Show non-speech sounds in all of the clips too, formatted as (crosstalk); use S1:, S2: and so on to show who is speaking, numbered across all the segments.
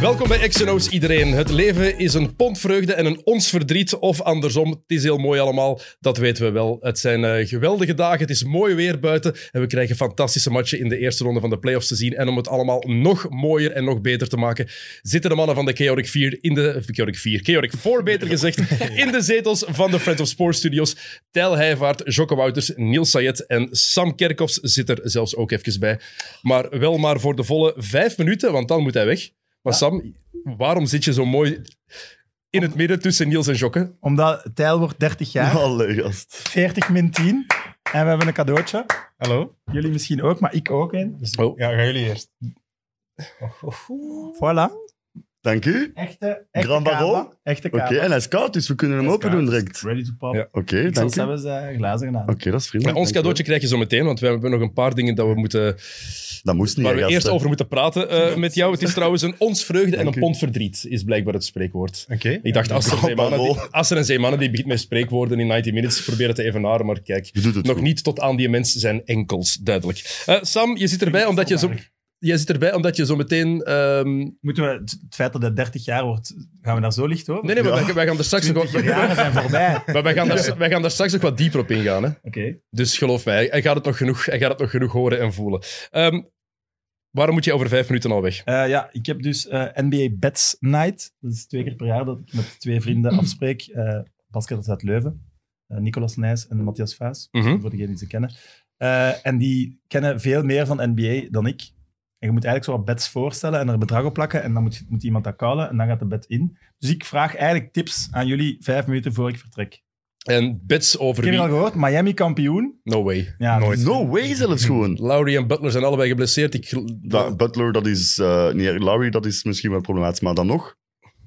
S1: Welkom bij XNO's iedereen. Het leven is een pond vreugde en een ons verdriet, of andersom. Het is heel mooi allemaal, dat weten we wel. Het zijn eh, geweldige dagen, het is mooi weer buiten en we krijgen fantastische matchen in de eerste ronde van de playoffs te zien. En om het allemaal nog mooier en nog beter te maken, zitten de mannen van de Chaotic 4 in de... eh, Chaotic 4, Chaotic 4 beter gezegd, in de zetels van de Friends of Sports studios. Tijl Heijvaart, Jocke Wouters, Niels Sayet en Sam Kerkhoffs zit er zelfs ook even bij. Maar wel maar voor de volle vijf minuten, want dan moet hij weg. Maar Sam, waarom zit je zo mooi in het midden tussen Niels en Jokke?
S2: Omdat Tijl wordt 30 jaar,
S3: (laughs) Allee, gast.
S2: 40 min 10. En we hebben een cadeautje.
S4: Hallo?
S2: Jullie misschien ook, maar ik ook een.
S3: Dus-
S1: Oh,
S4: Ja, gaan jullie eerst.
S2: Voilà.
S3: Dank u.
S2: Echte, echte
S3: Grand
S2: kava.
S3: Barreau?
S2: Echte
S3: Oké,
S2: kava.
S3: en hij is koud, dus we kunnen hem open doen direct. Oké,
S4: Ready to pop.
S1: Ja.
S3: dank
S2: Soms
S3: u. Oké,
S2: hebben ze eh, glazen gedaan.
S3: dat is
S1: maar
S3: vriendelijk.
S1: ons
S3: dank u.
S1: cadeautje krijg je zo meteen, want we hebben nog een paar dingen dat we moeten,
S3: Dat moest niet,
S1: waar we
S3: hè, gasten.
S1: eerst over moeten praten eh, met jou. Het is trouwens een ons vreugde en
S3: Dank
S1: een
S3: u.
S1: pond verdriet, is blijkbaar het spreekwoord.
S4: Oké.
S1: Ik dacht, Aster en Zeemannen, die,
S3: Bravo.
S1: Aster en Zeemannen, die begint met spreekwoorden in 90 Minutes, proberen te evenaren, maar kijk,
S3: Je doet het
S1: nog
S3: goed.
S1: niet tot aan die mens zijn enkels, duidelijk. Eh, Sam, je zit erbij omdat je zo... Jij zit erbij omdat je zo meteen... ehm,
S2: Moeten we het, het feit dat het 30 jaar wordt, gaan we daar zo licht over?
S1: Nee, nee, maar wij, wij gaan er straks nog... wat-
S2: 20 jaren zijn voorbij. Oké. (laughs)
S1: Maar wij gaan, daar, wij gaan daar straks nog wat dieper op ingaan. Hè? Dus geloof mij, hij gaat het nog genoeg, hij gaat het nog genoeg horen en voelen. Ehm, waarom moet je over vijf minuten al weg?
S2: Eh, ja, ik heb dus eh, NBA Bets Night. Dat is twee keer per jaar dat ik met twee
S1: (clears throat)
S2: vrienden afspreek. Eh Pascal uit Leuven, eh, Nicolas Nijs en Matthias Vaas. dus
S1: Mhm.
S2: voor degenen die ze kennen. Eh, en die kennen veel meer van NBA dan ik. En je moet eigenlijk zo wat bets voorstellen en er een bedrag op plakken. En dan moet, moet iemand dat callen en dan gaat de bet in. Dus ik vraag eigenlijk tips aan jullie vijf minuten voor ik vertrek.
S1: En bets over
S2: Ik heb je al
S1: wie?
S2: gehoord, Miami kampioen.
S1: No way.
S2: Ja,
S4: Nooit.
S2: dus-
S3: No way zelfs
S1: (laughs)
S3: gewoon.
S1: Lowry en Butler zijn allebei geblesseerd. Ik...
S3: Da- Butler, dat is... eh niet erg. Lowry, dat is misschien wel problematisch, maar dan nog.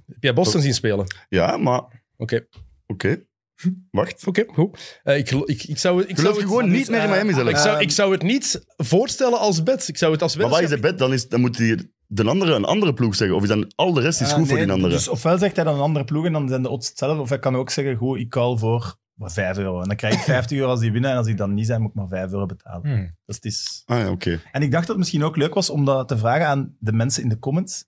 S1: Heb jij Boston zien spelen? Oké,
S3: Ja, maar... Oké.
S1: oké,
S3: Wacht.
S1: goed. Eh, ik, gelo- ik, ik zou, ik
S3: Ik
S1: zou
S3: geloof je
S1: het,
S3: gewoon
S2: dat
S3: niet
S2: is,
S3: meer in
S2: eh,
S3: Miami zelfs.
S1: ik, zou, ik zou het niet voorstellen als bet. Ik zou het als
S3: maar wat is
S1: weddenschap...
S3: de bet? Dan, is, dan moet hij de andere een andere ploeg zeggen. Of is dan al de rest is
S2: Ah,
S3: goed voor
S2: nee,
S3: die andere?
S2: Dus ofwel zegt hij dan een andere ploeg en dan zijn de odds hetzelfde. Of hij kan ook zeggen, goed, ik call voor maar 5 euro. En dan
S4: (laughs)
S2: krijg ik 50 euro als die winnen. En als die dan niet zijn, moet ik maar 5 euro betalen.
S4: Hmm.
S2: Dus het is...
S3: Ah ja, oké.
S2: En ik dacht dat het misschien ook leuk was om dat te vragen aan de mensen in de comments.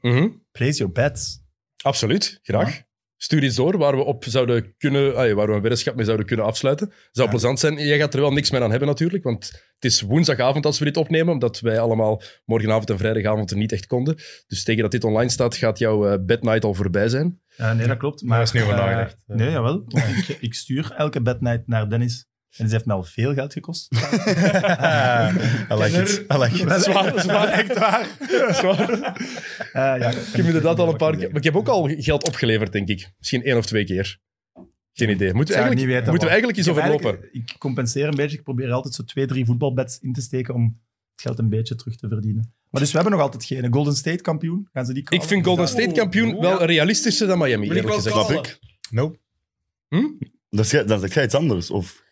S1: Mhm.
S2: Place your bets.
S1: Absoluut, graag. Stuur iets door waar we op zouden kunnen, ah, ja, waar we een weddenschap mee zouden kunnen afsluiten. Zou
S2: Ja.
S1: plezant zijn. Jij gaat er wel niks meer aan hebben natuurlijk, want het is woensdagavond als we dit opnemen, omdat wij allemaal morgenavond en vrijdagavond er niet echt konden. Dus tegen dat dit online staat, gaat jouw eh, bednight al voorbij zijn.
S2: Eh, nee, dat klopt. Maar,
S4: dat is niet over
S2: eh,
S4: nagedacht.
S2: nee, jawel. Want Ik, ik stuur elke bednight naar Dennis. En die heeft me al veel geld gekost.
S4: I like it. I like it.
S2: (laughs)
S1: Zwaar, zwaar, echt waar.
S2: Eh, ja, dat
S1: Ik heb inderdaad al een paar keer... Maar ik heb ook al geld opgeleverd, denk ik. Misschien één of twee keer. Geen idee. Moeten we
S2: zou het
S1: eigenlijk,
S2: niet weten,
S1: moeten we
S2: maar-
S1: eigenlijk
S2: Ik
S1: iets
S2: heb
S1: overlopen?
S2: eigenlijk- Ik compenseer een beetje. Ik probeer altijd zo twee, drie voetbalbeds in te steken om het geld een beetje terug te verdienen. Maar dus we hebben nog altijd geen Golden State kampioen. Gaan ze die
S1: Ik
S2: callen?
S1: vind Golden State kampioen
S4: Oeh,
S1: wel realistischer dan Miami,
S4: Wil ik
S1: eerlijk
S4: wel
S1: gezegd.
S3: Snap
S4: Alle.
S3: ik. Hm?
S4: Nope.
S3: Dan zeg dan zeg jij iets anders. Of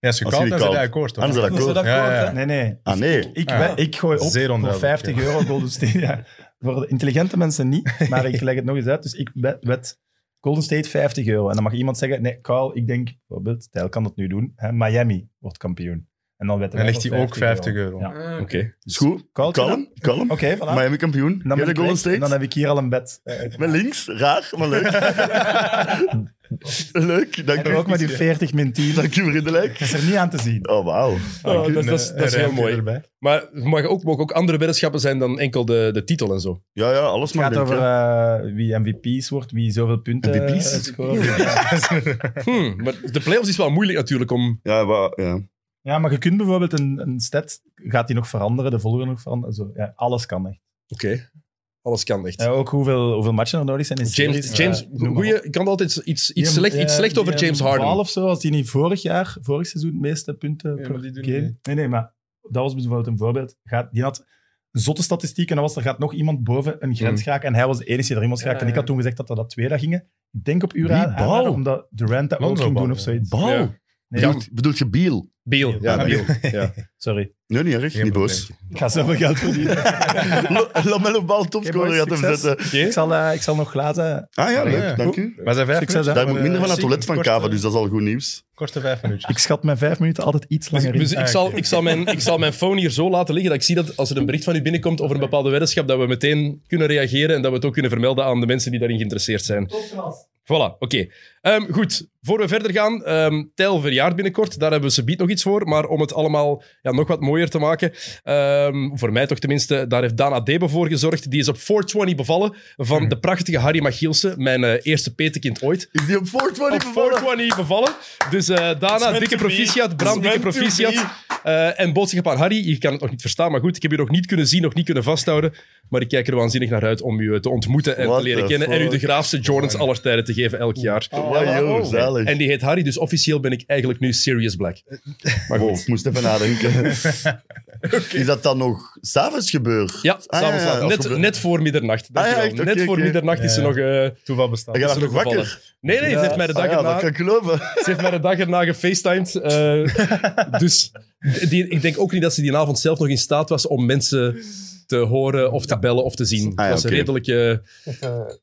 S4: Ja, als je
S3: Als jullie
S4: koud dan
S3: koud.
S4: zit hij akkoord. toch?
S3: anders is dat
S2: Is dat
S3: cool.
S4: Ja,
S2: akkoord,
S4: ja, ja.
S2: hè? Nee, nee.
S3: Ah nee.
S2: Ik,
S4: Ah,
S2: ben- ik gooi op
S4: zeer
S2: voor
S4: onduidelijk,
S2: 50
S4: ja.
S2: euro Golden State. Ja. Voor de intelligente mensen
S4: (laughs)
S2: niet, maar ik leg het nog eens uit. Dus ik wed, wed Golden State 50 euro. En dan mag iemand zeggen, nee, Carl, ik denk, bijvoorbeeld, Tijl kan dat nu doen, hè, Miami wordt kampioen. En dan wetten
S4: Dan
S2: wij
S4: ligt
S2: voor
S4: hij ook 50 euro.
S2: Ja.
S1: Oké.
S3: Is goed.
S2: Call het
S3: Kalm, kalm.
S2: Oké, voilà.
S3: Miami kampioen.
S2: En dan,
S3: Jij
S2: ben
S3: de
S2: ik
S3: Golden
S2: weg. En dan
S3: State.
S2: heb ik hier al een bed. Eh,
S3: Met links. Raar, maar leuk. leuk,
S2: En
S3: dank
S2: dan
S3: u.
S2: ook met uw 40 min 10. Dat
S3: Dank u, vriendelijk.
S2: is er niet aan te zien.
S3: Oh, wauw.
S1: Oh,
S3: Dank u.
S1: dat, dat is,
S4: Een-
S1: dat is
S4: een
S1: heel
S4: rijmpje
S1: mooi.
S4: erbij.
S1: Maar het mag ook, mogen ook andere weddenschappen zijn dan enkel de, de titel en zo.
S3: Ja, ja, alles
S2: Het
S3: mag.
S2: gaat
S3: denk
S2: over
S3: ik, hè.
S2: eh, wie MVP's wordt, wie zoveel punten
S3: MVP's?
S2: eh, scoort. Ja.
S1: Hmm, maar de playoffs is wel moeilijk natuurlijk om...
S3: Ja, wa- ja.
S2: Ja, maar je kunt bijvoorbeeld een, een stat, gaat die nog veranderen, de volgende nog veranderen. Zo, ja, alles kan echt.
S1: Oké, alles kan echt.
S2: Ja, ook hoeveel, hoeveel matchen er nodig zijn in
S1: James,
S2: series.
S1: James
S2: Eh, noem maar
S1: goeie-
S2: op.
S1: ik kan altijd iets, iets,
S2: Die-
S1: slecht,
S2: eh,
S1: iets slecht
S2: die,
S1: over
S2: eh,
S1: James
S2: Ball
S1: Harden.
S2: of zo, als die niet vorig jaar, vorig seizoen, de meeste punten
S4: Ja,
S2: per
S4: maar die doen
S2: game.
S4: niet.
S2: Nee, nee, maar dat was bijvoorbeeld een voorbeeld. Gaat, die had zotte statistieken en dan was er gaat nog iemand boven een
S4: Mm.
S2: grens geraken. En hij was de enige die er iemand geraakt. en ik had toen gezegd dat er dat twee dat gingen. Ik denk op uw
S3: Wie?
S2: raad,
S3: Ball?
S2: aanraden, omdat Durant dat ook
S4: Lonzo
S2: ging doen
S4: Ball,
S2: of zoiets.
S3: Bal.
S1: Ja.
S2: Nee,
S3: Bedoel- Bedoelt je Biel?
S1: Biel.
S3: Ja,
S1: Ja, Biel.
S3: Ja.
S2: sorry.
S3: Nee, niet erg. niet boos.
S2: Ik ga zoveel geld
S4: (laughs)
S2: verdienen.
S3: (laughs) Lo- Lamello Bal
S2: Oké,
S3: topscorer
S2: boys,
S3: gaat hem
S2: succes.
S3: zetten.
S2: ik, zal, eh, ik zal nog laten.
S3: Ah ja,
S4: Ja.
S3: leuk. Dank u.
S4: Maar zijn vijf
S2: Succes,
S4: minuten,
S2: hè.
S3: Daar moet
S4: maar,
S3: minder van
S4: eh,
S3: het toilet van
S4: korte-
S3: Kava, dus dat is al goed nieuws.
S4: Korte vijf minuutjes.
S2: Ik schat mijn vijf minuten altijd iets langer in.
S1: Dus
S4: Ah,
S1: ik, zal,
S4: oké.
S1: ik, zal mijn, ik zal mijn phone hier zo laten liggen dat ik zie dat als er een bericht van u binnenkomt over een bepaalde weddenschap, dat we meteen kunnen reageren en dat we het ook kunnen vermelden aan de mensen die daarin geïnteresseerd zijn. Voilà, oké. Ehm, goed, voor we verder gaan, ehm Tijl verjaart binnenkort, daar hebben we subiet nog iets voor, maar om het allemaal ja, nog wat mooier te maken, ehm, voor mij toch tenminste, daar heeft Dana Debe voor gezorgd. Die is op 420 bevallen van de prachtige Harry Machielsen, mijn eh, eerste petekind ooit.
S3: Is die op 420
S1: Op 420 bevallen. Dus eh, Dana, dikke proficiat. Bram, dikke proficiat. Eh, en boodschap aan Harry. Je kan het nog niet verstaan, maar goed. Ik heb je nog niet kunnen zien, nog niet kunnen vasthouden. Maar ik kijk er waanzinnig naar uit om u eh, te ontmoeten en
S3: What
S1: te leren
S3: the
S1: kennen. En u de
S3: fuck?
S1: graafste Jordans aller tijden te geven elk jaar.
S3: Wow, joh, zalig.
S1: En die heet Harry, dus officieel ben ik eigenlijk nu Serious Black.
S3: Ah, Maar goed, Oh, ik moest even (laughs) nadenken. Is dat dan nog s'avonds gebeurd?
S1: Ja,
S3: Ah,
S1: s'avonds
S3: ja, ja,
S1: laat.
S3: als
S1: net,
S3: we-
S1: net voor middernacht.
S3: Ah, ja,
S1: Dankjewel.
S3: echt? Oké,
S1: net voor
S3: oké.
S1: middernacht is ze
S4: Ja, ja.
S1: nog... eh,
S4: Toeval bestaat.
S3: Dan
S1: is
S3: gaat
S1: ze
S3: nog
S1: nog
S3: wakker.
S1: Nee, nee, ze heeft mij de dag
S3: Ah ja,
S1: erna-
S3: dat kan ik geloven.
S1: Ze heeft mij de dag erna gefacetimed. eh, dus die, ik denk ook niet dat ze die avond zelf nog in staat was om mensen te horen of te bellen of te zien. Het
S3: ja,
S1: was een
S3: oké.
S1: redelijk... eh,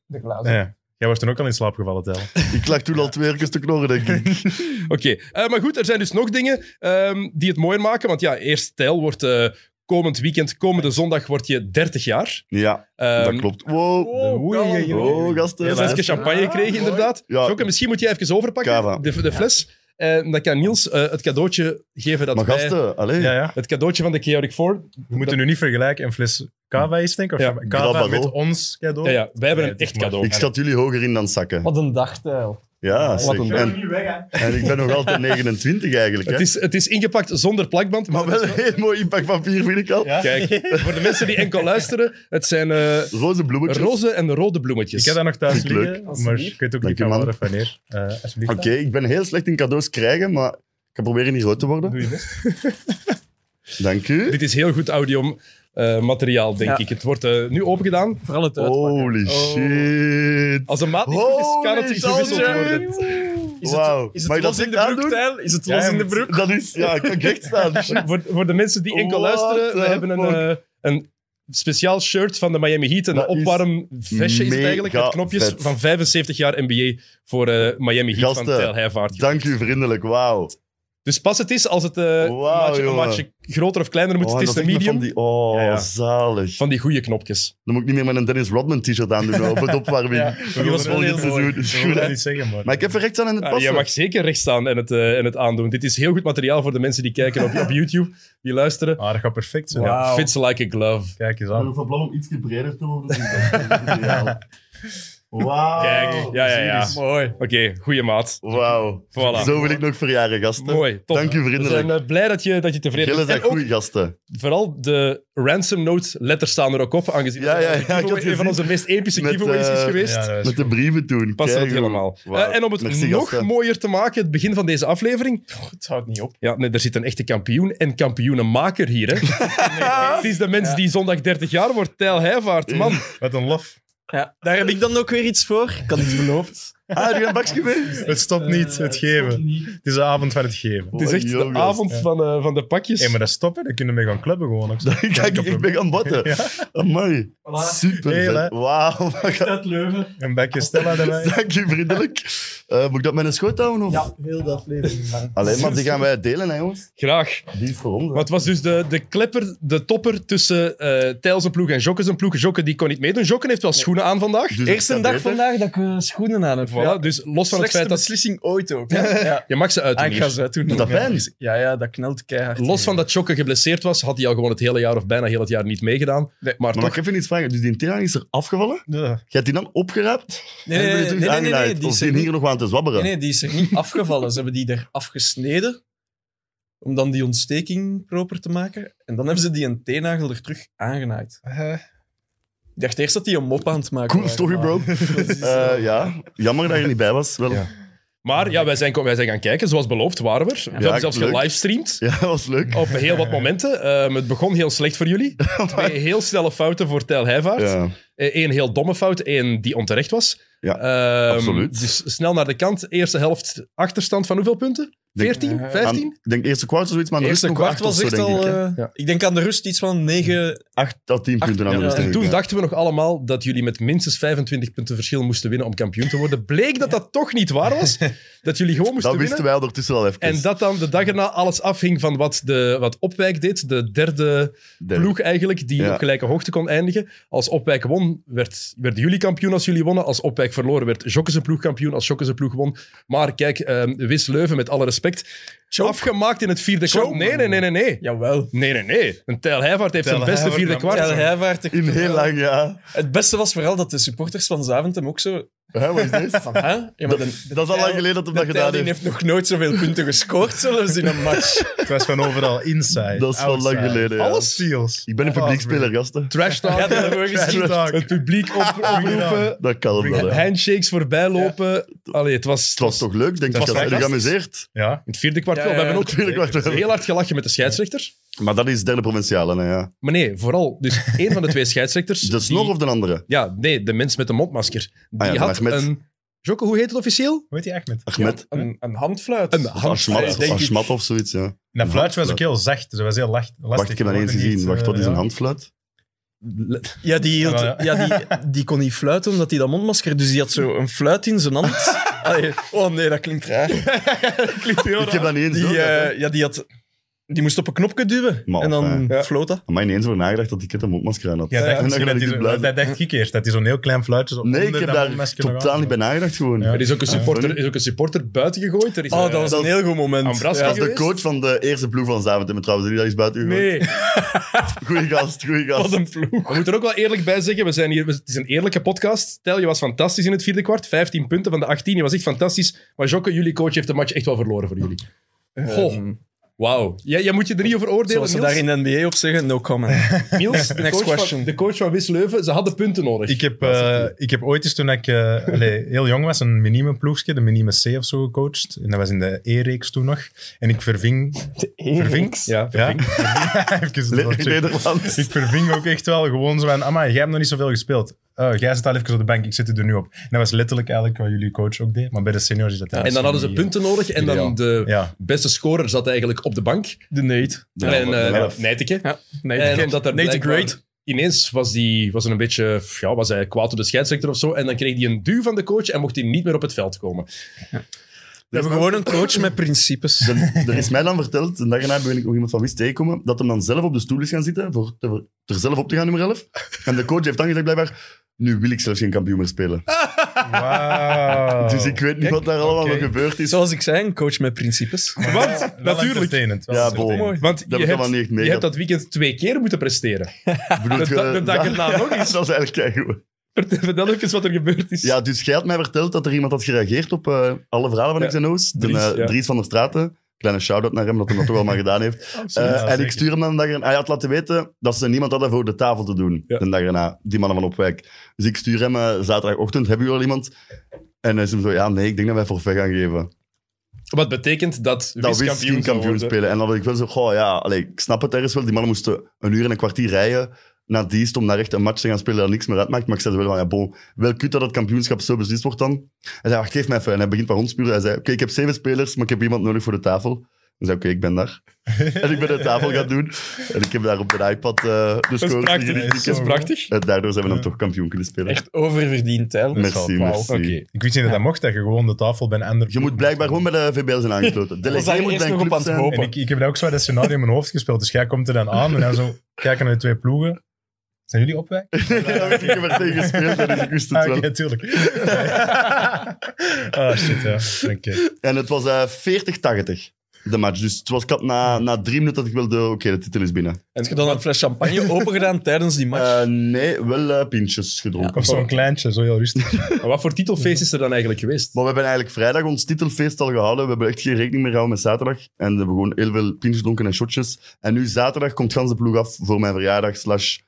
S5: de glazen.
S4: Ja. Jij was toen ook al in slaap gevallen, Tel.
S2: Oh,
S3: Ik lag toen al twee keer te knorren, denk
S1: (laughs)
S3: ik.
S1: Oké. Eh, maar goed, er zijn dus nog dingen ehm, die het mooier maken. Want ja, eerst stijl wordt... eh, Komend weekend, komende zondag, word je 30 jaar.
S3: Ja,
S1: Ehm,
S3: dat klopt. Wow. Oh,
S1: Een
S3: gasten.
S1: flesje champagne gekregen, inderdaad.
S3: Ja.
S1: Jokke, misschien moet jij even
S3: Kava.
S1: overpakken, de, de fles. En dan kan Niels eh, het cadeautje geven dat
S3: Maar
S1: wij...
S3: gasten, allee.
S4: Ja, ja.
S1: Het cadeautje van de Chaotic Four.
S4: We moeten nu niet vergelijken. Een fles kava is, denk ik. Of
S1: Ja.
S4: kava
S3: Grabbel.
S4: met ons cadeau.
S1: Ja, ja, wij hebben
S4: Nee,
S1: een
S4: het is
S1: echt
S4: mooi.
S1: cadeau.
S3: Ik schat jullie hoger in dan zakken.
S5: Wat een dagtijl.
S3: Ja, zeg.
S1: een-
S3: En, en ik ben nog altijd 29 eigenlijk. Hè?
S1: Het is, het is ingepakt zonder plakband, maar
S3: Maar wel een heel mooi inpakpapier, vind ik al.
S4: Ja?
S1: Kijk, voor de mensen die enkel luisteren, het zijn eh,
S3: Roze bloemetjes.
S1: roze en rode bloemetjes.
S4: Ik heb dat nog thuis
S3: Vind ik leuk.
S4: liggen, maar ik weet ook
S3: Dank
S4: niet
S3: je,
S4: van
S3: man.
S4: waar of wanneer. Eh, alsjeblieft. (laughs)
S3: Oké, ik ben heel slecht in cadeaus krijgen, maar ik ga proberen niet rood te worden.
S4: Doe je best.
S3: Dank u.
S1: Dit is heel goed audio eh, materiaal, denk
S5: Ja.
S1: ik. Het wordt eh, nu opengedaan.
S5: Vooral het uitpakken.
S3: Holy shit.
S1: Oh. Als een maat niet goed is, kan het
S3: Holy
S1: gewisseld
S3: shit.
S1: worden.
S5: Is
S3: Wauw.
S5: het, is het
S3: Mag je
S5: los
S3: dat
S5: in
S3: echt
S5: de broek,
S3: aandoen?
S5: Tijl? Is het
S4: Ja,
S5: los
S4: je
S5: in de
S4: moet-
S5: broek?
S3: Dat is, ja, ik kan recht staan.
S1: (laughs)
S3: Shit.
S1: Voor, voor de mensen die enkel
S3: What
S1: luisteren, we
S3: the
S1: hebben een, eh, een speciaal shirt van de Miami Heat. Een
S3: Dat is
S1: opwarm vestje is het eigenlijk, met
S3: mega
S1: knopjes
S3: vet.
S1: van 75 jaar NBA voor eh, Miami Heat van
S3: Gasten,
S1: Tijl Heijvaart.
S3: Dank u vriendelijk, wauw.
S1: Dus pas het is als het eh, een,
S3: Wauw,
S1: maatje, een
S3: jongen.
S1: maatje groter of kleiner moet.
S3: Oh,
S1: het is
S3: dat
S1: de
S3: ik me
S1: medium.
S3: Van die, oh,
S4: Ja, ja.
S3: zalig.
S1: van die goede knopjes.
S3: Dan moet ik niet meer met een Dennis Rodman t-shirt aandoen op
S1: (laughs)
S3: het opwarming.
S4: Ja,
S3: Voor
S4: we wilden
S3: het volgende
S4: het heel mooi.
S3: seizoen. Is
S4: We
S3: goed,
S4: wilden
S3: hè?
S4: dat niet zeggen, maar...
S3: Maar ik heb even rechts aan in het
S1: Ja, Ah, je
S3: passen.
S1: mag zeker recht staan en het, eh, en het aandoen. Dit is heel goed materiaal voor de mensen die kijken op, op YouTube, die luisteren.
S4: Ah, dat gaat perfect zijn.
S1: Ja,
S5: Wauw.
S1: fits like a glove.
S4: Kijk eens
S3: Ik
S4: aan.
S3: ben van plan om iets breder te worden. dus dat is
S1: (laughs)
S3: ideaal. Wauw.
S1: Kijk, ja, ja, ja. Oké,
S5: Mooi.
S1: goede maat.
S3: Wauw.
S1: Voilà.
S3: Zo wil ik nog verjaren, gasten.
S1: Mooi, top.
S3: Dank u
S1: We zijn
S3: vriendelijk.
S1: eh, blij dat je, dat je tevreden
S3: Jullie
S1: bent.
S3: zijn
S1: En ook,
S3: goede gasten.
S1: vooral de ransom note letters staan er ook op, aangezien
S3: Ja,
S1: dat
S3: ja,
S1: een
S3: ja, ik had
S1: giveaway- een van
S3: gezien.
S1: onze meest epische
S3: Met,
S1: giveaways is
S3: eh,
S1: geweest.
S4: Ja, dat is
S3: Met de
S4: goed.
S3: brieven toen.
S1: Past dat
S3: Kijk,
S1: helemaal.
S3: wow.
S1: Eh, en om het
S3: Merci,
S1: nog
S3: gasten.
S1: mooier te maken, het begin van deze aflevering.
S5: Het houdt niet op.
S1: Ja, nee, er zit een echte kampioen en kampioenenmaker hier.
S3: (laughs)
S1: Hè. Het is de mens die zondag 30 jaar wordt, Tijl Heijvaart. Man,
S4: Met een lof.
S5: Ja, daar heb ik dan ook weer iets voor. Ik had iets beloofd.
S3: (laughs) Ah, heb je een bakje mee?
S4: Het stopt niet, het geven. Het is de avond van het geven.
S1: het is echt de
S3: Jongens.
S1: avond
S4: ja.
S1: van, eh, van de pakjes.
S4: Hé, maar dat stoppen, dan kunnen we gaan clubben gewoon. ook zo.
S3: (laughs) Kijk, ik ben gaan botten.
S4: Ja.
S3: Amai. Super
S4: Heel, hè?
S3: vet.
S5: (laughs)
S3: Wauw.
S5: Uit Leuven.
S4: Een bekje Stella erbij.
S3: (laughs) Dank u vriendelijk. Eh, moet ik dat met een schoot houden? Of?
S5: Ja, heel de aflevering. lang.
S3: (laughs) Alleen maar die gaan wij delen, hè, jongens.
S1: Graag.
S3: Die is voor ons. hè.
S1: Maar het was dus de, de klepper, de topper tussen eh Tijl zijn ploeg en Jokke zijn ploeg. Jokke die kon niet meedoen. Jokke heeft wel schoenen aan vandaag.
S3: Dus het
S5: Eerste
S3: kan
S5: dag
S3: beter.
S5: vandaag dat ik eh, schoenen aan heb.
S1: Voilà, dus los van het
S5: Slechtste
S1: feit dat...
S5: beslissing ooit ook. hè. Ja.
S1: Je mag ze uit.
S5: Ah, ik
S1: hier.
S5: ga ze doen.
S3: Doet dat
S5: Ja.
S3: pijn?
S5: Ja, ja, dat knelt keihard.
S1: Los van dat Jokke geblesseerd was, had hij al gewoon het hele jaar of bijna heel het jaar niet meegedaan.
S5: Nee,
S1: maar
S3: Maar
S1: toch,
S3: mag ik even iets vragen? Dus die Tiran is er afgevallen?
S4: Ja.
S3: Je hebt die dan opgeraapt?
S5: Nee, nee,
S3: en ben je
S5: nee,
S3: terug
S5: nee, nee, nee,
S3: aangenaaid?
S5: die
S3: Of
S5: is
S3: zijn
S5: er
S3: hier nog aan te zwabberen?
S5: Nee, nee, die is er
S3: (laughs)
S5: niet afgevallen. Ze hebben die er afgesneden om dan die ontsteking proper te maken. En dan hebben ze die een teennagel er terug aangenaaid. Ik dacht eerst dat die een mop aan het maken
S3: Cool
S5: waren,
S3: story,
S5: maar-
S3: bro.
S5: Dat is, eh,
S3: Eh, ja, jammer dat je er niet bij was. Wel.
S4: Ja.
S3: (laughs) Ja.
S1: maar ja, wij zijn, wij zijn gaan kijken, zoals beloofd waren we er. we hebben
S3: Ja,
S1: zelfs
S3: leuk.
S1: gelivestreamd.
S3: dat was leuk.
S1: Op
S3: (laughs)
S1: heel wat momenten. Ehm, het begon heel slecht voor jullie. Twee heel snelle fouten voor Tijl Heijvaart.
S3: Ja.
S1: Eén heel domme fout, één die onterecht was.
S3: Ja,
S1: Ehm,
S3: absoluut.
S1: Dus snel naar de kant. Eerste helft achterstand van hoeveel punten?
S3: Denk-
S1: 14,
S5: Eh,
S1: 15?
S3: Aan- Ik denk eerste kwart of zoiets, maar de rust
S1: Eerste
S3: nog
S5: Kwart
S3: acht of
S5: was
S3: zo,
S5: echt
S3: denk ik.
S5: al...
S3: hè.
S5: eh,
S1: Ja.
S5: Ik denk aan de rust iets van 9...
S3: Acht tot tien
S5: Acht-
S3: punten aan de
S5: ja,
S3: rust,
S1: En
S3: denk ik,
S1: toen
S3: ja.
S1: dachten we nog allemaal dat jullie met minstens 25 punten verschil moesten winnen om kampioen te worden. Bleek dat dat toch niet waar
S3: (laughs)
S1: was. Dat jullie gewoon moesten winnen.
S3: Dat wisten wij ondertussen al even.
S1: En dat dan de dag erna alles afhing van wat, de, wat Opwijk deed. De derde
S3: Derde.
S1: ploeg eigenlijk, die
S3: Ja.
S1: op gelijke hoogte kon eindigen. Als Opwijk won, werd, werden jullie kampioen als jullie wonnen. Als Opwijk verloren, werd Jokke zijn ploeg kampioen als Jokke zijn ploeg won. Maar kijk, ehm Wis Leuven, met alle respect, afgemaakt in het vierde kwart.
S5: Choke.
S1: Nee, nee, nee, nee, nee.
S5: Jawel.
S1: Nee, nee, nee. Een Tijl Heijvaart heeft
S4: Tijl
S1: zijn beste
S4: Heijvaart,
S1: vierde
S4: man.
S1: kwart.
S5: Ja, hij waart echt-
S3: In heel lang, ja.
S5: Eh, Het beste was vooral dat de supporters van Zaventem ook zo...
S3: Hè, wat is dit?
S5: Van, hè? Ja, maar
S3: Dat-
S5: de- de
S3: Dat is al lang
S5: Tijl-
S3: geleden dat hij
S5: de
S3: dat gedaan
S5: Tijlin
S3: heeft.
S5: heeft nog nooit zoveel punten gescoord, zelfs in een match.
S4: Het was van overal inside.
S3: Dat is wel
S4: outside.
S3: lang geleden, ja.
S4: Alles steals.
S3: Ik ben een
S4: Alles,
S3: publiekspeler,
S4: man.
S3: gasten.
S1: Trash talk.
S5: Ja, dat hebben we gezien.
S4: Trash talk.
S1: Het publiek op, oproepen.
S3: Dat kan
S4: Bring
S3: wel,
S4: it
S3: hè.
S1: (laughs)
S4: back.
S1: Handshakes voorbij lopen. Allee, het was,
S3: Het was toch leuk, denk
S4: Het
S3: ik.
S4: was
S3: Heb je
S4: fantastisch.
S3: geamuseerd?
S4: Ja.
S1: in het vierde kwart
S5: Ja,
S1: wel. We
S5: ja,
S1: hebben ook
S3: Natuurlijk was het wel.
S1: heel hard gelachen met de scheidsrechter.
S3: Maar dat is derde provinciale, hè, ja.
S1: Maar nee, vooral, dus
S3: (laughs)
S1: één van de twee scheidsrechters.
S3: De
S1: die-
S3: snor of de andere?
S1: Ja, nee, de mens met de mondmasker. Die
S3: Ah ja,
S1: had
S3: Ahmed.
S1: een... Jokke, hoe heet het officieel?
S4: Hoe heet hij echt met?
S3: Ahmed?
S5: Een, een handfluit.
S1: Een
S3: Of Ashmat,
S1: handfluit,
S3: of
S1: denk ik.
S3: Ashmat of zoiets, ja.
S4: En dat fluitje was ook heel zacht, dus dat was heel lacht, lastig.
S3: Wacht, ik heb dat
S4: We
S3: niet eens
S4: hoorden
S3: gezien.
S4: niet,
S3: Wacht, wat
S4: eh,
S3: is een
S4: ja.
S3: handfluit?
S5: Ja, die, hield,
S4: Ja,
S5: ja, die, die kon niet fluiten omdat hij dat mondmasker... Dus die had zo een fluit in zijn hand. Allee, oh nee, dat klinkt raar.
S3: Ik heb dat niet
S5: (laughs)
S3: eens
S5: Die,
S3: door.
S5: eh, ja, die, had, die moest op een knopje duwen.
S3: Maar
S5: en dan
S3: fijn.
S5: ja. floot dat.
S3: Amai, niet eens voor nagedacht dat ik het een mondmasker aan had.
S4: Ja,
S3: En
S4: dat,
S3: dan
S4: misschien
S3: ga
S4: dat,
S3: ik
S4: die
S3: dit
S4: zo-
S3: blijven.
S4: dat dacht ik eerst. Dat is zo'n heel klein fluitje. zo
S3: Nee, ik
S4: onder
S3: heb
S4: dat
S3: daar
S4: mondmasker nog
S3: totaal
S4: aan.
S3: niet bij nagedacht gewoon.
S4: Ja.
S1: Er is ook een
S4: Ja,
S1: supporter,
S3: funny.
S1: er is ook een supporter buiten gegooid. Er is
S5: Oh,
S1: een-
S5: dat was een heel goed moment.
S1: Ambras
S5: Ja.
S3: Dat is de coach van de eerste ploeg van Zaventem trouwens. Die daar is buiten gegooid.
S5: (laughs)
S1: Nee,
S3: Goeie gast, goeie
S5: Wat
S3: gast.
S5: een ploeg.
S1: we moeten er ook wel eerlijk bij zeggen. We zijn hier, we- het is een eerlijke podcast. Stel, je was fantastisch in het vierde kwart. 15 punten van de 18. Je was echt fantastisch. Maar Jokke, jullie coach heeft de match echt wel verloren voor jullie. Goh,
S5: Ehm,
S1: wauw. Jij, jij moet je er niet over oordelen,
S5: zoals ze
S1: Niels.
S5: daar in de NBA op zeggen, no comment. (laughs)
S1: Niels, de,
S5: Next
S1: coach van,
S5: question.
S1: de coach van Wis Leuven, ze hadden punten nodig.
S4: Ik heb, eh, ik heb ooit eens, toen ik eh, allee, heel jong was, een minime ploegje, de minime C of zo, gecoacht. En dat was in de E-reeks toen nog. En ik verving... Verving?
S1: ja,
S4: Ja. (laughs) Even het
S3: Le-
S4: woord checken.
S3: Nederland.
S4: Ik verving ook echt wel gewoon zo van, amai, jij hebt nog niet zoveel gespeeld. Oh, jij zit al even op de bank, ik zit er nu op. En dat was letterlijk eigenlijk wat jullie coach ook deed. Maar bij de seniors is dat
S1: En dan hadden ze punten nodig. En dan
S3: Ideaal.
S1: de
S4: Ja.
S1: beste scorer zat eigenlijk op de bank.
S5: De Nate.
S3: Ja,
S1: en
S3: maar-
S1: eh
S3: ja.
S1: Nijteke.
S5: Ja, Nate.
S1: En omdat daar
S5: Nate the
S1: blijkbaar-
S5: Great.
S1: Ineens was die was er een beetje ja, was hij kwaad op de scheidsrechter of zo. En dan kreeg hij een duw van de coach en mocht hij niet meer op het veld komen.
S5: We hebben gewoon een coach met (laughs) principes.
S3: Er- Er is mij dan verteld, een dag erna ben ik nog iemand van Wist tegenkomen, dat hem dan zelf op de stoel is gaan zitten, voor te- er zelf op te gaan, nummer 11. En de coach heeft dan gezegd, blijkbaar, nu wil ik zelfs geen kampioen meer spelen.
S4: Wauw.
S3: Dus ik weet niet wat daar allemaal
S4: oké.
S3: gebeurd is.
S5: Zoals ik zei, een coach met principes.
S1: Want, natuurlijk.
S3: Ja, bol.
S5: Mooi.
S1: Want
S3: Dat
S1: je
S3: heb
S1: hebt,
S3: ik allemaal niet echt
S1: je hebt
S3: meegemaakt.
S1: dat weekend twee keer moeten (laughs) presteren.
S3: Bedoel
S1: de
S3: je-
S1: da- de dag
S3: dat-
S1: erna
S3: (laughs)
S1: nog eens.
S3: Dat is eigenlijk keigoed.
S1: Vertel vertel even wat er gebeurd is.
S3: Ja, dus jij had mij verteld dat er iemand had gereageerd op eh, alle verhalen van
S1: Ja.
S3: XNO's. De,
S1: Dries,
S3: Dries,
S1: ja.
S3: Dries van der Straten. Kleine shout-out naar hem, dat hij dat toch wel maar gedaan heeft. Eh,
S4: Ja,
S3: en
S4: zeker.
S3: ik stuur hem dan een dag erna. Hij had laten weten dat ze niemand hadden voor de tafel te doen.
S1: Ja.
S3: De dag erna, die mannen van Opwijk. Dus ik stuur hem eh, zaterdagochtend, hebben jullie al iemand? En hij is hem zo, ja nee, ik denk dat wij forfait gaan geven.
S1: Wat betekent dat Wis
S3: Dat wist geen
S1: kampioen zou
S3: kampioen
S1: worden.
S3: spelen. En dan had ik wel zo, goh ja, allee, ik snap het ergens wel. Die mannen moesten een uur en een kwartier rijden naar Diest om naar echt een match te gaan spelen dat niks meer uitmaakt. Maar ik zei wel van, ja bon, wel kut dat het kampioenschap zo beslist wordt dan. Hij zei, wacht, geef mij even. En hij begint bij hondspuren. Hij zei, oké, ik heb zeven spelers, maar ik heb iemand nodig voor de tafel. Hij zei, oké, ik ben daar. (laughs) en ik ben de tafel gaan doen. En ik heb daar op de iPad eh, de
S1: Dat is
S3: scores
S1: prachtig.
S3: liggen.
S1: Dat is prachtig.
S3: En daardoor zijn we dan toch kampioen kunnen spelen.
S5: Echt oververdiend, Tijl.
S3: merci,
S4: wauw,
S3: merci.
S1: oké.
S4: Ik wist niet dat dat mocht, dat je gewoon de tafel bij een ander...
S3: Je moet blijkbaar gewoon bij de VBL zijn aangesloten. De
S5: was daar
S3: legende moet
S5: eerst
S3: bij een
S5: nog op
S3: club
S5: aan het
S3: zijn.
S5: hopen.
S4: En ik, ik heb daar ook zo dat scenario in mijn hoofd gespeeld. Dus jij komt er dan aan en dan zo (laughs) kijken naar de twee ploegen. Zijn jullie opwijk?
S3: (laughs) Ja, ik heb er tegen gespeeld, dus ik wist het
S4: Ah,
S3: wel.
S4: Oké, tuurlijk.
S3: (laughs)
S4: Ah, shit, ja. Oké.
S3: En het was eh, 40-80, de match. Dus het was, ik had na, na drie minuten dat ik wilde... Oké, de titel is binnen.
S5: Heb je dan een fles champagne opengedaan tijdens die match?
S3: Eh, nee, wel eh, pintjes gedronken.
S4: Of zo'n kleintje, zo heel rustig.
S1: Maar wat voor titelfeest is er dan eigenlijk geweest?
S3: Maar we hebben eigenlijk vrijdag ons titelfeest al gehouden. We hebben echt geen rekening meer gehouden met zaterdag. En we hebben gewoon heel veel pintjes gedronken en shotjes. En nu zaterdag komt gans de ploeg af voor mijn verjaardag slash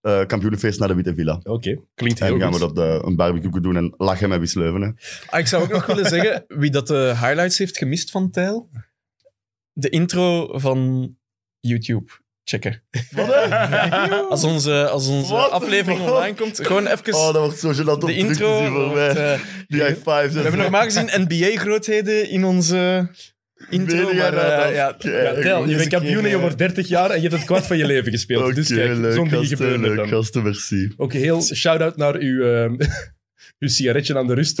S3: eh, kampioenenfeest naar de Witte Villa.
S1: Oké, klinkt
S3: En
S1: heel
S3: dan gaan
S1: goed.
S3: we dat eh, een barbecue doen en lachen met Wisleuven. hè.
S5: Ah, ik zou ook nog willen zeggen, wie dat de highlights heeft gemist van Tijl, de intro van YouTube. checken.
S3: Wat, hè?
S5: (laughs) Als onze, als onze
S3: What the
S5: aflevering
S3: fuck?
S5: online komt, gewoon even
S3: Oh, dat wordt zo gênant om
S5: de
S3: terug te
S5: intro.
S3: zien voor mij.
S5: wordt, eh,
S3: Die high fives.
S5: we hebben normaal gezien NBA-grootheden in onze intro.
S3: Meen
S5: Maar,
S3: jij dat?
S5: eh, ja,
S3: Oké,
S5: ja,
S1: Tel, je
S5: eens
S1: bent
S5: een keer,
S1: kampioen en je
S5: eh,
S1: wordt 30 jaar en je hebt het kwart van je leven gespeeld.
S3: Oké,
S1: dus kijk, zo'n
S3: leuk,
S1: dingen
S3: gasten,
S1: gebeuren er
S3: leuk,
S1: dan.
S3: gasten, merci.
S1: Ook heel shout-out naar uw, ehm (laughs) uw sigaretje aan de rust. (laughs)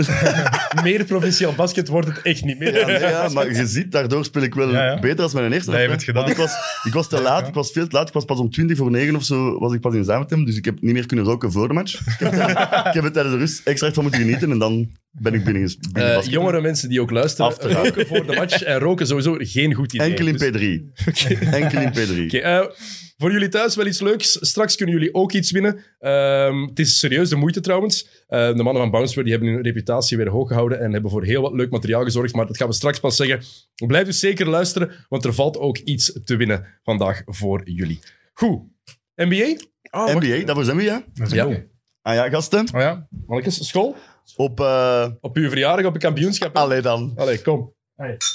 S1: meer provinciaal basket wordt het echt niet meer.
S3: Ja, nee, ja, maar je ziet, daardoor speel ik wel
S4: Ja, ja.
S3: beter als mijn eerste.
S4: Dat heb je het gedaan.
S3: Want ik was, ik was te laat, ik was veel te laat. Ik was pas om 20 voor 9 of zo was ik pas in samen met hem. Dus ik heb niet meer kunnen roken voor de match. Ik heb, ik heb het tijdens de rust extra echt van moeten genieten. En dan ben ik binnen. binnen
S1: Eh,
S3: basket.
S1: jongere mensen die ook luisteren,
S3: Af te gaan.
S1: roken voor de match en roken sowieso geen goed idee.
S3: Enkel in
S1: Dus-
S3: P3. Enkel in P3.
S1: Oké, eh, voor jullie thuis wel iets leuks. Straks kunnen jullie ook iets winnen. Ehm, het is serieus de moeite trouwens. Eh, de mannen van Bounceware die hebben hun reputatie weer hoog gehouden en hebben voor heel wat leuk materiaal gezorgd. Maar dat gaan we straks pas zeggen. Blijf dus zeker luisteren, want er valt ook iets te winnen vandaag voor jullie. Goed. NBA?
S5: Oh, wacht.
S3: NBA, daarvoor zijn we, ja?
S4: Dat is
S1: Ja.
S4: cool.
S3: Ah ja, gasten.
S4: Oh ja?
S1: Mannekes, school?
S3: Op... eh
S1: Op uw verjaardag, op een kampioenschap?
S3: allee dan.
S1: Allee, kom.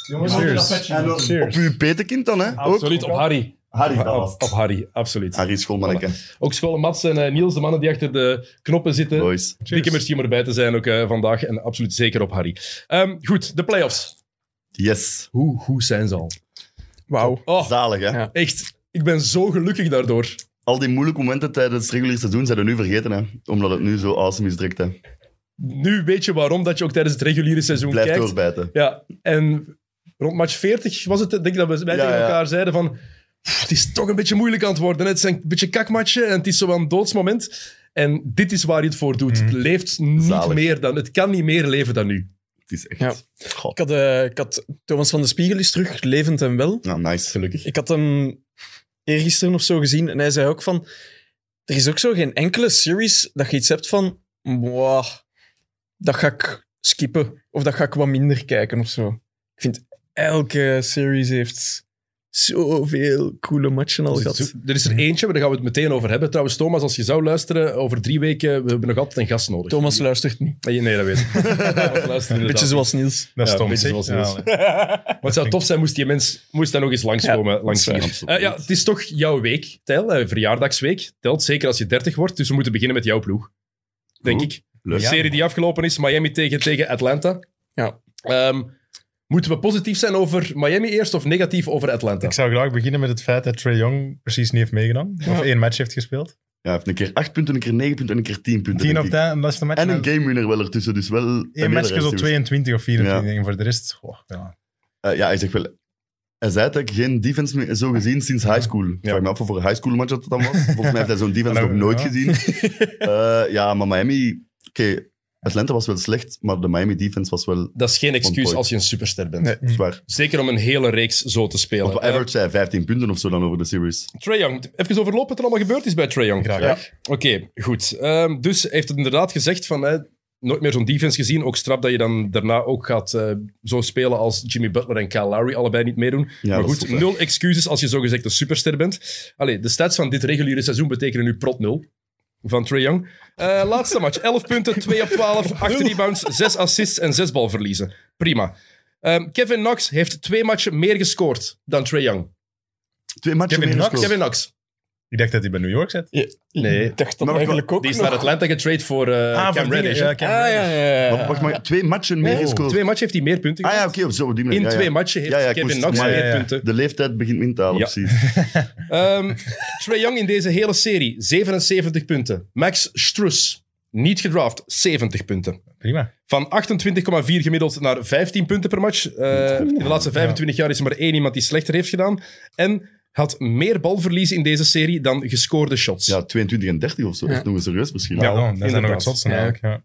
S2: Jongens,
S4: Cheers.
S3: Op uw petekind dan, hè? Ook.
S1: Absoluut, op Harry.
S3: Harry, dat was
S1: Op,
S3: het.
S1: op Harry, absoluut.
S3: Harry Schoolmanneke.
S1: Ook school Mats en eh, Niels, de mannen die achter de knoppen zitten.
S3: Boys.
S1: Dikke merci om erbij te zijn ook eh, vandaag. En absoluut zeker op Harry. Ehm, goed, de playoffs.
S3: Yes.
S1: Hoe goed zijn ze al?
S5: Wauw.
S1: Oh,
S3: Zalig, hè?
S5: Ja.
S1: echt. Ik ben zo gelukkig daardoor.
S3: Al die moeilijke momenten tijdens het reguliere seizoen zijn we nu vergeten, hè? Omdat het nu zo awesome is direct, hè?
S1: Nu weet je waarom dat je ook tijdens het reguliere seizoen
S3: Blijf
S1: kijkt.
S3: doorbijten.
S1: Ja, en rond match 40 was het, denk ik, dat we wij
S3: Ja,
S1: tegen
S3: ja.
S1: elkaar zeiden van... "Pff, Het is toch een beetje moeilijk aan het worden. hè. Het zijn een beetje kakmatchen en het is zo'n doodsmoment. En dit is waar je het voor doet. Het leeft niet
S3: Mhm. Zalig.
S1: meer dan... Het kan niet meer leven dan nu.
S3: Het is echt...
S5: Ja.
S3: Goh.
S5: Ik had, eh, ik had Thomas van de Spiegel is terug, levend en wel.
S3: Nou, nice.
S1: Gelukkig.
S5: Ik had hem eergisteren of zo gezien en hij zei ook van... Er is ook zo geen enkele series dat je iets hebt van... Wow, dat ga ik skippen. Of dat ga ik wat minder kijken of zo. Ik vind elke series heeft zoveel coole matchen al
S1: Dus het
S5: gehad.
S1: zo- Er is er eentje, maar daar gaan we het meteen over hebben. Trouwens, Thomas, als je zou luisteren, over drie weken, we hebben nog altijd een gast nodig.
S5: Thomas luistert niet.
S1: Nee, nee, dat weet ik. Thomas luistert
S5: Een beetje
S1: inderdaad.
S5: zoals Niels.
S4: Dat is
S1: Ja,
S4: stom.
S1: beetje
S4: zeg.
S1: zoals
S4: Ja,
S1: Niels.
S4: allee.
S1: Maar het zou tof zijn moest die mens moest daar nog eens langskomen. langs
S3: dat is
S1: hier.
S3: absoluut.
S1: Eh, ja, het is toch jouw week, Tijl. eh, verjaardagsweek. Telt zeker als je 30 wordt. Dus we moeten beginnen met jouw ploeg. Denk
S3: Goed.
S1: ik.
S3: Leuk.
S1: De serie die afgelopen is, Miami tegen, tegen Atlanta.
S5: Ja.
S1: Ehm, moeten we positief zijn over Miami eerst of negatief over Atlanta?
S4: Ik zou graag beginnen met het feit dat Trae Young precies niet heeft meegedaan. Of één match heeft gespeeld.
S3: Ja, hij heeft een keer 8 punten, een keer 9 punten en een keer 10 punten.
S4: 10
S3: denk
S4: op
S3: ik.
S4: 10, dat is de match.
S3: En
S4: maar
S3: een game winner wel ertussen, dus wel...
S4: één matchje zo 22 of 24. En voor de rest, goh, ja.
S3: Eh, ja, hij zegt wel... Hij zei dat ik geen defense meer zo gezien sinds high school. Ik Vraag me af of voor een high school match dat het dan was. Volgens mij heeft hij zo'n
S4: (laughs)
S3: defense
S4: Nou,
S3: nog nooit
S4: ja.
S3: gezien. Eh, ja, maar Miami... Oké, Atlanta was wel slecht, maar de Miami defense was wel
S1: Dat is geen excuus
S3: point.
S1: als je een superster bent.
S5: Nee.
S4: Hm.
S3: zwaar.
S1: Zeker om een hele reeks zo te spelen.
S3: Want wat average zei 15 punten of zo dan over de series.
S1: Trae Young. Even overlopen wat er allemaal gebeurd is bij Trae Young.
S4: Graag.
S1: Oké, goed. Ehm, dus hij heeft het inderdaad gezegd van... hè, nooit meer zo'n defense gezien. Ook straf dat je dan daarna ook gaat eh, zo spelen als Jimmy Butler en Kyle Lowry. Allebei niet meedoen.
S3: Ja,
S1: maar
S3: dat is
S1: goed,
S3: zot, hè.
S1: nul excuses als je zogezegd een superster bent. Allee, de stats van dit reguliere seizoen betekenen nu prot nul van Trae Young. Eh, laatste match. 11 punten, 2 op 12, 8 rebounds, 6 assists en 6 balverliezen. Prima. Ehm, Kevin Knox heeft twee matchen meer gescoord dan Trae Young.
S3: Twee matchen
S4: Kevin
S3: meer
S4: Knox,
S3: gescoord.
S1: Kevin Knox.
S4: Ik dacht dat hij bij New York zat.
S1: Nee.
S5: Ik dacht dat
S3: Maar
S5: eigenlijk ook
S1: Die is
S5: nog.
S1: naar Atlanta getrade voor eh
S4: Ah,
S1: Cam
S4: van dingen,
S1: Reddish.
S4: ja,
S1: hè?
S4: Cam
S5: Ah, ja,
S4: Reddish.
S5: ja,
S3: Wat-
S5: ja.
S3: Wacht maar, twee matchen meer
S4: Oh.
S3: gescoord.
S1: Twee matchen heeft hij meer punten
S3: Ah ja,
S1: gemaakt.
S3: oké, op zo op die manier.
S1: In
S3: ja, ja.
S1: twee matchen heeft
S3: Ja, ja, ik
S1: Kevin
S3: moest-
S1: Knox
S3: maar
S4: ja,
S1: meer
S4: ja.
S1: punten.
S3: De leeftijd begint me in te halen,
S1: Ja.
S3: precies.
S1: Ehm Trae Young in deze hele serie, 77 punten. Max Strus, niet gedraft, 70 punten.
S4: Prima.
S1: Van 28,4 gemiddeld naar 15 punten per match. Eh, in de laatste 25 jaar is er maar één iemand die slechter heeft gedaan. En had meer balverlies in deze serie dan gescoorde shots.
S3: Ja, 22 en 30 of zo. Dat is nog eens serieus misschien.
S4: Ja, dan, dat zijn nog
S1: inderdaad.
S4: het zotste
S5: Ja.
S4: eigenlijk. Ja.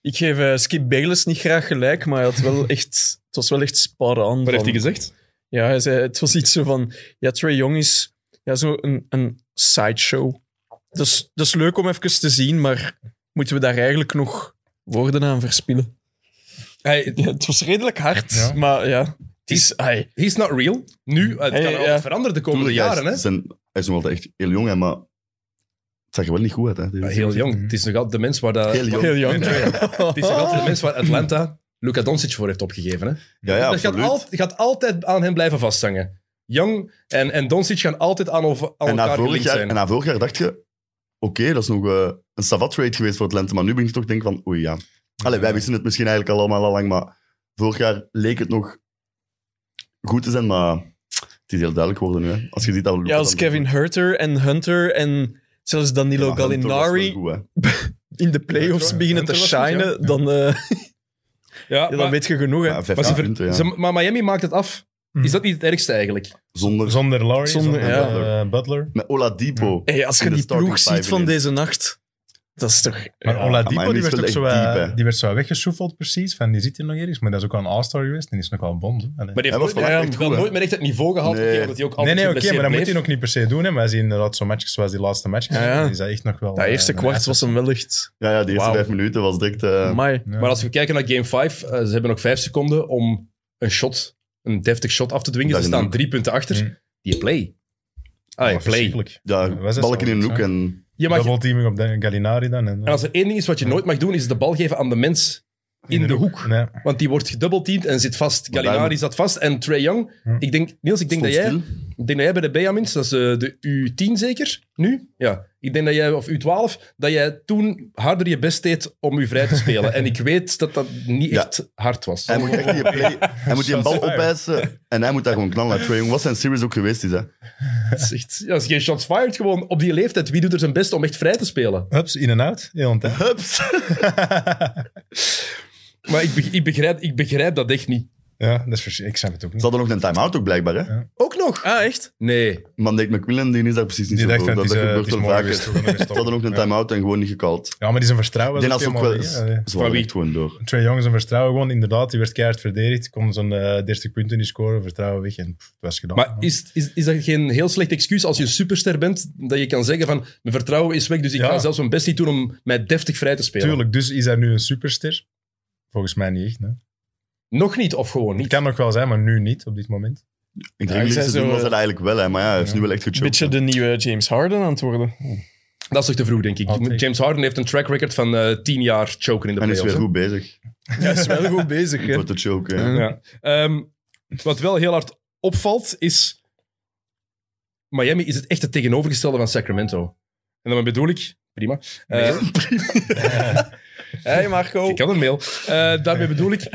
S5: Ik geef eh, Skip Bayless niet graag gelijk, maar hij had
S1: (laughs)
S5: wel echt, het was wel echt sparen aan.
S1: Wat heeft
S5: van-
S1: hij gezegd?
S5: Ja, hij zei, het was iets zo van... Ja, Trey Young is ja, zo een, een sideshow. Dat is, dat is leuk om even te zien, maar moeten we daar eigenlijk nog woorden aan verspillen? (laughs)
S1: Hij,
S5: Ja, het was redelijk hard,
S4: Ja.
S5: maar ja. Het is... ai,
S1: he's not real. Nu, het
S5: Hey,
S1: kan
S5: ja.
S1: altijd veranderen de komende
S3: Tuurlijk, hij
S1: jaren.
S3: is-
S1: Hè?
S3: Zijn, hij is nog altijd echt heel jong, hè, maar het zag er wel niet goed uit. Hè, deze
S1: Ja,
S3: serie.
S1: Heel jong. Het is nog altijd de mens waar... Dat,
S3: Heel jong.
S5: Heel jong.
S1: Het is nog altijd de mens waar Atlanta Luka Doncic voor heeft opgegeven. Hè?
S3: Ja, ja,
S1: dat gaat,
S3: absoluut.
S1: al- gaat altijd aan hem blijven vasthangen. Young en, en Doncic gaan altijd aan, over, aan
S3: en, na
S1: elkaar
S3: vorig
S1: gelinkt
S3: jaar,
S1: zijn.
S3: en na vorig jaar dacht je, oké, dat is nog eh, een savat trade geweest voor Atlanta. Maar nu begin je toch te denken van, oei ja. Allee, wij wisten het misschien eigenlijk allemaal al lang, maar vorig jaar leek het nog goed te zijn, maar het is heel duidelijk geworden nu. Hè. Als je ziet dat Luka
S5: Ja, als
S3: dan-
S5: Kevin Herter en Hunter en zelfs Danilo
S3: Ja, maar Hunter was wel
S5: Gallinari
S3: goed, hè.
S5: in de playoffs
S1: Hunter-
S5: beginnen te
S1: Hunter was goed,
S5: shinen, dan, eh,
S1: ja,
S5: ja, dan
S1: maar-
S5: weet je genoeg. Hè.
S3: Ja, vijf
S1: maar, ze
S3: jaar
S1: ver-
S3: punten, ja.
S1: ze- maar Miami maakt het af.
S4: Hm.
S1: Is dat niet het ergste eigenlijk?
S3: Zonder,
S4: Zonder Laurie,
S5: Zonder-
S4: zonder,
S3: ja.
S4: eh, Butler.
S3: met Oladipo.
S5: Hey, als
S3: In
S5: je
S3: de
S5: die
S3: starting
S5: ploeg
S3: five
S5: ziet van
S3: ineens.
S5: deze nacht, dat is toch...
S4: Maar
S5: Ja.
S3: maar
S4: Oladipo
S3: hij
S4: die
S3: is
S4: werd
S3: wel
S4: ook zo,
S3: echt
S4: eh,
S3: diep, hè.
S4: die werd zo weggeschoefeld precies. Van, die zit hier nog ergens, maar dat is ook al een all-star geweest. En die is nog wel een bond. hè. Allee.
S1: Maar die
S3: Hij
S1: heeft
S3: was
S1: nooit,
S3: vandaag
S1: ja,
S3: echt
S1: wel
S3: goed, hè?
S1: nooit meer echt het niveau gehaald.
S3: Nee.
S1: gegeven dat hij ook
S4: Nee,
S1: altijd
S4: nee, oké, maar dat
S1: geblesseerd
S4: moet hij
S1: bleef.
S4: nog niet per se doen. Hè, maar als hij inderdaad zo'n matches zoals die laatste match
S5: Ja, ja.
S4: is dat echt nog wel...
S5: Dat
S4: eh,
S5: eerste
S4: een
S5: kwart
S4: asset.
S5: was hem wel echt...
S3: Ja, ja, de eerste
S5: Wauw.
S3: vijf minuten was direct... eh,
S5: Amai.
S4: Ja.
S1: Maar als we kijken naar Game 5, eh, ze hebben nog 5 seconden om een shot, een deftig shot af te dwingen.
S3: Dat
S1: Ze
S3: is Oh,
S1: staan
S3: een-
S1: drie punten achter.
S4: Hm.
S1: Die play.
S4: Ja,
S1: Ah, ja, play.
S4: verschrikkelijk.
S3: ja,
S4: was dat
S3: balken
S4: zo?
S3: in een hoek
S4: Ja.
S3: en...
S1: Je mag, en
S4: Double teaming op de- Gallinari dan. En,
S1: als er één ding is wat je nooit mag doen, is de bal geven aan de mens in de hoek.
S4: Nee.
S1: Want die wordt gedubbelteamd en zit vast.
S3: Maar
S1: Gallinari
S3: daar-
S1: zat vast. En Trae Young.
S4: Hm.
S1: Ik denk, Niels, ik denk, dat
S3: stond
S1: jij,
S3: stil.
S1: ik denk dat jij bij de Benjamins, dat is eh, de U10 zeker, nu? Ja. Ik denk dat jij, of U12, dat jij toen harder je best deed om u vrij te
S3: (laughs)
S1: spelen. en ik weet dat dat niet
S3: Ja.
S1: echt hard was.
S3: Hij moet echt die play...
S4: (laughs)
S3: Hij moet die een bal
S4: Shots fired.
S3: opeisen en hij moet daar gewoon knallen. Trae Young, wat zijn series ook geweest is, hè.
S1: Dat is echt- ja, dat is geen shots fired, gewoon op die leeftijd. Wie doet er zijn best om echt vrij te spelen?
S4: Hups, in en out. Heel een tijd.
S3: Hups!
S1: Maar ik, be- ik, begrijp, ik begrijp dat echt niet.
S4: Ja, dat is vers- ik snap het ook
S3: Ze
S4: niet.
S3: hadden nog een time-out ook, blijkbaar, hè.
S1: Ook nog?
S5: Ah, echt?
S1: Nee.
S3: Maar Nick McMillan, die is daar precies niet
S4: Die
S3: zo
S4: dacht
S3: voor.
S4: van,
S3: Dat,
S4: het is,
S3: dat
S4: eh, het
S3: gebeurt
S4: is
S3: wel
S4: mooi
S3: vaker.
S4: geweest, we gaan
S3: (laughs)
S4: ermee
S3: Ze hadden ook een
S4: stoppen.
S3: time-out en gewoon niet gecalled.
S4: Ja, maar die zijn vertrouwen
S3: Ik
S4: was
S3: denk dat ze ook wel...
S4: helemaal weg, hè.
S3: Ze waren
S1: wie?
S3: echt gewoon door.
S4: Trae Young zijn vertrouwen gewoon, inderdaad, die werd keihard verdedigd. Kon zo'n eh, 30 punten niet scoren, vertrouwen weg en pff, het was gedaan.
S1: Maar is, is, is dat geen heel slecht excuus als je een superster bent, dat je kan zeggen van, mijn vertrouwen is weg, dus ik
S4: Ja.
S1: ga zelfs mijn best niet doen om mij deftig vrij te spelen?
S4: Tuurlijk, dus is hij nu een superster? Volgens mij niet echt. nee.
S1: Nog niet, of gewoon
S4: Het
S1: niet.
S4: kan nog wel zijn, maar nu niet, op dit moment.
S3: In het
S5: Ja, ik
S3: reguliere
S5: zei
S3: seizoen
S5: zo,
S3: was
S5: eh,
S3: dat eigenlijk wel, hè. Maar ja, hij is
S4: ja.
S3: nu wel echt
S5: Een beetje
S3: gechoked.
S5: de nieuwe James Harden aan het worden.
S1: Dat is toch te vroeg, denk ik.
S4: Altijd.
S1: James Harden heeft een track record van eh, 10 jaar choken in de
S3: En is
S1: playoffs.
S3: weer
S1: hè.
S3: goed bezig.
S5: Hij is wel goed
S3: (laughs)
S5: bezig, hè.
S3: Voor te choken, ja.
S1: Ja. Ehm, wat wel heel hard opvalt, is... Miami is het echt het tegenovergestelde van Sacramento. En dan bedoel ik... Prima. Eh,
S3: (laughs)
S1: (laughs)
S5: Hey Marco.
S1: Ik had een mail. Eh, daarmee bedoel ik,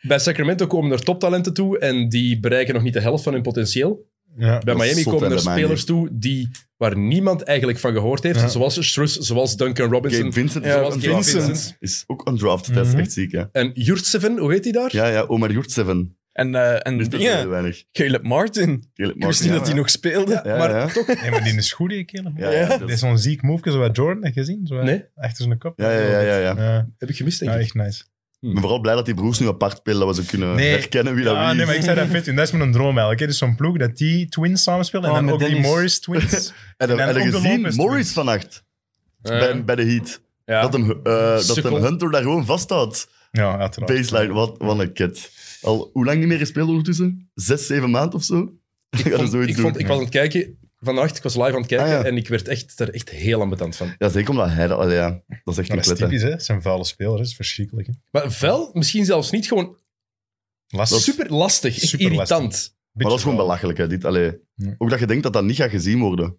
S1: bij Sacramento komen er toptalenten toe en die bereiken nog niet de helft van hun potentieel.
S4: Ja.
S1: Bij
S3: Dat is
S1: Miami
S3: zot,
S1: komen
S3: hè,
S1: er
S3: bij Miami.
S1: spelers toe die, waar niemand eigenlijk van gehoord heeft,
S4: Ja.
S1: zoals Strus, zoals Duncan Robinson.
S3: Gabe Vincent is
S5: Ja,
S3: ook
S1: zoals Gabe
S3: undrafted.
S1: Vincent.
S5: Vincent.
S3: Is ook undrafted, dat is
S4: Mhm.
S3: echt ziek, hè.
S1: En Jurtseven, hoe heet hij daar?
S3: Ja, ja, Omar Jurtseven.
S5: En, eh en
S3: Dus dat is
S5: dingen.
S3: heel weinig.
S5: Caleb Martin.
S3: Caleb
S5: Ik wist niet
S3: Martin,
S5: dat hij
S3: ja.
S5: nog speelde.
S3: Ja,
S1: maar
S3: ja.
S1: toch...
S4: Nee, maar die is goed, die kerel.
S3: Ja, ja, dat
S4: Dit
S3: is-
S4: is zo'n ziek move, zoals Jordan, heb je gezien? Zo,
S1: Nee.
S4: Achter zijn kop.
S3: Ja, ja, ja, ja, ja.
S1: Heb ik gemist, denk
S4: Ja,
S1: ik.
S4: echt nice.
S3: Ik ben vooral blij dat die broers nu apart spelen, dat we ze kunnen
S4: Nee.
S3: herkennen wie dat
S4: Ja,
S3: wie
S4: Ah, nee,
S3: is.
S4: maar ik zei dat vet. En dat is mijn droom eigenlijk. hè. Dus zo'n ploeg dat die twins samenspelen en
S5: Oh,
S4: dan
S5: met
S4: ook die
S5: Dennis.
S4: Morris
S5: (laughs)
S4: twins.
S3: En dan
S4: En
S3: heb
S4: ook
S3: je
S4: de
S3: gezien,
S4: Lopez
S3: Morris
S4: twins.
S3: vannacht
S1: Eh,
S3: bij, bij de Heat.
S1: ja.
S3: Dat, hem, eh, dat
S1: Sukkel.
S3: hem Hunter daar gewoon vasthoudt.
S4: ja, uiteraard.
S3: Baseline, wat, wat een ket. Al hoe lang niet meer gespeeld ondertussen? Zes, zeven maanden of zo? (laughs) Ik
S1: Ik, vond,
S3: zoiets
S1: ik,
S3: doen.
S1: vond, ik was aan het kijken... Vannacht, ik was live aan het kijken
S3: Ah, ja.
S1: en ik werd echt, er echt heel ambetant van.
S3: Ja, zeker omdat hij dat... allee, ja, dat is echt
S4: Maar
S3: een
S4: dat is
S3: klet, hè.
S4: typisch, hè. Het zijn vuile spelers, dat is verschrikkelijk. hè.
S1: Maar vel, misschien zelfs niet, gewoon
S4: Lastig.
S1: super lastig, echt
S4: Super lastig.
S1: irritant.
S3: Maar dat is
S4: Beetje
S3: gewoon
S4: vuil.
S3: belachelijk, hè, dit. Allee.
S4: Ja.
S3: Ook dat je denkt dat dat niet gaat gezien worden.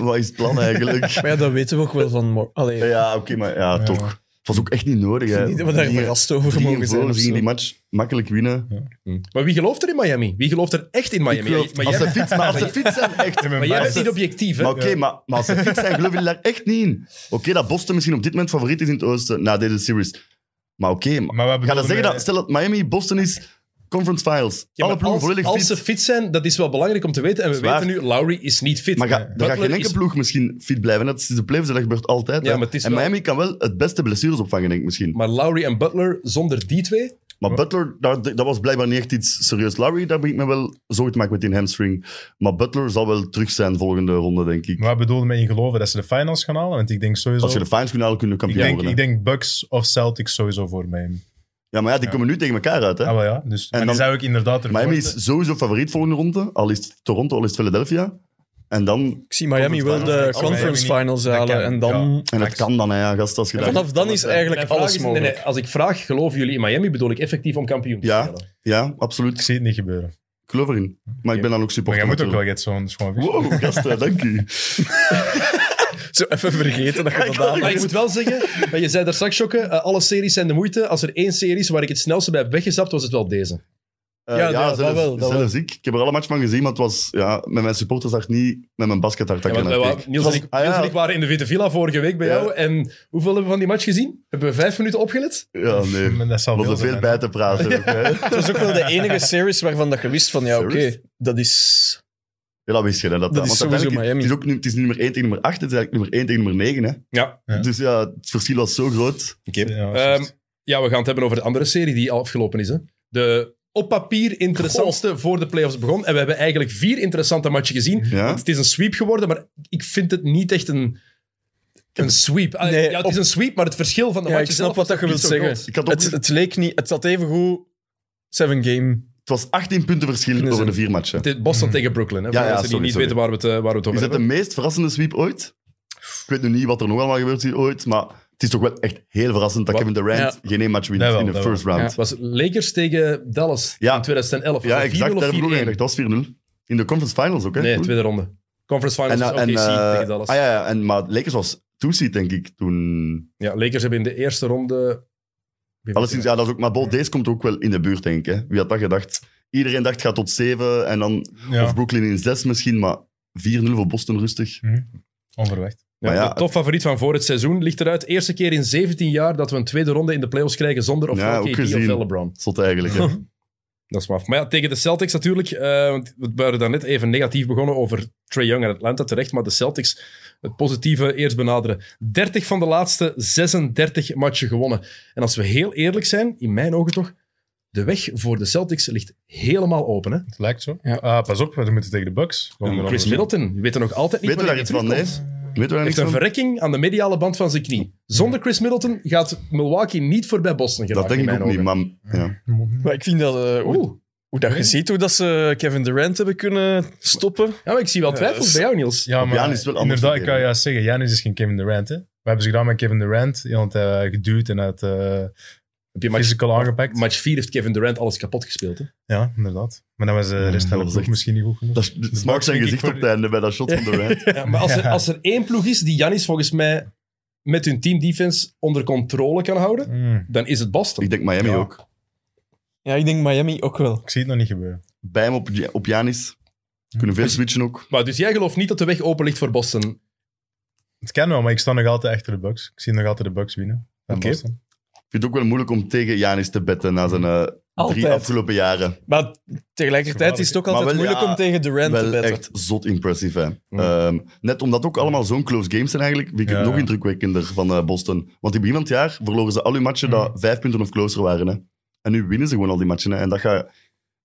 S3: Wat is het plan eigenlijk?
S5: Maar ja, dat weten we ook wel van... Mor- Allee,
S3: ja, oké, maar ja,
S4: Ja.
S3: toch. Het was ook echt niet nodig,
S5: ik
S3: hè.
S5: vind niet dat we daar
S3: Drie-
S5: verrast over
S3: eh, drie
S5: mogen
S3: en
S5: zijn.
S3: voor
S5: of
S3: gingen
S5: zo.
S3: die match makkelijk winnen.
S1: Maar wie gelooft er in Miami? Wie gelooft er echt in Miami?
S3: Ik geloof-
S1: Ja, maar
S3: als
S1: jij-
S3: ze fietsen, maar als ze fietsen, echt.
S4: Ja, maar
S1: Maar jij
S4: als
S1: bent
S4: ze-
S1: niet objectief, hè?
S3: Maar oké, maar, maar als ze fit zijn, geloven jullie daar echt niet in. Oké, dat Boston misschien op dit moment favoriet is in het oosten na deze series. Maar oké, maar
S4: Maar wat
S3: ga
S4: bedoel
S3: dan
S4: je
S3: zeggen
S4: met-
S3: dat, stel dat Miami Boston is, conference finals.
S1: Ja, maar
S3: Alle ploegen
S1: als,
S3: volledig
S1: als
S3: fit.
S1: ze fit zijn, dat is wel belangrijk om te weten. En we
S3: Zwaar.
S1: weten nu, Lowry is niet fit.
S3: Maar ga, dan
S1: Butler
S3: gaat geen enkele
S1: is-
S3: ploeg misschien fit blijven. Dat is de playoffs, dat gebeurt altijd.
S1: Ja,
S3: hè.
S1: maar het is
S3: en
S1: wel-
S3: Miami kan wel het beste blessures opvangen, denk ik misschien.
S1: Maar Lowry en Butler, zonder die twee...
S3: Maar Butler, daar, dat was blijkbaar niet echt iets serieus. Larry, daar ben ik me wel zorgen te maken met die hamstring. Maar Butler zal wel terug zijn volgende ronde, denk ik.
S4: Maar wat bedoelde met in geloven dat ze de finals gaan halen? Want ik denk sowieso...
S3: Als je de finals kunt halen, kunnen we
S4: ik,
S3: kampioen
S4: denk,
S3: worden.
S4: ik denk Bucks of Celtics sowieso voor Miami.
S3: Ja, maar ja, die
S4: Ja.
S3: komen nu tegen elkaar uit, hè.
S4: Ah, wel ja. Dus, maar
S3: dan-
S4: die zou ik inderdaad ervoor...
S3: Miami is sowieso favoriet volgende ronde. Al is het Toronto, al is het Philadelphia. En dan...
S5: Ik zie Miami
S3: Conference
S5: wel de
S3: finals.
S5: conference
S4: Oh, Miami
S5: finals
S4: niet. Dat
S5: halen.
S4: kan,
S5: En dan...
S3: En het kan dan, hè, ja, gast. Als je
S5: En
S3: daar-
S5: vanaf dan is eigenlijk
S1: Mijn vraag
S5: alles
S1: is- nee, nee,
S5: mogelijk.
S1: als ik vraag, geloven jullie in Miami, bedoel ik effectief om kampioen te
S3: Ja.
S1: spelen.
S3: Ja,
S4: Ik
S3: absoluut.
S4: zie het niet gebeuren.
S3: Ik geloof erin. Maar ik ben dan ook
S4: Maar jij
S3: supporter.
S4: moet ook wel get zo'n schoon vis.
S3: Wow, gasten, dank u.
S5: Zo even vergeten dat je dat aan
S1: Maar ik
S5: hebt.
S1: moet wel zeggen, maar je zei daar straks, Jokke, eh, alle series zijn de moeite. Als er één serie is waar ik het snelste bij heb weggezapt, was het wel deze.
S3: Eh,
S5: Ja, ja, dat
S3: zelfs,
S5: wel, dat
S3: zelfs ik. Ik heb er alle match van gezien, maar het was ja, met mijn supportershart niet met mijn baskethart dat
S1: Ja,
S3: ik
S1: want wij
S3: ernaar
S1: wa-
S3: keek.
S1: Niels,
S3: Het
S1: en
S3: was-
S1: ik,
S3: ah,
S1: Niels
S3: ja,
S1: en ik waren in de Witte Villa vorige week bij
S3: Ja.
S1: jou. En hoeveel hebben we van die match gezien? Hebben we vijf minuten opgelet?
S3: ja, nee.
S4: Maar Dat zal
S3: We
S4: wel
S3: hadden veel
S4: zijn.
S3: bij te praten. ook, hè.
S5: Het was ook wel de enige series waarvan dat je wist van, ja, oké,
S3: Series?
S5: dat is...
S3: Ja, dat wist je. hè, Dat,
S5: Dat is
S3: want
S5: sowieso
S3: uiteindelijk,
S5: Miami.
S3: Het is, ook, nu- het is nu nummer 1 tegen nummer 8. Het is eigenlijk nummer 1 tegen nummer 9. Hè.
S1: Ja.
S4: Ja.
S3: Dus ja, het verschil was zo groot.
S4: Ja, dat is
S5: Eh,
S1: Ehm,
S4: juist.
S1: ja, we gaan het hebben over de andere serie die afgelopen is. Hè. De op papier interessantste voor de playoffs begon. En we hebben eigenlijk vier interessante matchen gezien.
S5: Mhm.
S3: Ja?
S1: Want het is een sweep geworden, maar ik vind het niet echt een, een sweep. Ah,
S5: Nee,
S1: ja, het is
S5: op-
S1: een sweep, maar het verschil van de
S5: Ja, ik
S1: matchen
S5: snap
S1: zelf
S5: wat dat je
S1: was
S5: wilt
S1: niet zo
S5: zeggen.
S1: groot.
S3: Ik had ook,
S5: Het,
S3: het,
S5: het leek niet... Het zat even goed... Seven game.
S3: was 18 punten verschil
S5: Kunnen
S3: over
S5: ze-
S3: de vier matchen.
S1: Het is Boston tegen Brooklyn, hè, voor
S3: Mm. Ja, ja,
S1: mensen die
S3: sorry,
S1: niet
S3: sorry.
S1: weten waar we het, eh, waar we het
S3: Is
S1: over
S3: dat de
S1: hebben.
S3: meest verrassende sweep ooit? Ik weet nu niet wat er nog allemaal gebeurd is ooit, maar het is toch wel echt heel verrassend dat
S1: Wat?
S3: Kevin Durant geen één match wint
S4: Dat wel,
S3: in de
S4: dat
S3: first round.
S1: Het was Lakers tegen Dallas
S3: Ja.
S1: in 2011. Was
S3: Ja,
S1: dat 4-0
S3: exact.
S1: of
S3: Daar heb ik ook
S1: 4-1?
S3: eigenlijk. Dat was 4-0. In de conference finals ook, hè?
S1: Nee,
S3: toen.
S1: tweede ronde. Conference
S3: En,
S1: Finals
S3: eh,
S1: was
S3: en,
S1: OKC
S3: eh,
S1: tegen Dallas.
S3: ah,
S1: ja.
S3: ja, ja, en, maar Lakers was two-seed, denk ik, toen.
S1: Lakers hebben in de eerste ronde...
S3: Alleszins, ja, dat is ook, maar Bol, deze komt ook wel in de buurt, denk ik. Hè. Wie had dat gedacht? Iedereen dacht, gaat tot 7 en dan
S4: ja,
S3: Of Brooklyn in 6 misschien, maar 4-0 voor Boston rustig.
S4: onverwacht.
S1: Ja,
S3: Maar ja,
S1: de topfavoriet van voor het seizoen ligt eruit. Eerste keer in 17 jaar dat we een tweede ronde in de playoffs krijgen zonder of
S3: Ja, ook
S1: KD of
S3: gezien.
S1: wel LeBron.
S3: Zot (laughs) eigenlijk. Hè.
S1: Dat is maf. Maar ja, tegen de Celtics natuurlijk. eh, want we waren daarnet even negatief begonnen over Trae Young en Atlanta terecht. Maar de Celtics, het positieve eerst benaderen. 30 van de laatste 36 matchen gewonnen. En als we heel eerlijk zijn, in mijn ogen toch, de weg voor de Celtics ligt helemaal open. Hè?
S4: Het lijkt zo.
S5: Ja.
S4: Ah, pas op, we moeten tegen de Bucks. Komen er
S1: Chris
S4: anders op.
S1: Middleton, je weet er nog altijd niet
S3: Weet u daar
S1: wanneer
S3: iets
S1: hij
S3: van? Nee?
S1: terugkomt.
S3: Weet u daar
S1: Heeft
S3: niks
S1: een
S3: van?
S1: verrekking aan de mediale band van zijn knie. Zonder Chris Middleton gaat Milwaukee niet voorbij Boston geraken.
S3: Dat denk
S1: in
S3: ik ook
S1: mijn
S3: niet,
S1: ogen.
S3: maar ja.
S5: Maar ik vind dat... eh, hoe,
S1: Oeh.
S5: hoe dat je ziet hoe dat ze Kevin Durant hebben kunnen stoppen.
S1: Ja, maar ik zie wel twijfels
S5: Ja,
S3: dus
S1: bij jou, Niels.
S4: Ja, maar
S3: Giannis wil anders
S4: inderdaad, ik kan
S3: verdedigen.
S4: juist zeggen, Janis is geen Kevin Durant. Hè. We hebben ze gedaan met Kevin Durant. Iemand heeft geduwd en uit eh
S1: Heb je match,
S4: physical aangepakt.
S1: match 4 heeft Kevin Durant alles kapot gespeeld. Hè?
S4: Ja, inderdaad. Maar dan was eh, de
S3: Ja,
S4: rest van
S3: Mm, dat
S4: de
S3: was
S4: ploeg
S3: echt-
S4: misschien niet goed genoeg.
S3: Dat is smaak zijn
S4: denk ik
S3: gezicht
S4: voor-
S3: op het einde bij dat shot (laughs) van Durant.
S1: Ja, maar als er, als er één ploeg is die Janis volgens mij met hun team defense onder controle kan houden,
S4: Mm,
S1: dan is het Boston.
S3: Ik denk Miami
S4: Ja.
S3: ook.
S5: Ja, ik denk Miami ook wel.
S4: ik zie het nog niet gebeuren.
S3: Bij hem op, op Janis. Kunnen veel switchen ook.
S1: Maar dus jij gelooft niet dat de weg open ligt voor Boston.
S4: Het kan wel, maar ik sta nog altijd achter de Bucks. Ik zie nog altijd de Bucks winnen. van
S3: Oké.
S4: Boston.
S3: Ik vind het ook wel moeilijk om tegen Janis te betten na zijn eh, drie
S5: Altijd.
S3: afgelopen jaren.
S5: Maar tegelijkertijd is het ook
S3: Maar
S5: altijd
S3: wel,
S5: moeilijk
S3: ja,
S5: om tegen Durant te
S3: Wel
S5: betten.
S3: echt zot impressief. Hè. Ehm, net omdat ook allemaal zo'n close games zijn eigenlijk, vind ik het
S4: Ja.
S3: nog indrukwekkender van eh, Boston. Want in begin van het jaar verloren ze al hun matchen
S4: Mm.
S3: dat vijf punten of closer waren. Hè. En nu winnen ze gewoon al die matchen. Hè. En dat gaat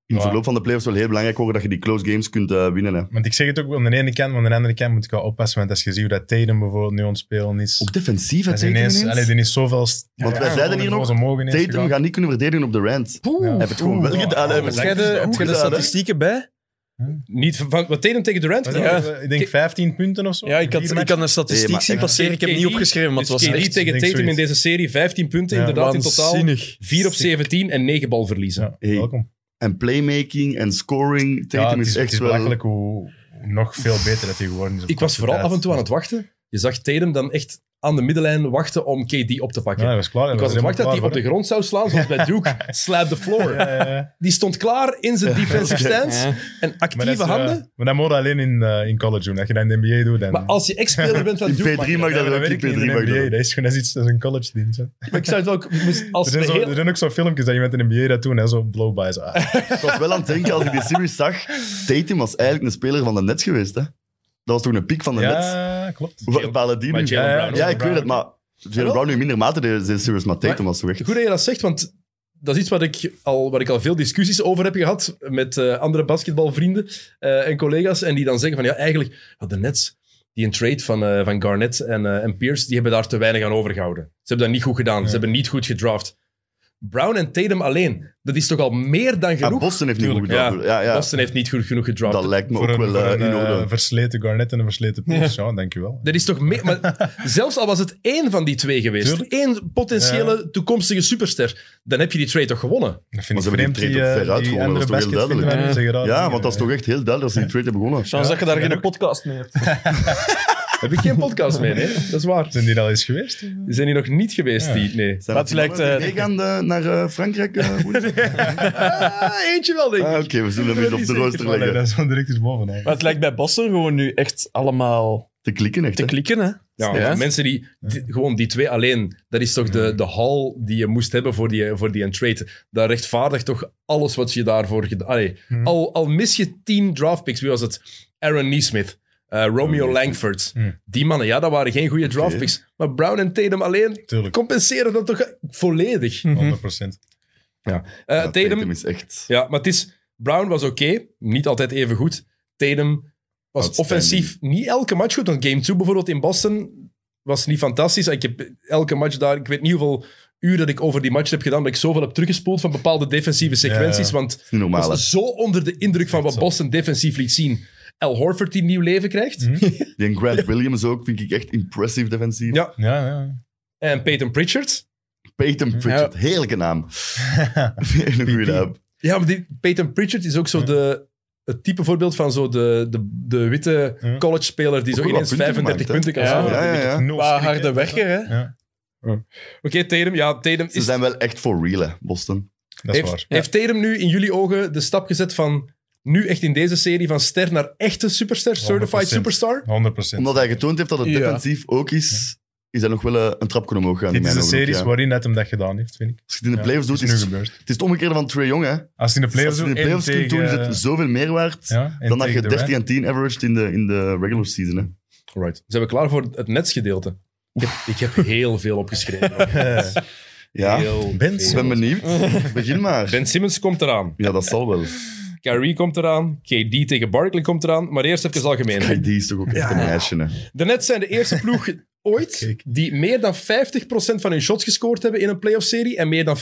S3: in het
S4: Ja.
S3: verloop van de playoffs wel heel belangrijk worden dat je die close games kunt eh, winnen. Hè.
S4: Want ik zeg het ook aan de ene kant, maar aan de andere kant moet ik wel oppassen. Want als je ziet hoe dat Tatum bijvoorbeeld nu ontspelen is.
S3: Ook defensief, hè,
S4: Dat is
S3: Tatum
S4: ineens,
S3: ineens.
S4: allee, die is zoveel...
S3: Want wij zeiden hier nog, Tatum gaat niet kunnen verdedigen op de rand.
S1: Poeh.
S4: Ja.
S3: Hij heeft het gewoon wel
S4: Oeh.
S3: gedaan. Hij heeft
S5: Heb
S3: het
S5: jij de,
S3: goed
S5: heb jij de
S3: gedaan, hè.
S5: statistieken bij?
S1: Niet van, wat Tatum tegen Durant?
S4: Wat
S1: Ja.
S4: is dat? Ik denk 15 punten of zo.
S5: Ja, ik, had,
S4: Vier
S5: ik
S4: matchen.
S5: kan een statistiek
S3: Nee, maar
S5: zien
S3: echt-
S5: passeren. Ik heb het niet
S1: KD
S5: opgeschreven, maar
S1: Dus
S5: het was
S1: KD
S5: echt
S1: tegen
S4: denk
S1: Tatum in
S4: zoiets.
S1: deze serie, 15 punten
S4: Ja.
S1: inderdaad in totaal.
S5: waanzinnig.
S1: 4 op 17 en 9 balverliezen.
S4: Ja,
S3: Hey.
S4: welkom.
S3: En playmaking en scoring.
S4: Ja,
S3: Tatum is,
S4: het is, het
S3: echt
S4: is
S3: wel...
S4: belachelijk hoe hoe nog veel beter dat hij geworden is. op
S1: Ik was
S4: korte
S1: vooral
S4: tijd.
S1: af en toe aan het wachten. Je zag Tatum dan echt aan de middenlijn wachten om KD op te
S4: Ja,
S1: pakken.
S4: dat was klaar. Eh,
S1: ik was aan het wachten dat hij op de grond zou slaan, zoals bij
S4: (laughs)
S1: Duke. Slap the floor. Die stond klaar in zijn defensive stance. En
S4: Maar dat,
S1: actieve
S4: is, eh,
S1: handen.
S4: maar dat moet je alleen in, eh, in college doen. Als je dat in de NBA doet, dan...
S1: Maar als je ex-speler bent van
S3: (laughs) In
S1: Duke,
S3: P3
S1: mag
S3: mag
S1: je
S3: dat
S4: dat
S3: ook.
S4: weet
S3: In
S4: ik niet in
S3: P3
S4: de
S3: mag dat
S4: NBA.
S3: ook.
S4: Dat is gewoon dat is iets, dat is een college dienst. hè.
S1: dat. Maar ik zou het ook... Als
S4: Er zijn,
S1: de
S4: zo,
S1: heel-
S4: er zijn ook zo filmpjes dat iemand in de NBA dat doet en zo
S3: (laughs)
S4: blow-bys. Ah,
S3: Ik was wel aan het denken, als ik die series zag, Tatum was eigenlijk een speler van de Nets geweest. Hè? Dat was toen een piek van de Nets.
S4: ja, klopt.
S3: Wa- Balladini.
S1: Maar Jalen
S4: Ja,
S1: Brown ook.
S3: Ja, ik weet het, maar Jalen
S1: Jawel.
S3: Brown nu in minder mate deed deze series, maar Tatum
S1: Maar-
S3: was zo echt.
S1: Goed dat je dat zegt, want dat is iets wat ik al, waar ik al veel discussies over heb gehad met eh, andere basketbalvrienden eh, en collega's. En die dan zeggen van ja, eigenlijk ja, de Nets, die een trade van, eh, van Garnett en, eh, en Pierce, die hebben daar te weinig aan overgehouden. Ze hebben dat niet goed gedaan. Ze hebben niet goed gedraft. Brown en Tatum alleen. Dat is toch al meer dan
S3: Ja,
S1: genoeg?
S3: Boston heeft niet goed
S1: Tuurlijk, ja.
S3: gedaan. Ja, ja.
S1: Boston heeft niet goed genoeg gedraft.
S3: Dat
S1: Dat,
S3: lijkt me
S4: Voor
S3: ook
S4: een,
S3: wel
S4: voor
S3: eh,
S4: een,
S3: in
S4: eh,
S3: orde.
S4: versleten Garnet en een versleten Pierce. Ja, dankjewel.
S1: is toch meer... (laughs) Maar zelfs al was het één van die twee geweest,
S4: Tuurlijk.
S1: één potentiële toekomstige superster, dan heb je die twee toch gewonnen?
S4: Dat vind
S3: Maar
S4: ik
S3: ze hebben
S4: vreemd,
S3: die
S4: die,
S3: trade ook
S4: eh,
S3: ver
S4: die
S3: uitgewonnen,
S4: andere
S3: dat is toch heel duidelijk.
S4: basketvinder zeggen dat
S3: Ja,
S4: niet,
S3: want dat is
S4: eh.
S3: toch echt heel duidelijk dat ze die trade hebben begonnen.
S5: Chance dat je daar
S4: Ja,
S5: geen
S4: ook.
S5: podcast mee hebt.
S1: Heb ik geen podcast mee, nee. Dat is waar.
S4: Zijn die er al eens geweest?
S1: Die zijn hier nog niet geweest,
S4: Ja.
S1: die... Nee.
S3: Zijn
S5: Dat
S3: die
S5: lijkt,
S3: mannen die
S5: eh,
S3: meegaan eh, naar eh, Frankrijk? eh, woensdag?
S1: Ah, eentje wel, denk ik.
S3: Ah, Oké, we zullen hem eens op de rooster
S4: Allee,
S3: leggen.
S4: dat is wel direct eens bovenaan.
S5: Maar het lijkt bij Boston gewoon nu echt allemaal
S3: Te klikken echt,
S5: te
S3: hè.
S5: klikken, hè?
S1: Ja,
S5: Ja.
S1: mensen die, die- gewoon die twee alleen, dat is toch
S5: Mm.
S1: de, de haul die je moest hebben voor die, voor die een trade. Dat rechtvaardigt toch alles wat je daarvoor gedaan Allee,
S5: Mm.
S4: Hmm.
S1: al, al mis je tien draftpicks, wie was het? Aaron Neesmith, eh, Romeo
S3: Neesmith.
S1: Langford.
S5: Mm.
S4: Hmm.
S1: Die mannen, ja, dat waren geen goede draftpicks. Maar Brown en Tatum alleen
S4: Tuurlijk, 100%.
S1: compenseren dat toch volledig.
S4: Mhm.
S5: Mhm.
S1: Eh
S3: Ja,
S1: Tatum,
S3: is echt...
S1: ja, maar het is... Brown was oké, niet altijd even goed. Tatum was
S3: Outstanding.
S1: offensief niet elke match goed. Want game 2 bijvoorbeeld in Boston was niet fantastisch. Ik heb elke match daar... Ik weet niet hoeveel uur dat ik over die match heb gedaan, dat ik zoveel heb teruggespoeld van bepaalde defensieve sequenties.
S4: Ja.
S1: Want
S3: Niet
S1: ik
S3: normaal, hè.
S1: was zo onder de indruk van wat
S4: Zo.
S1: Boston defensief liet zien. Al Horford die nieuw leven krijgt.
S4: Hm?
S5: Mhm.
S3: Die en Grant Williams ook vind ik echt impressive defensief.
S1: Ja.
S4: Ja, ja.
S1: En Peyton Pritchard.
S3: Peyton Pritchard, heerlijke naam. (laughs) Een goede naam.
S1: Ja, maar die, Peyton Pritchard is ook zo
S4: Ja.
S1: de, het type voorbeeld van zo de, de, de witte
S4: Ja.
S1: college-speler die zo
S3: Ook wel wat
S1: ineens
S3: punten
S1: 35
S3: gemaakt,
S1: punten kan
S5: Ja.
S1: scoren.
S3: Ja, ja, ja.
S4: Nul
S5: Qua
S4: schrik,
S5: harde
S4: hè.
S5: wegger, hè?
S4: Ja,
S1: Oké, Tatum. Ja, Tatum
S3: Ze
S1: is...
S3: zijn wel echt voor real, hè, Boston.
S4: dat is
S1: heeft,
S4: waar.
S1: heeft Tatum nu in jullie ogen de stap gezet van nu echt in deze serie van ster naar echte superster, certified
S4: 100%.
S1: superstar?
S4: 100%.
S3: Omdat hij getoond heeft dat het
S5: Ja.
S3: defensief ook is, is hij nog wel eh, een trap kunnen omhoog gaan.
S4: Dit
S3: in
S4: is
S3: mijn
S4: de
S3: ogen ook,
S4: series
S3: ja.
S4: waarin hij hem dat gedaan heeft, vind ik.
S3: Als je het in de
S4: Ja,
S3: playoffs doet,
S4: is
S3: is
S4: nu
S3: het,
S4: gebeurd.
S3: het is het omgekeerde van Trae Young. Hè.
S4: Als hij in
S3: Als
S4: de playoffs
S3: je het in
S4: doet
S3: de
S4: en
S3: playoffs kunt doen, is
S4: tegen...
S3: het zoveel meer waard
S4: ja, en
S3: dan dat je
S4: tegen de
S3: 13
S4: Wijn.
S3: en 10 averaged in de, in de regular season. Hè.
S1: Right. Zijn we klaar voor het netsgedeelte? Ik heb, ik heb heel veel opgeschreven.
S4: (laughs)
S3: Ja,
S1: Heel
S4: Ben
S1: veel.
S3: ik ben benieuwd.
S4: (laughs)
S3: Begin maar.
S1: Ben Simmons komt eraan.
S3: Ja, dat zal wel.
S1: Kyrie komt eraan. KD tegen Barkley komt eraan. Maar eerst even algemeen.
S3: KD is toch ook echt een meisje. Hè.
S1: De Nets zijn de eerste ploeg (laughs) ooit
S4: Kijk.
S1: die meer dan 50% van hun shots gescoord hebben in een playoff-serie en meer dan 40%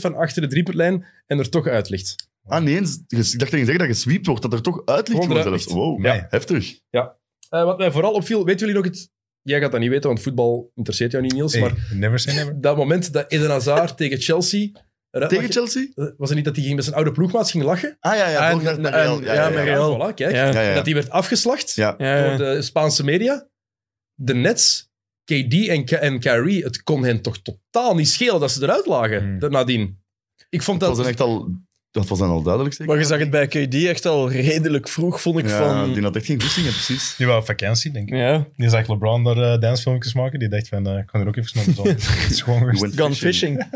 S1: van achter de driepuntlijn en er toch uit ligt.
S3: Ah, nee eens. Ik dacht dat je zegt dat gesweept wordt, dat er toch uitlicht
S1: Gewoon
S3: wordt
S1: eruit
S3: zelfs. Wow,
S4: Nee.
S3: heftig.
S1: Eh, wat mij vooral opviel, weten jullie nog het... Jij gaat dat niet weten, want voetbal interesseert jou niet, Niels.
S4: Hey,
S1: Maar
S4: never say never.
S1: dat moment dat Eden Hazard (laughs) tegen Chelsea... eruit
S3: Tegen
S1: lag-
S3: Chelsea?
S1: eh, Was het niet dat hij ging met zijn oude ploegmaat ging lachen?
S3: Ah ja, ja,
S5: En-
S3: volgende dag naar
S5: en-
S3: Real. Ja, ja,
S5: ja,
S3: ja.
S5: met Real.
S1: Ah, voilà, kijk.
S5: Ja.
S3: Ja, ja, ja.
S1: Dat hij werd afgeslacht
S3: Ja.
S5: Ja,
S1: door de Spaanse media. De Nets, KD en, Ka- en Kyrie, het kon hen toch totaal niet schelen dat ze eruit lagen
S4: Hmm.
S1: da- nadien. Ik vond
S3: Dat
S1: dat...
S3: was dan echt al, dat was dan al duidelijk zeker.
S5: Maar je zag het bij KD echt al redelijk vroeg, vond ik.
S3: ja,
S5: van...
S3: die had echt geen goesting, hè, precies.
S4: Die wou op vakantie, denk ik.
S5: Ja,
S4: Die zag LeBron daar eh, dansfilmpjes maken. Die dacht van, eh, ik kan er ook even naar de
S3: (laughs)
S4: zon. Het is gewoon
S3: Die
S4: geweest.
S3: went
S5: gone fishing.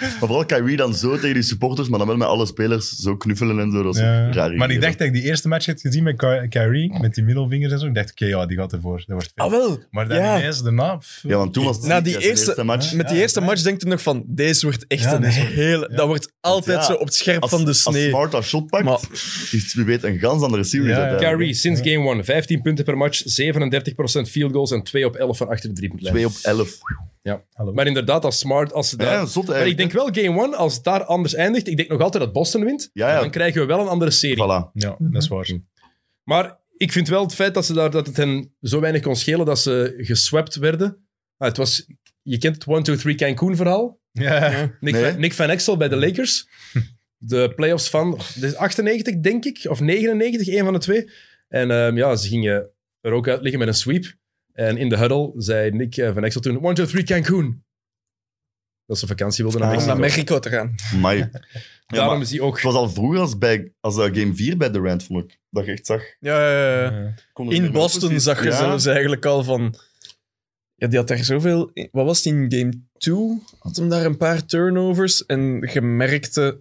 S3: Maar vooral Kyrie dan zo tegen die supporters, maar dan wel met alle spelers zo knuffelen en zo. Dat is
S4: Ja.
S3: een raar
S4: Maar ik
S3: idee.
S4: dacht dat ik die eerste match had gezien met Ky- Kyrie, met die middelvingers en zo. Ik dacht, oké, ja, die gaat ervoor. Dat wordt veel.
S5: Ah, wel.
S4: maar dan
S5: ja.
S4: ineens daarna... pff,
S3: Ja, want toen was het
S5: Na
S3: niet,
S5: die
S3: ja, zijn
S5: eerste-
S3: match.
S5: Met die
S4: Ja,
S5: eerste
S4: ja.
S5: match denkt hij nog van, deze wordt echt
S4: Ja,
S5: een
S4: deze wordt-
S5: hele...
S4: ja.
S5: Dat wordt altijd
S3: Ja,
S5: zo op het scherp
S3: Als,
S5: van de
S3: als
S5: snee.
S3: Smart dat shot pakt,
S5: Maar-
S3: is wie weet een gans andere series
S4: Ja, ja.
S3: uiteindelijk.
S1: Kyrie, sinds game 1, 15 punten per match, 37% field goals en 2 op 11 van achter de driepuntlijn.
S3: Twee op elf.
S4: hallo.
S1: Maar inderdaad, als smart, als ze daar...
S3: Ja, zot
S1: maar ik
S3: eigenlijk.
S1: denk wel, game 1, als het daar anders eindigt, ik denk nog altijd dat Boston wint,
S3: Ja, ja.
S1: dan krijgen we wel een andere serie.
S3: Voilà.
S4: Ja, dat is waar.
S1: Maar ik vind wel het feit dat, ze daar, dat het hen zo weinig kon schelen dat ze geswept werden. Ah, het was, je kent het 1, 2, 3 Cancun verhaal.
S4: Ja.
S1: Nick,
S3: Nee.
S1: van, Nick van Exel bij de
S3: (laughs)
S1: Lakers. De playoffs van dit is 98, denk ik, of 99, één van de twee. En ehm, ja, ze gingen er ook uit liggen met een sweep. En in de huddle zei Nick eh, van Exel toen: 1, 2, 3 Cancun. Dat ze vakantie wilden naar
S3: Ah.
S5: Om naar
S1: Mexico.
S5: Mexico te gaan.
S3: Amai. Ja,
S1: Daarom
S3: maar
S1: is hij ook.
S3: het was al vroeger als, bij, als eh, game 4 bij de Rand, vond ik. Dat je echt zag.
S5: Ja, ja, ja.
S3: Kon er weer
S5: In
S3: met
S5: Boston
S3: precies.
S5: zag je
S3: Ja.
S5: zelfs eigenlijk al van... Ja, die had daar zoveel... Wat was het in game 2? Had hem daar een paar turnovers en gemerkte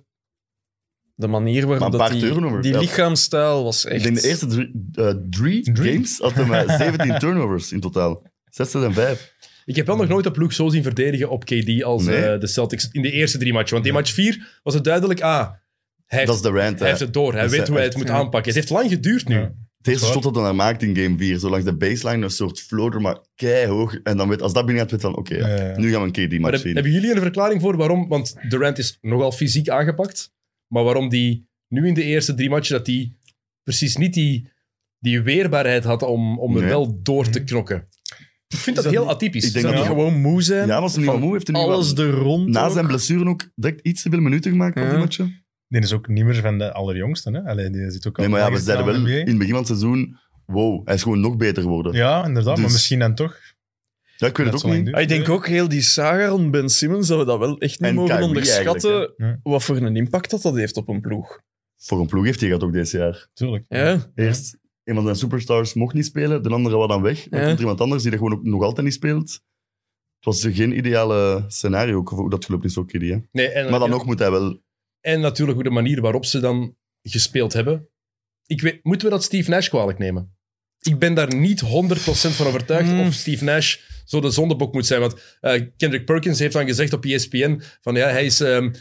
S5: de manier
S3: Maar
S5: waarop
S3: een
S5: dat
S3: paar
S5: die,
S3: turnovers,
S5: die
S3: ja.
S5: lichaamstaal was
S3: Ik
S5: echt...
S3: denk de eerste drie, eh, drie
S4: Drie?
S3: games had hij maar 17 turnovers in totaal. 16 en 5.
S1: Ik heb wel nog nooit een ploeg zo zien verdedigen op KD als
S3: Nee.
S1: eh, de Celtics in de eerste drie matchen. Want in match vier was het duidelijk, ah, hij heeft,
S3: Dat is de rant.
S1: hij heeft het door. Hij
S3: Dat is
S1: weet hoe hij het
S3: echt-
S1: moet
S5: ja.
S1: aanpakken. Het heeft lang geduurd nu.
S4: Ja.
S3: Het eerste
S4: Zwaar.
S3: shot dat hij daar maakt in game 4, zo langs de baseline, een soort floater, maar keihoog. En dan weet, als dat binnen gaat, weet je dan, oké, ja,
S4: Eh,
S3: nu gaan we een keer die
S1: Maar
S3: match
S1: heb-
S3: zien.
S1: hebben jullie een verklaring voor waarom? Want Durant is nogal fysiek aangepakt. Maar waarom die nu in de eerste drie matchen dat die precies niet die, die weerbaarheid had om, om er
S3: Nee.
S1: wel door te knokken. Ik vind dat,
S5: dat
S1: heel
S5: niet-
S1: atypisch.
S3: Ik denk
S5: Zou
S3: dat
S5: die
S3: hij-
S5: gewoon moe zijn?
S3: ja, was hij niet
S5: Van
S3: wat moe? Heeft hij niet
S5: Alles
S3: wat-
S5: er rond.
S3: na
S5: ook?
S3: zijn blessure ook direct iets te veel minuten gemaakt op
S5: Ja.
S3: die matchen?
S4: die is ook niet meer van de allerjongste. Hè? Allee, die zit ook al
S3: Nee, maar ja, we
S4: lager
S3: zeiden wel
S4: in
S3: in
S4: de
S3: het
S4: NBA.
S3: begin van het seizoen, wow, hij is gewoon nog beter geworden. Ja,
S4: Ja, inderdaad. Maar
S3: Dus-
S4: misschien dan toch.
S3: ik weet
S4: dat
S3: het
S4: zo
S3: ook
S4: lang
S3: niet.
S4: duurt.
S5: Ah, ik denk ook heel die saga rond Ben Simmons, dat we dat wel echt niet
S3: En
S5: mogen
S3: Kyrie
S5: onderschatten.
S3: eigenlijk,
S4: hè. Ja.
S5: Wat voor een impact dat dat heeft op een ploeg.
S3: Voor een ploeg heeft hij gehad ook deze jaar.
S4: Tuurlijk.
S5: Ja,
S3: Eerst, een van zijn superstars mocht niet spelen, de andere was dan weg. Dan
S5: Ja.
S3: komt er iemand anders die dat gewoon ook nog altijd niet speelt. Het was geen ideale scenario ook voor hoe dat gelopen is voor Kiddy. Hè?
S1: Nee, en,
S3: Maar dan
S1: en-
S3: nog moet hij wel
S1: En natuurlijk ook de manier waarop ze dan gespeeld hebben. Ik weet, moeten we dat Steve Nash kwalijk nemen? Ik ben daar niet 100% van overtuigd
S5: Hmm.
S1: of Steve Nash zo de zondebok moet zijn. Want eh, Kendrick Perkins heeft dan gezegd op E ESPN: van ja, hij is een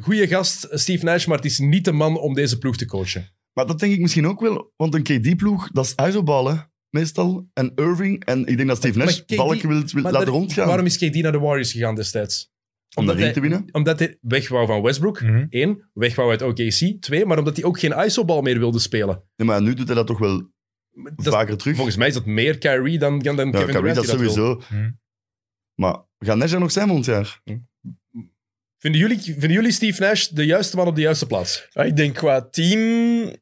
S1: goede gast, Steve Nash, maar het is niet de man om deze ploeg te coachen.
S3: Maar dat denk ik misschien ook wel, want een KD-ploeg, dat is huizenballen meestal. En Irving, en ik denk dat Steve
S1: Maar-
S3: Nash
S1: maar KD
S3: balken wil, wil
S1: Maar
S3: laten
S1: daar-
S3: rondgaan
S1: Waarom is KD naar de Warriors gegaan destijds?
S3: om de
S1: omdat
S3: ring
S1: hij-
S3: te winnen.
S1: Omdat hij weg wou van Westbrook.
S4: Mhm.
S1: Eén, weg wou uit OKC. Twee, maar omdat hij ook geen ISO-bal meer wilde spelen.
S3: Nee, maar nu doet hij dat toch wel
S1: Dat-
S3: vaker terug.
S1: volgens mij is dat meer Kyrie dan, dan Kevin
S3: ja, Kyrie,
S1: Durant.
S3: dat
S1: die wil.
S3: sowieso.
S4: Hm.
S3: Maar gaat Nash er nog zijn volgend jaar?
S1: Vinden jullie, vinden jullie Steve Nash de juiste man op de juiste plaats?
S5: Ah, ik denk qua team,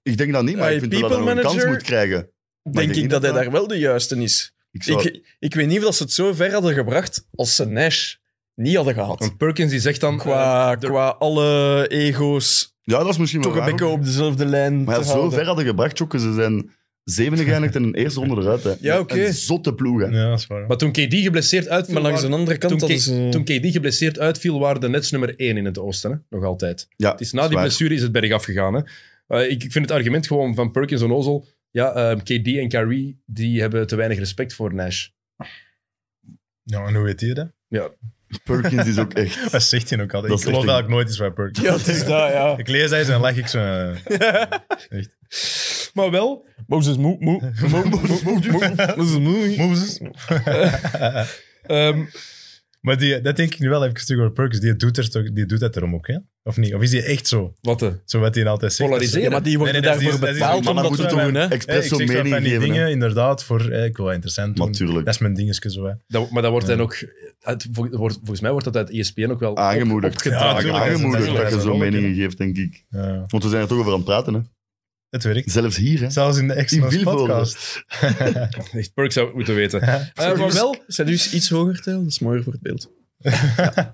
S3: Ik denk dat niet, maar
S5: Hey,
S3: ik vind wel dat hij
S5: people
S3: nog een kans
S5: manager?
S3: moet krijgen.
S5: denk ik dat
S3: niet dat
S5: hij
S3: dat-
S5: daar wel de juiste is.
S3: Ik zou,
S5: Ik, ik weet niet of dat ze het zo ver hadden gebracht als ze Nash niet hadden gehad.
S1: Want Perkins die zegt dan... eh,
S5: Qua,
S1: de-
S5: qua alle ego's
S3: ja, dat is misschien wel
S5: toch een
S3: waar
S5: beetje
S3: ook.
S5: op dezelfde lijn
S3: Maar ja,
S5: te
S3: zo
S5: houden.
S3: ver hadden gebracht, Jokke. Ze zijn zevende geëindigd en een eerste ronde eruit. Hè.
S5: Ja, oké.
S3: Een zotte ploeg, hè.
S4: Ja, dat is waar.
S1: maar toen KD geblesseerd uitviel...
S5: Maar langs
S1: waren-
S5: een andere kant eh,
S1: toen,
S5: hadden
S1: K-
S5: ze...
S1: toen KD geblesseerd uitviel, waren de Nets nummer 1 in het oosten. Hè? Nog altijd.
S3: Ja,
S1: Het is na
S3: dat
S1: die
S3: waar.
S1: blessure is het berg afgegaan. Hè? Eh, ik, ik vind het argument gewoon van Perkins en Ozel... Ja, eh, KD en Kyrie, die hebben te weinig respect voor Nash.
S4: Ja, en hoe weet je dat?
S3: Perkins is ook echt...
S4: Dat zegt hij ook altijd.
S3: Dat
S4: ik
S3: is
S4: geloof
S3: echt een-
S4: eigenlijk nooit iets bij Perkins.
S5: Ja, het is dat, ja.
S4: Ik lees deze en leg ik zo... eh,
S1: Maar wel...
S5: Mozes moe, moe. Mozes moe.
S4: Moses.
S1: ehm,
S4: maar die, dat denk ik nu wel even terug over Perkins. Die doet, er, toch- die doet dat erom ook, hè? Of niet? Of is die echt zo?
S1: wat de...
S4: Zo wat hij altijd zegt.
S1: Polariseren.
S5: Ja, maar die worden
S4: Nee, nee, dat is-
S5: daarvoor
S4: dat is-
S5: betaald
S4: maar
S5: om
S4: dan
S5: dat
S4: moet
S5: te
S4: het
S5: doen, hè.
S4: Hè, ik
S3: Express
S4: zeg
S3: zo
S4: zo
S3: mening
S4: van die
S3: geven, hè.
S4: dingen, inderdaad, voor... eh, ik wil wel interessant doen.
S3: Natuurlijk.
S4: Dat is mijn dingetje zo, hè.
S1: Dat, maar dat wordt
S4: Ja.
S1: dan ook... Het, vol- wordt, volgens mij wordt dat uit E ESPN ook wel op-
S3: Aangemoedigd.
S1: opgedragen.
S4: Ja, tuurlijk, dat is-
S3: Aangemoedigd
S4: dat
S3: dat
S4: is
S3: je
S4: een
S3: zo'n
S4: rolletje.
S3: meningen geeft, denk ik.
S4: Ja,
S3: Want we zijn er toch over aan het praten, hè.
S4: het werkt.
S3: Zelfs hier, hè.
S4: Zelfs in de
S3: In
S4: extra
S3: Vilvoorde.
S4: podcast.
S1: Echt, Perks zou het moeten weten.
S4: Ja.
S1: Eh, maar wel...
S5: Zijn dus iets hoger, Tel? Dat is mooier voor het beeld.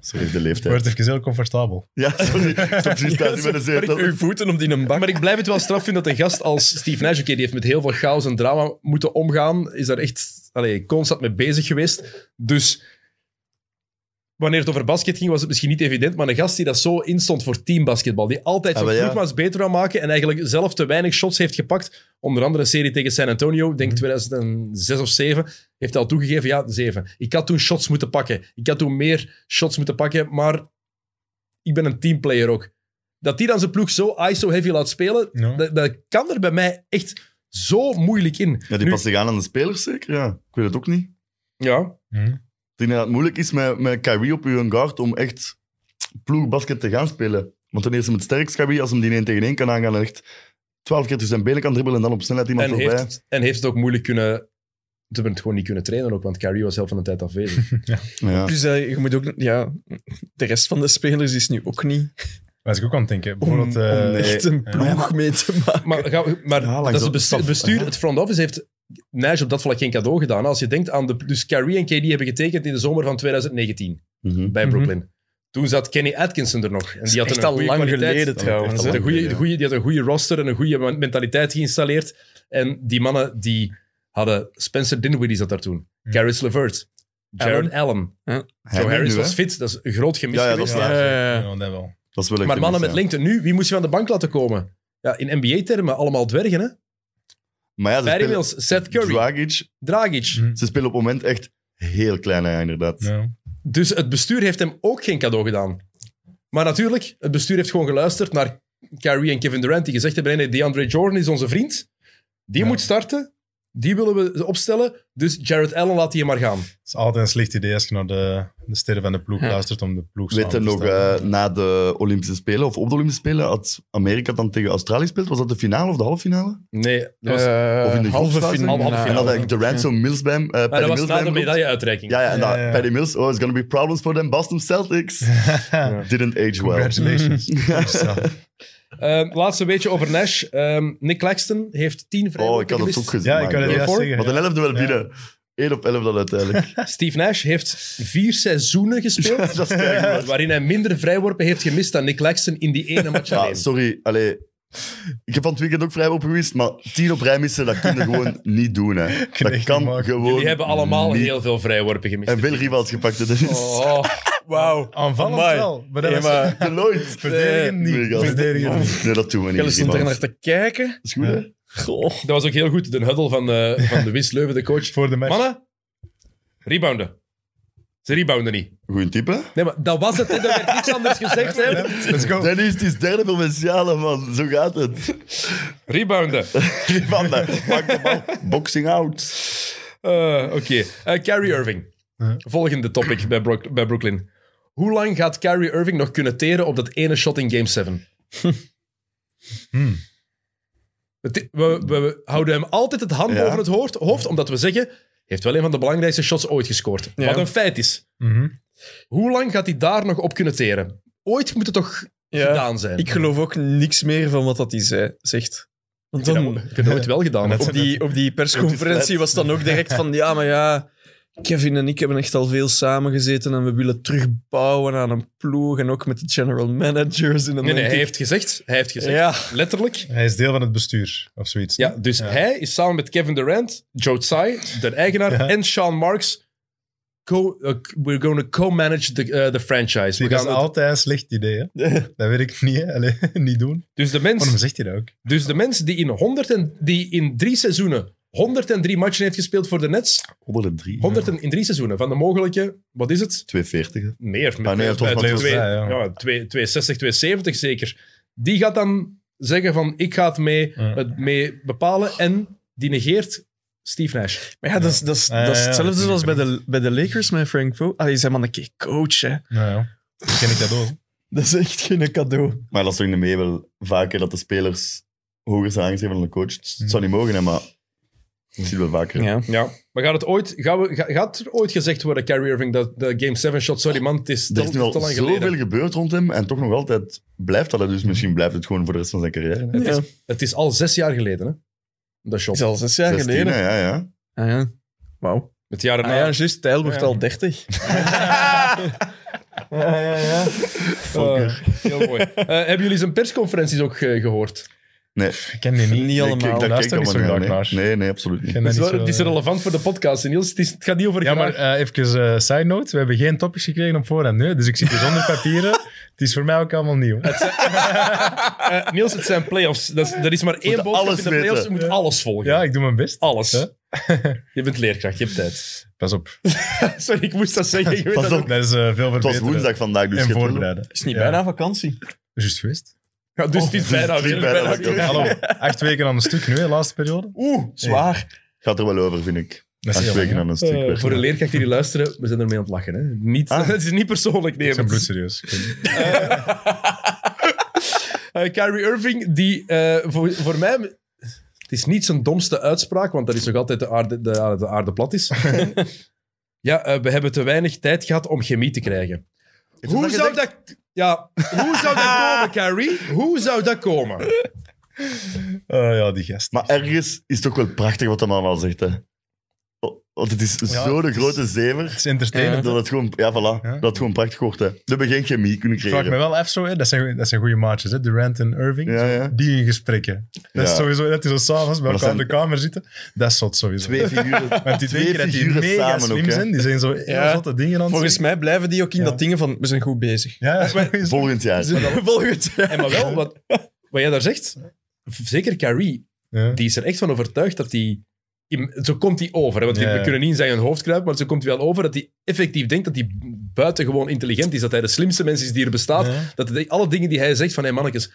S3: Sorry, de leeftijd.
S4: Wordt even heel comfortabel.
S3: Ja, sorry. Ik stond precies thuis met een zetel.
S5: Uw voeten op die een bak.
S1: Maar ik blijf het wel straf vinden dat een gast als Steve Nash, oké, die heeft met heel veel chaos en drama moeten omgaan, is daar echt allee, constant mee bezig geweest. Dus wanneer het over basket ging, was het misschien niet evident, maar een gast die dat zo instond voor teambasketbal, die altijd
S3: Ah,
S1: zijn
S3: wel, ja.
S1: ploeg maar eens beter wil maken en eigenlijk zelf te weinig shots heeft gepakt, onder andere een serie tegen San Antonio, ik denk
S3: Mhm.
S1: 2006 of 7, heeft hij al toegegeven, ja, 7. Ik had toen shots moeten pakken. Ik had toen meer shots moeten pakken, maar ik ben een teamplayer ook. Dat die dan zijn ploeg zo ISO-heavy laat spelen,
S4: Ja.
S1: dat, dat kan er bij mij echt zo moeilijk in.
S3: Ja, die
S1: Nu-
S3: past zich aan aan de spelers, zeker? Ja, ik weet het ook niet.
S1: ja.
S4: Hm.
S3: Ik denk dat het moeilijk is met, met Kyrie op uw guard om echt ploegbasket te gaan spelen. Want dan is hem het sterkst, Kyrie, als hem die 1 tegen 1 kan aangaan en echt 12 keer tussen zijn benen kan dribbelen en dan op snelheid iemand
S1: En,
S3: voorbij.
S1: heeft het, en heeft het ook moeilijk kunnen... Ze hebben het gewoon niet kunnen trainen ook, want Kyrie was heel van de tijd
S3: (laughs)
S1: afwezig.
S3: Ja.
S5: Dus eh, je moet ook... Ja, de rest van de spelers is nu ook niet
S4: Was ik ook aan het denken.
S5: om,
S4: Bijvoorbeeld... eh,
S5: om echt een ploeg mee te maken.
S1: maar ga- maar
S3: Ja, langs
S1: dat is het
S3: dat-
S1: bestuur, het bestuur,
S3: ja.
S1: het front office heeft Nash op dat vlak geen cadeau gedaan. Als je denkt aan de... Dus Kyrie en KD hebben getekend in de zomer van 2019
S3: Mhm.
S1: bij
S5: Mhm.
S1: Brooklyn. Toen zat Kenny Atkinson er nog. En die had
S5: echt
S1: een
S5: al
S1: goede
S5: lang
S1: kwaliteit.
S5: geleden trouwens.
S3: echt
S5: hè.
S1: De
S3: al
S1: goeie,
S3: Ja.
S1: de goeie- die had een goede roster en een goede mentaliteit geïnstalleerd. En die mannen die hadden... Spencer Dinwiddie zat daar toen.
S5: Mhm.
S4: Hm.
S1: Caris LeVert. Jared Allen.
S3: Hij
S1: Joe
S3: nu,
S1: Harris
S3: hè.
S1: was fit. Dat is een groot gemis
S3: Ja, ja, dat
S1: geweest.
S3: is waar.
S4: ja, dat wel.
S3: Dat is wel echt
S1: Maar mannen met
S3: gemist, ja.
S1: lengte nu, wie moest je van de bank laten komen? Ja, in NBA-termen, allemaal dwergen, hè?
S3: Maar ja, ze
S1: Barry
S3: spelen,
S1: Mills, Seth Curry,
S3: Dragic,
S1: Dragic.
S4: Hm.
S3: ze spelen op het moment echt heel klein, hè, inderdaad.
S4: Ja.
S1: Dus het bestuur heeft hem ook geen cadeau gedaan. Maar natuurlijk, het bestuur heeft gewoon geluisterd naar Kyrie en Kevin Durant, die gezegd hebben, nee, nee, DeAndre Jordan is onze vriend. Die moet starten. Die willen we opstellen. Dus Jared Allen laat die maar gaan.
S4: Het is altijd een slecht idee als je naar de, de sterren van de ploeg luistert om de ploeg
S3: Weet je
S4: samen te
S3: nog,
S4: stellen.
S3: eh, na de Olympische Spelen, of op de Olympische Spelen, had Amerika dan tegen Australië gespeeld. Was dat de finale of de halve finale?
S1: Nee,
S5: Dat was,
S3: of in de
S5: eh, halve
S3: groepsfase?
S5: finale.
S1: Halve
S3: en
S1: finale.
S3: dat eigenlijk Durant zo'n Mills bij hem, eh,
S1: maar
S3: Patty
S1: dat was
S3: Mills bij
S1: na
S3: hem
S1: de
S3: roept.
S1: medailleuitreiking.
S3: Ja, ja, en
S4: Ja,
S3: dat
S4: ja, ja.
S3: Patty Mills, oh, it's gonna be problems for them Boston
S4: (laughs)
S3: Celtics. Didn't age well.
S4: Congratulations.
S1: Ehm, laatste beetje over Nash. Ehm, Nick Claxton heeft 10
S3: Oh, ik
S1: vrijworpen
S3: had het ook
S1: gemist.
S3: gezien.
S4: ja, ik kan het
S1: Ja,
S4: juist
S1: voor.
S4: zeggen.
S3: Wat een
S4: ja.
S3: elfde wel
S4: Ja.
S3: binnen. 1 op 11 dan
S1: (laughs)
S3: uiteindelijk.
S1: Steve Nash heeft vier
S3: (laughs)
S1: seizoenen gespeeld.
S3: dat is keigoed.
S1: waarin hij minder vrijworpen heeft gemist dan Nick Claxton in die ene match
S3: Ja,
S1: alleen.
S3: Ah, sorry. Allee, ik heb van het weekend ook vrij op geweest, maar tien op rij missen, dat kun je
S4: (laughs)
S3: gewoon niet doen. Hè.
S4: je
S3: Dat
S4: echt niet
S3: kan
S4: maken.
S3: gewoon
S1: Jullie hebben allemaal
S3: niet.
S1: heel veel vrijworpen gemist.
S3: En veel rivals gepakt, hè, dus.
S4: (laughs)
S1: Oh,
S5: Wauw.
S4: Aanvallend
S5: Amai.
S4: wel, maar dat
S5: Ja,
S4: was-
S5: maar
S3: (laughs) Nooit.
S4: Verdedigen
S3: Nee,
S4: niet.
S3: gast.
S4: Verdedigen niet.
S3: Nee, dat doen we niet.
S5: Kelly stond er
S3: rivals.
S5: naar te kijken.
S3: Dat is goed, hè?
S5: Goh.
S1: dat was ook heel goed. De huddle van, eh, van de Wins Leuven, de coach.
S4: Voor de match.
S1: Mannen, rebounden. Ze rebounden niet.
S3: Goeie type. hè?
S1: Nee, maar dat was het. hè. Er werd niks anders gezegd. Hè.
S4: Let's go.
S3: Dennis, het is derde provinciale, man. Zo gaat het.
S1: Rebounden.
S3: (laughs) Van de, pak de bal. Boxing out.
S1: Eh, Oké. Eh, Kyrie Irving.
S4: Ja.
S1: Volgende topic bij, Brook- bij Brooklyn. Hoe lang gaat Kyrie Irving nog kunnen teren op dat ene shot in Game (laughs) 7?
S4: Hmm.
S1: Het- We, we, we houden hem altijd het hand
S3: Ja.
S1: boven het hoofd, hoofd, omdat we zeggen... Hij heeft wel een van de belangrijkste shots ooit gescoord.
S5: Ja.
S1: Wat een feit is.
S4: Mhm.
S1: Hoe lang gaat hij daar nog op kunnen teren? Ooit moet het toch
S5: Ja.
S1: gedaan zijn?
S5: Ik geloof ook niks meer van wat dat hij zei, zegt. Want
S1: heb
S5: dan,
S1: dat- ik heb dat ooit wel (laughs) gedaan.
S4: Net
S1: hè.
S5: op, die, op die persconferentie was dan ook direct van... Ja, maar ja, Kevin en ik hebben echt al veel samengezeten en we willen terugbouwen aan een ploeg en ook met de general managers. En dan
S1: Nee, nee,
S5: denk
S1: hij
S5: ik,
S1: heeft gezegd. Hij heeft gezegd.
S5: Ja.
S1: Letterlijk.
S4: Hij is deel van het bestuur, of zoiets.
S1: Ja, dus
S4: Ja.
S1: hij is samen met Kevin Durant, Joe Tsai, de eigenaar,
S4: Ja.
S1: en Sean Marks. Co eh, we're going to co-manage the, eh, the franchise.
S4: Zie,
S1: We
S4: dat is
S1: gaan het-
S4: altijd een slecht idee. Hè? Dat weet ik niet, hè. Allee, (laughs) niet doen. Oh,
S1: dus, de mens,
S4: Waarom zegt hij dat ook?
S1: dus de mens die in, 100 en, die in drie seizoenen 103 matchen heeft gespeeld voor de Nets.
S3: 103.
S1: 100 en- in drie seizoenen. Van de mogelijke, wat is het?
S3: 240. hè.
S1: Meer. Met,
S3: Ah, nee, het was
S1: met-
S3: maar
S1: met
S4: twee-
S1: twee-
S4: ja,
S1: ja.
S4: ja.
S1: 260, 270 zeker. Die gaat dan zeggen van, ik ga het mee,
S4: Ja.
S1: het mee bepalen. En die negeert Steve Nash.
S5: Maar ja, dat is, dat is,
S4: Ja, ja,
S5: dat is
S4: ja,
S5: hetzelfde
S4: dat
S5: zoals bij
S4: vind ik
S5: de, bij de Lakers met Frank Vogel. Allee, zijn man een keer coach, hè.
S4: Nou ja, dan ken ik dat ook.
S5: Dat is echt geen cadeau.
S3: Maar dat is toch in de mee wel vaker dat de spelers hoger zijn aangeschreven dan de coach. Het zou niet mogen, hè, maar ik zie het wel vaker.
S5: Ja.
S1: Ja. Maar gaat, het ooit, gaan we, ga- gaat er ooit gezegd worden, Kyrie Irving, dat de Game 7 shot, sorry man, het is te,
S3: Er is nu al
S1: te lang
S3: zoveel
S1: geleden.
S3: gebeurd rond hem en toch nog altijd blijft dat. hè. Dus misschien blijft het gewoon voor de rest van zijn carrière. hè.
S1: Het,
S5: Ja.
S1: is, het is al zes jaar geleden, hè? Dat shot.
S5: is al zes jaar
S3: 16,
S5: geleden.
S3: hè, Ja, ja.
S5: Ah, ja. Wauw.
S1: Het jaar
S5: Ah
S1: erna.
S5: ja, juist. Tijl wordt
S1: Ja.
S5: al 30.
S1: Eh, heel mooi. Eh, hebben jullie zijn persconferenties ook eh, gehoord?
S3: Nee,
S4: Ik ken die niet.
S5: Niet
S3: Nee,
S5: allemaal.
S3: ik- ik- dat
S4: Luister
S3: kijk
S4: niet zo
S3: allemaal
S4: graag
S3: niet,
S4: naar.
S3: nee. Nee, nee, absoluut
S4: Ik
S3: niet.
S4: ken
S1: Het
S4: dat
S1: is,
S4: niet
S1: wel- het is
S4: zo-
S1: relevant voor de podcast, hè, Niels. Het, is, het gaat niet over
S4: Ja, maar
S1: graag.
S4: eh, even eh side note. We hebben geen topics gekregen op voorhand nu. Dus ik zit hier zonder
S5: (laughs)
S4: papieren. Het is voor mij ook allemaal nieuw.
S1: Eh, Niels, het zijn playoffs. Dat is, er is maar één
S3: moeten
S1: boodschap
S3: alles
S1: in de playoffs. Je
S3: weten.
S1: moet alles volgen.
S4: Ja, ik doe mijn
S5: Oh.
S4: best.
S1: Alles.
S4: Hè?
S1: Je bent leerkracht, je hebt tijd.
S4: Pas op.
S1: Sorry, ik moest dat zeggen. Ik weet
S3: Pas
S1: dat
S3: op.
S1: ook.
S4: Dat is eh, veel
S3: Het was
S4: verbeteren.
S3: woensdag vandaag, dus
S4: En
S3: je hebt wel-
S4: voorbereiden.
S5: Is niet
S4: Ja.
S5: bijna vakantie.
S4: Juist geweest.
S1: Ja, dus het is
S3: (laughs)
S1: bijna.
S3: Oh, het is
S1: weer
S3: bijna
S1: bijna
S3: weer.
S1: weer.
S3: (laughs)
S4: Hallo, acht weken aan een stuk nu, hè, laatste periode.
S5: Oeh, zwaar.
S3: Gaat er wel over, vind ik.
S4: Dat
S3: Acht
S4: heel
S3: weken
S4: lang,
S3: aan een stuk
S4: Eh,
S3: werken.
S1: Voor de leerkrachten die luisteren, we zijn ermee aan het lachen. Hè? Niet, (laughs)
S3: Ah.
S1: Het is niet persoonlijk
S4: Ik ben
S1: nemen.
S4: bloedserieus. Ik weet niet.
S1: Eh, Kyrie Irving, die eh, voor, voor mij... Het is niet zijn domste uitspraak, want dat is nog altijd de aarde, de, aarde- de aarde plat
S3: (laughs)
S1: is. ja, eh, we hebben te weinig tijd gehad om chemie te krijgen.
S3: Heeft
S1: Hoe
S3: hij
S1: zou,
S3: gezegd?
S1: dat, ja, hoe zou dat komen, Kyrie? Hoe zou dat komen?
S4: Eh, ja, die gast.
S3: Maar ergens is het ook wel prachtig wat de man al zegt, hè. Oh, Want het is
S4: Ja,
S3: zo'n
S4: het is-
S3: grote zever.
S4: Het is entertainend.
S3: Dat het gewoon, ja, voilà,
S4: Ja.
S3: dat het gewoon prachtig wordt. Hè. We hebben geen chemie kunnen
S4: Ik vraag me
S3: creëren.
S4: wel even zo, hè. Dat, zijn, dat zijn goede maatjes, hè. Durant en Irving.
S3: Ja, ja.
S4: Die in gesprekken. Dat is
S3: Ja.
S4: sowieso, dat is zo s'avonds bij
S3: Maar dat
S4: elkaar in de
S3: zijn-
S4: kamer zitten. Dat is zot sowieso.
S3: Twee figuren,
S4: (laughs) Want die twee
S3: twee
S4: keer dat die
S3: figuren
S4: mega
S3: samen
S4: slim
S3: ook, hè.
S4: zijn, die zijn zo heel
S5: Ja.
S4: zotte dingen aan het
S5: Volgens
S4: zeggen.
S5: mij blijven die ook in
S4: Ja.
S5: dat dingen van, we zijn goed bezig.
S4: Ja, ja. (laughs) sowieso.
S3: Volgend jaar. (laughs)
S5: Volgend jaar.
S1: (laughs) En maar wel, wat, wat jij daar zegt, zeker Kyrie,
S4: Ja.
S1: die is er echt van overtuigd dat hij. Zo komt hij over. Hè? Want
S4: Ja,
S1: we
S4: ja.
S1: kunnen niet in zijn hoofd kruipen, maar zo komt hij wel over dat hij effectief denkt dat hij buitengewoon intelligent is. Dat hij de slimste mens is die er bestaat.
S4: Ja.
S1: Dat hij alle dingen die hij zegt van, hé mannetjes,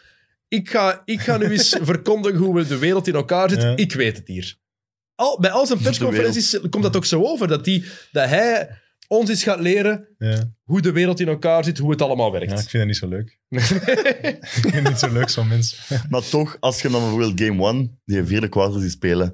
S1: ik ga, ik ga nu
S4: (laughs)
S1: eens verkondigen hoe we de wereld in elkaar zit.
S4: Ja.
S1: Ik weet het hier. Al, bij al zijn persconferenties komt dat ook zo over, dat, die, dat hij ons eens gaat leren
S4: Ja.
S1: hoe de wereld in elkaar zit, hoe het allemaal
S4: Ja, ik
S1: werkt.
S4: vind dat niet zo leuk. ik vind het niet zo leuk, zo'n mens.
S3: Maar toch, als je dan bijvoorbeeld Game 1, die vierde kwart die spelen,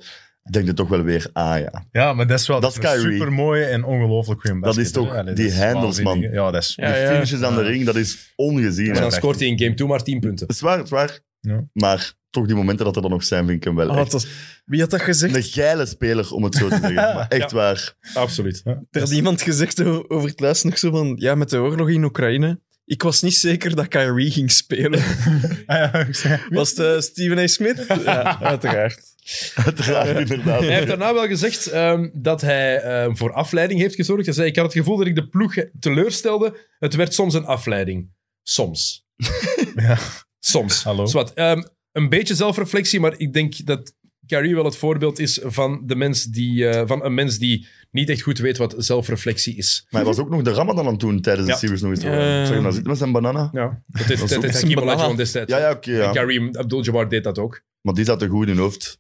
S3: denk je toch wel weer, ah ja.
S4: Ja, maar dat is wel
S3: Dat is Kyrie.
S4: super mooi en ongelooflijk goede
S3: Dat is toch die handles,
S4: handelsman. Ja, dat is
S5: Ja,
S3: de
S5: ja.
S3: finishes aan de ring, dat is ongezien.
S1: En
S3: hè.
S1: dan scoort hij in game 2 maar 10 punten.
S3: Het is waar, het is waar.
S4: Ja.
S3: Maar toch die momenten dat er dan nog zijn, vind ik hem wel
S5: Ah,
S3: echt
S5: dat is- wie had dat gezegd?
S3: een geile speler, om het zo te
S4: (laughs)
S3: zeggen. Maar echt waar.
S1: Absoluut.
S5: Er had iemand gezegd o- over het laatst nog zo van... Ja, met de oorlog in Oekraïne... Ik was niet zeker dat Kyrie ging
S3: (laughs)
S5: spelen.
S3: Ah
S5: Was het eh, Stephen A. Smith? Ja, uiteraard.
S3: (laughs) Uiteraard, inderdaad.
S1: Hij heeft daarna wel gezegd ehm, dat hij ehm, voor afleiding heeft gezorgd. Hij zei, ik had het gevoel dat ik de ploeg teleurstelde. Het werd soms een afleiding. Soms.
S4: Ja.
S1: Soms.
S4: Hallo.
S1: Zwat, ehm, een beetje zelfreflectie, maar ik denk dat Carrie wel het voorbeeld is van, de mens die, eh, van een mens die niet echt goed weet wat zelfreflectie is.
S3: Maar hij was ook nog de Ramadan aan het doen tijdens
S1: Ja.
S3: de series nog eens.
S5: Ja.
S3: Ik Zag hem daar zitten met zijn banana?
S1: Ja. Dat heeft, dat
S3: ook-
S1: heeft
S5: is
S1: Hakim
S5: een
S1: Olajuwon
S5: banaan.
S1: destijds.
S3: Ja, ja, oké. ja.
S1: Karim Abdul-Jabbar deed dat ook.
S3: Maar die zat er goed in hoofd.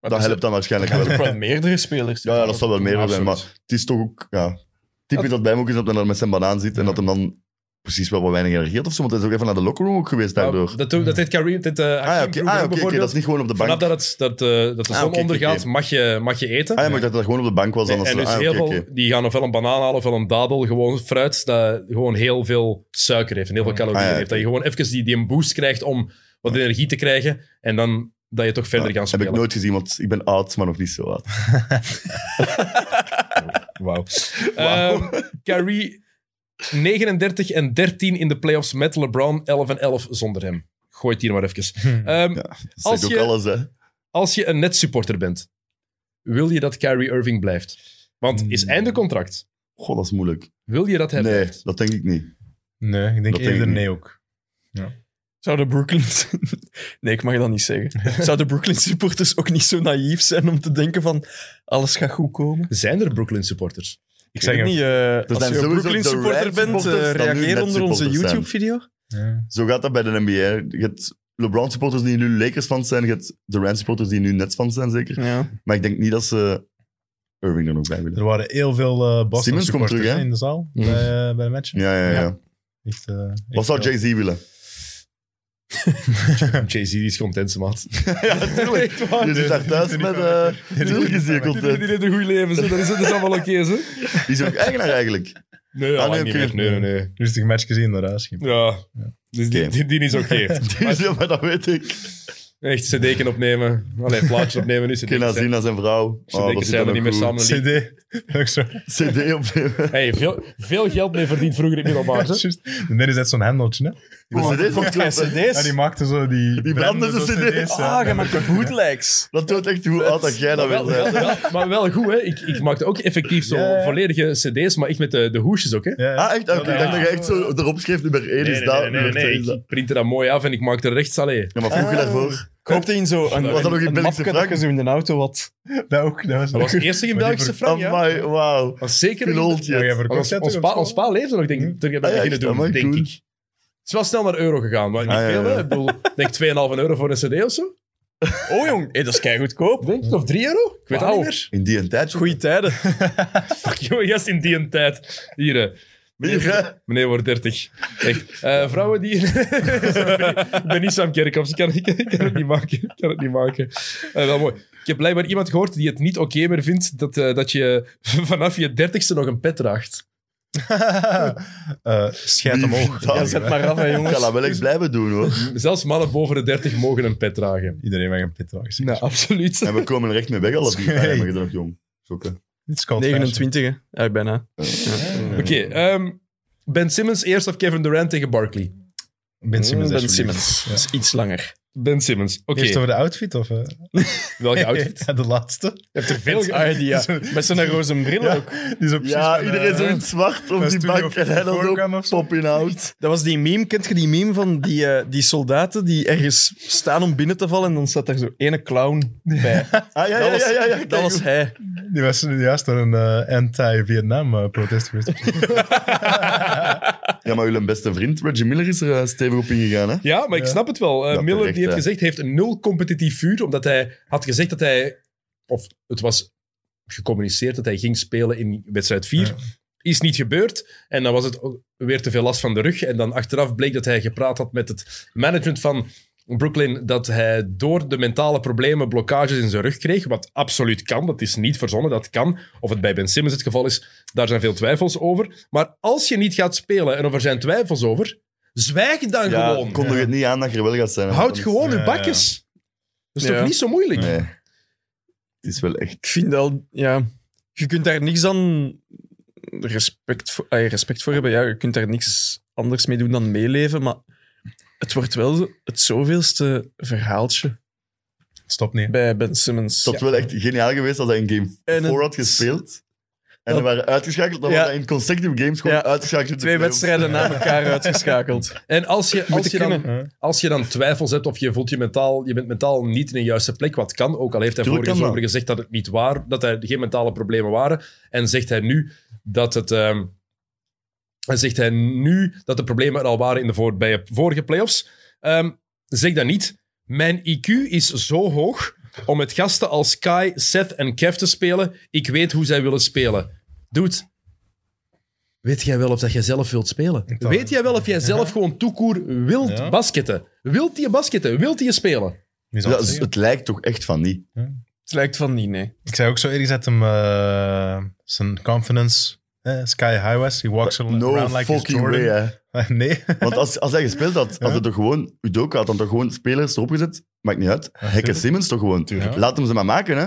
S1: Maar
S3: Dat
S1: (laughs)
S3: helpt dan waarschijnlijk wel.
S5: Van meerdere spelers.
S3: Ja, ja, dat zal wel meer zijn, maar het is toch ook... Ja, typisch dat bij hem ook is dat hij daar met zijn banaan zit en dat hem dan precies wel wat weinig energie had of zo, want hij is ook even naar de locker room ook geweest
S1: Ja,
S3: daardoor.
S1: Nou, Dat, doet- dat deed Karim, dat deed eh,
S3: ah
S1: Hakim
S3: ja, oké,
S1: vroeger ook
S3: ah, oké, oké, dat
S1: bijvoorbeeld.
S3: is niet gewoon op de bank.
S1: Vanaf dat, het, dat, eh, dat de
S3: Ah,
S1: zon
S3: oké, oké,
S1: ondergaat,
S3: oké.
S1: Mag, je, mag je eten.
S3: Ah ja, maar ik dacht dat hij gewoon op de bank was. anders
S1: en
S3: dan-
S1: dus
S3: ah,
S1: heel
S3: oké,
S1: veel,
S3: oké.
S1: die gaan ofwel een banaan halen of een dadel, gewoon fruit, dat gewoon heel veel suiker heeft en heel veel calorieën
S3: Ah, ja,
S1: heeft.
S3: oké.
S1: Dat je gewoon even die, die een boost krijgt om wat energie te krijgen en dan dat je toch verder
S3: Ja,
S1: gaat
S3: Heb
S1: spelen.
S3: ik nooit gezien, want ik ben oud, maar nog niet zo oud. (laughs)
S4: Wauw.
S1: Ehm, Kyrie 39 en 13 in de playoffs met LeBron, 11 en 11 zonder hem. Gooi het hier maar even. Ehm,
S3: Ja, dat
S1: Als
S3: zegt ook
S1: je-
S3: alles, hè.
S1: Als je een net supporter bent, wil je dat Kyrie Irving blijft? Want is
S4: Hmm.
S1: einde contract.
S3: Goh, dat is moeilijk.
S1: Wil je dat hebben?
S3: Nee, dat denk ik niet.
S4: Nee, ik denk
S3: Dat denk
S4: eerder
S3: ik
S4: nee ook.
S5: Zou de Brooklyn... (laughs) Nee, ik mag dat niet zeggen. Zou de Brooklyn supporters ook niet zo naïef zijn om te denken van... Alles gaat goed komen?
S1: Zijn er Brooklyn supporters?
S4: Ik
S5: Ik zeg
S4: hem.
S5: niet, eh, als
S3: zijn
S5: je een
S3: sowieso
S5: Brooklyn
S3: de
S5: supporter
S3: Red
S5: bent, eh,
S3: supporters dan nu
S5: reageer
S3: net
S5: onder onze
S3: supporters zijn.
S5: YouTube-video.
S4: Ja.
S3: Zo gaat dat bij de NBA. Je hebt LeBron-supporters die nu Lakers-fans zijn. Je hebt Durant-supporters die nu Nets-fans zijn, zeker.
S5: Ja.
S3: Maar ik denk niet dat ze Irving er nog bij willen.
S4: Er waren heel veel eh Boston
S3: Simmons komt
S4: supporters
S3: terug, hè?
S4: in de zaal
S1: Mm.
S4: bij, eh, bij de match.
S3: Ja, ja, ja.
S4: Ja. Echt, eh, echt
S3: Wat zou
S4: veel.
S3: Jay-Z willen?
S1: Jay-Z is content, (laughs) maat.
S3: ja, tuurlijk. Je zit daar thuis met... eh tuurlijk is die
S1: Die
S3: content.
S1: heeft een goed leven, zo. Dat, is, dat is allemaal oké, zo.
S3: Die is ook eigenaar, eigenlijk.
S1: Nee,
S3: Ah,
S1: lang
S3: nee,
S1: niet
S3: oké.
S1: meer. nee, nee, nee.
S4: Rustig match gezien, inderdaad. (laughs) Schip.
S1: Ja. Dus die,
S3: Oké.
S1: die, die is oké.
S3: (laughs) Die is, ja, maar dat weet ik.
S1: Echt cd'ken opnemen. Allee, plaatjes opnemen. Nu
S3: Geen
S1: cd'ken zijn,
S3: Azina, nou zijn vrouw. Oh,
S1: cd'ken
S3: dat
S1: zijn er niet meer samen. Lief.
S4: CD. Ook zo.
S3: (laughs) CD opnemen.
S1: (laughs) Hey, veel, veel geld mee verdiend vroeger in middelbaar. hè.
S3: (laughs)
S4: Juist. En dit is net zo'n hendeltje, hè?
S5: Oh,
S3: Maar CD's opkloppen.
S4: Ja, die
S5: CD's?
S4: maakte zo die...
S3: Die brandende
S4: zo
S3: CD's.
S4: ja.
S5: Ah, je maakt ook bootlegs.
S3: Dat toont echt hoe oud dat jij dat
S1: Maar
S3: wil
S1: wel,
S3: zijn.
S1: wel- wel- maar wel goed, hè. Ik, ik maakte ook effectief zo
S4: Ja, ja.
S1: volledige cd's, maar echt met de, de hoesjes ook, hè.
S4: Ja, ja.
S3: Ah, echt? Oké, ik dacht dat je echt zo erop schreef, nummer 1 is dat, nummer 2 is dat.
S1: Ik printte dat mooi af en ik maakte rechts, allee.
S3: Ja, maar vroeg
S5: Ah.
S3: je daarvoor?
S5: Ik hoopte in zo'n een,
S3: Was dat nog in
S5: een mapje
S3: Belgische
S5: dat
S3: vraag?
S5: je zo in de auto had.
S4: Dat ook. Dat was,
S1: Dat was eerst een
S4: Maar die
S1: Belgische
S4: ver-
S1: Frank, ja.
S3: Amai, Oh wauw.
S1: Dat was zeker
S3: Een
S1: niet-
S3: oldje.
S4: Ja,
S3: Ja,
S4: jij verkoopt
S1: Ons,
S4: dat
S1: ons,
S4: toch
S1: pa,
S4: op
S1: ons
S4: school?
S1: pa leefde nog, denk ik,
S4: Hmm.
S1: toen ik
S3: Ah,
S1: dat
S3: ja,
S1: beginnen
S3: echt,
S1: doen,
S3: amai,
S1: denk
S3: cool.
S1: ik. Het is wel snel naar euro gegaan, maar niet
S3: Ah, ja,
S1: veel, hè.
S3: ja.
S1: Ik bedoel, ik denk 2,5 euro voor een cd of
S3: (laughs)
S1: zo.
S5: Oh jong, hey, dat is kei goedkoop.
S1: Denk ik, of 3 euro? Ik weet dat
S5: Wauw.
S1: niet meer.
S3: In die een tijd.
S5: Goeie
S1: (laughs)
S5: tijden.
S1: Fuck, jongen, gast in die een tijd. Hier, hè.
S3: Meer, hè?
S1: Meneer wordt 30. Echt. Eh, vrouwen die. (laughs) ik ben niet Sam Kerkhoffs. Ik kan, ik, kan- ik kan het niet maken. Ik kan het niet maken. Eh, wel mooi. Ik heb blijkbaar iemand gehoord die het niet oké meer vindt dat, eh, dat je (laughs) vanaf je dertigste nog een pet draagt.
S4: (laughs) Eh, Schijt omhoog.
S3: Ja,
S4: (laughs) Ja,
S3: zet
S4: zet
S5: Maar af, hè,
S3: Ik kan
S5: jongens.
S3: dat wel echt blijven doen, hoor. (laughs)
S1: Zelfs mannen boven de 30 mogen een pet dragen.
S4: Iedereen mag een pit wagen.
S1: Nou, absoluut.
S3: (laughs) En we komen er echt mee weg, alle vier. Ah, ja, maar je bent nog jong. Schokken.
S4: Dit is called
S5: 29, hè? Ja, ik bijna.
S1: Oké. ehm, ben Simmons eerst of Kevin Durant tegen Barkley?
S4: fashion. Ben Simmons.
S5: Hmm, Ben
S4: alsjeblieft.
S5: Simmons.
S4: Ja.
S5: Dat is iets langer.
S1: Ben Simmons. Oké.
S4: Eerst over de outfit, of... eh?
S1: Welke (laughs) outfit?
S4: (laughs) Ja, de laatste.
S1: Je hebt er veel ge-
S5: Ah, die,
S3: (laughs)
S5: ja. Met zo'n roze bril ook.
S4: Die is op
S3: Ja, iedereen zo in het zwart op die bank. En eh, hij dan ook
S4: of zo.
S3: pop in hout.
S5: Dat was die meme, kent je die meme van die, eh, die soldaten die ergens staan om binnen te vallen en dan staat daar zo ene clown bij.
S3: (laughs) Ah, ja, ja,
S5: Dat was,
S3: ja, ja. ja,
S5: dat was hij.
S4: Die was nu juist door een eh, anti-Vietnam eh, protest (laughs) geweest.
S3: Ja, maar jullie beste vriend, Reggie Miller, is er eh, stevig op ingegaan, hè?
S1: Ja, maar ik
S4: Ja.
S1: snap het wel. Eh,
S3: Ja,
S1: Miller
S3: terecht,
S1: die heeft
S3: hè.
S1: gezegd, heeft nul competitief vuur, omdat hij had gezegd dat hij, of het was gecommuniceerd dat hij ging spelen in wedstrijd 4.
S4: Ja.
S1: Is niet gebeurd. En dan was het ook weer te veel last van de rug. En dan achteraf bleek dat hij gepraat had met het management van Brooklyn dat hij door de mentale problemen blokkages in zijn rug kreeg, wat absoluut kan, dat is niet verzonnen, dat kan. Of het bij Ben Simmons het geval is, daar zijn veel twijfels over. Maar als je niet gaat spelen, en of er zijn twijfels over, zwijg dan
S3: Ja,
S1: gewoon.
S3: kondig het niet aan dat je er wel gaat zijn. hè.
S1: Houd
S3: Dan is-
S1: gewoon
S4: Ja,
S1: uw
S4: ja.
S1: bakjes. Dat is
S5: Ja.
S1: toch niet zo moeilijk?
S3: Nee. Het is wel echt...
S5: Ik vind al, ja, je kunt daar niks aan respect voor, ah, respect voor hebben. Ja, je kunt daar niks anders mee doen dan meeleven, maar het wordt wel het zoveelste verhaaltje
S4: Stop niet.
S5: bij Ben Simmons.
S3: Het had wel echt geniaal geweest als hij in game
S5: En
S3: 4 had
S5: het-
S3: gespeeld. En we
S5: Dat-
S3: waren uitgeschakeld. Dan
S5: Ja.
S3: waren we in consecutive games gewoon
S5: Ja.
S3: uitgeschakeld. in de
S5: Twee
S3: playoffs.
S5: wedstrijden na elkaar uitgeschakeld.
S1: En als je, als,
S5: Moeten
S1: je dan,
S5: kunnen.
S4: Eh,
S1: als je dan twijfels hebt of je voelt je mentaal, je bent mentaal niet in de juiste plek, wat kan, ook al heeft hij
S3: Tuurlijk
S1: vorige
S3: kan
S1: zomer
S3: dat.
S1: gezegd dat het niet waar, dat er geen mentale problemen waren, en zegt hij nu dat het... ehm, en zegt hij nu dat de problemen er al waren in de voor, bij de vorige playoffs. Ehm, zeg dat niet. Mijn IQ is zo hoog om met gasten als Kai, Seth en Kev te spelen. Ik weet hoe zij willen spelen. Dude, weet jij wel of dat jij zelf wilt spelen?
S4: Ik dacht-
S1: Weet jij wel of jij zelf gewoon toekoer wilt
S4: Ja.
S1: basketten? Wilt je basketten? Wilt je spelen?
S4: wie zal
S3: Ja,
S4: het
S3: dus
S4: zeggen?
S3: het lijkt toch echt van niet.
S5: Het lijkt van niet, nee.
S4: Ik zei ook zo ergens dat hem eh, zijn confidence eh, sky high was. He walks
S3: No
S4: around like he's
S3: fucking way,
S4: Jordan.
S3: hè.
S4: (laughs) nee.
S3: Want als, als hij gespeeld had, had hij toch gewoon... Udoka had dan toch gewoon spelers erop gezet? Maakt niet uit. Hekken
S4: tuurlijk.
S3: Simmons toch gewoon.
S4: Tuurlijk.
S3: Laat hem ze maar maken, hè.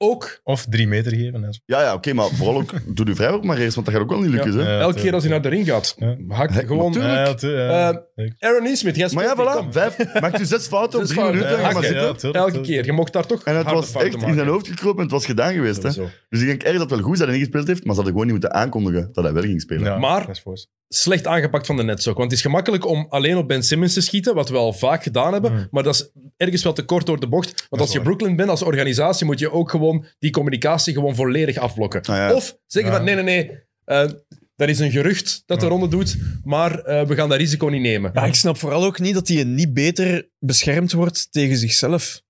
S1: Ook
S4: Of drie meter geven. hè.
S3: Ja, ja, oké, maar vooral
S4: (laughs)
S3: ook... Doe de vrijwerk maar eerst, want dat gaat ook wel niet lukken,
S1: Ja.
S3: hè.
S4: Ja,
S1: elke keer als hij naar de ring gaat.
S4: Ja.
S1: Hak
S3: Hek,
S1: gewoon
S3: natuurlijk.
S4: Ja, tu-
S3: Eh,
S4: ja.
S1: Aaron Neesmith. jij
S3: Maar
S1: speelt die
S3: ja, voilà.
S1: kom.
S4: (laughs)
S3: Vijf. Maakt u zes fouten op
S1: Zes
S3: drie
S1: fouten,
S3: minuten.
S1: ja,
S3: ga
S4: oké,
S1: hakken,
S3: maar zitten.
S4: ja, tuurlijk,
S1: Elke
S4: tuurlijk.
S1: keer. Je mocht daar toch
S3: En het
S1: harde
S3: was
S1: fouten
S3: echt in
S1: maken.
S3: zijn hoofd gekropen en het was gedaan geweest. Hè?
S1: Sowieso.
S3: Dus ik denk echt dat het wel goed is dat hij niet gespeeld heeft, maar ze hadden gewoon niet moeten aankondigen dat hij wel ging spelen.
S4: Ja,
S1: Maar-
S4: dat is voor ze.
S1: slecht aangepakt van de Nets ook. Want het is gemakkelijk om alleen op Ben Simmons te schieten, wat we al vaak gedaan hebben.
S4: Mm.
S1: Maar dat is ergens wel te kort door de bocht. Want
S4: is
S1: als je
S4: waar.
S1: Brooklyn bent als organisatie, moet je ook gewoon die communicatie gewoon volledig afblokken.
S3: Ah, ja.
S1: Of zeggen
S4: Ja. Hmm.
S1: van, nee, nee, nee, eh, dat is een gerucht dat de
S4: Ja.
S1: ronde doet, maar eh, we gaan dat risico niet nemen.
S5: Maar ik snap vooral ook niet dat hij niet beter beschermd wordt tegen zichzelf.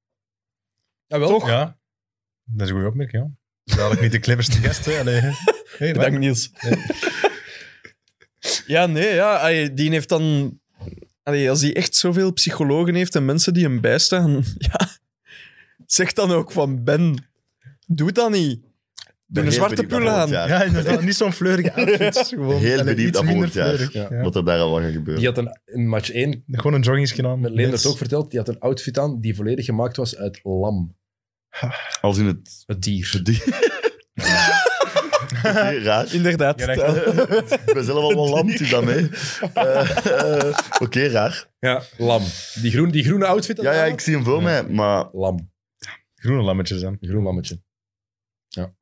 S1: Ja, wel.
S4: Ja. Dat is een goede opmerking, ja. Dadelijk niet de cleverste gast, hè.
S3: (laughs)
S4: Allee. Hey, wat?
S5: Bedankt, Niels. (laughs) Ja, nee, ja. ai, Die heeft dan... allee, als hij echt zoveel psychologen heeft en mensen die hem bijstaan, (laughs) ja, zeg dan ook van Ben, doe dat niet. Doe een
S3: Heel
S5: zwarte
S3: benieuwd naar
S5: pullen aan.
S3: volgend jaar.
S4: Ja, inderdaad. Niet zo'n fleurige
S3: (laughs)
S4: outfit. Gewoon,
S3: Heel
S4: Allee,
S3: benieuwd
S4: iets
S3: naar
S4: minder
S3: volgend jaar.
S4: fleurig. Ja.
S3: Wat er daar al gaat gebeuren.
S1: Die had een, in match 1,
S4: Gewoon een joggingsje aan.
S1: Leendert ook verteld, die had een outfit aan die volledig gemaakt was uit lam.
S3: Als in het
S5: (laughs)
S1: Het dier.
S3: dier. Oké, Raar.
S5: Inderdaad.
S4: Ja, dat-
S3: Ik ben zelf al wel lam, doe dat mee. Eh, eh, Oké, raar.
S1: Ja, lam. Die, groen, die groene outfit. dat
S3: Ja, ja,
S1: hij
S3: ik
S1: had?
S3: zie hem voor mij, maar
S1: Lam.
S4: Groene lammetjes aan.
S1: Groen lammetje.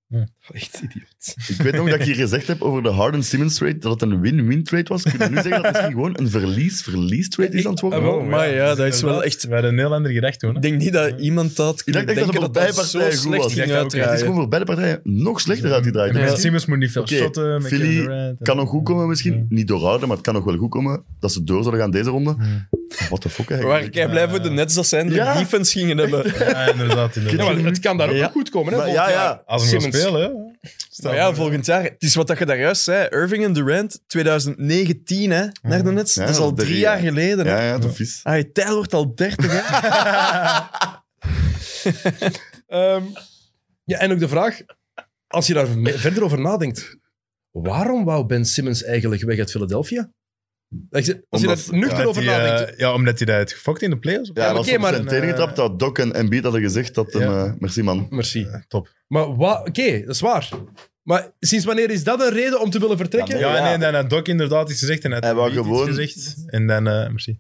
S5: Eh,
S3: Echt idioot. Ik weet nog dat ik hier gezegd heb over de Harden-Simmons trade, dat het een win-win trade was. Kun je nu zeggen dat het misschien gewoon een verlies-verlies trade is aan het worden?
S1: Ah, wel,
S5: maar ja, dat is wel
S4: inderdaad.
S5: echt-
S4: We hadden een heel ander gedacht toen. hè.
S5: Ik denk niet dat iemand dat
S3: Ik
S5: kan
S3: dacht echt
S5: denken
S3: dat het
S5: dat
S3: voor
S5: dat
S3: beide
S5: zo
S3: partijen goed
S5: slecht
S3: was.
S5: ging
S4: Ik dacht dat ook, ja.
S3: Het is
S5: uitdraaien.
S3: gewoon voor beide partijen nog slechter uitgedraaid.
S4: En
S3: Ja.
S4: Ben Simmons moet niet veel
S3: Oké,
S4: shotten. met
S3: Philly
S4: Kevin Durant en-
S3: Dus Kan nog goed komen misschien.
S4: Ja.
S3: Niet doorhouden, maar het kan nog wel goed komen dat ze door zullen gaan deze ronde.
S4: Hmm.
S3: What the fuck
S5: Waar
S3: eigenlijk.
S5: ik blij voor de Nets dat zij de
S3: Ja.
S5: defense gingen hebben.
S4: Ja,
S3: (laughs)
S4: inderdaad.
S1: Ja,
S4: inderdaad.
S1: maar het kan daar ook
S5: Ja.
S1: nog goed komen. Hè,
S3: Maar
S1: volgend
S3: ja,
S1: jaar.
S3: ja.
S4: Als we gaan
S1: Simmons.
S4: spelen, hè. Stel
S5: Maar ja,
S4: voor-
S5: volgend jaar. Het is wat dat je daar juist zei. Irving en Durant, 2019 hè, naar de Nets.
S3: Mm. Ja,
S5: dat is al
S3: drie
S5: drie jaar
S3: jaar.
S5: geleden. hè.
S3: Ja, ja, dat is.
S5: Ah, je tijl wordt al 30, hè?
S1: Ehm, ja, en ook de vraag, als je daar me- verder over nadenkt, waarom wou Ben Simmons eigenlijk weg uit Philadelphia? Als je, als je
S3: Omdat-
S1: daar nuchter
S4: Omdat
S1: over
S4: hij, eh,
S1: nadenkt.
S4: ja, omdat hij dat heeft gefokt in de playoffs.
S3: Ja,
S1: maar
S3: als
S1: oké,
S3: ze op
S1: maar-
S3: zijn tenen getrapt, dat Doc en Embiid hadden gezegd dat... hem,
S4: Ja.
S3: eh, merci, man.
S1: Merci.
S4: eh, Top.
S1: Maar wa- oké, dat is waar. Maar sinds wanneer is dat een reden om te willen vertrekken?
S3: Ja,
S4: Ja,
S3: Ja.
S4: nee, en dan had Doc inderdaad iets gezegd. En had
S3: Hij wou
S4: Embiid iets
S3: gewoon-
S4: gezegd. En dan... eh, merci.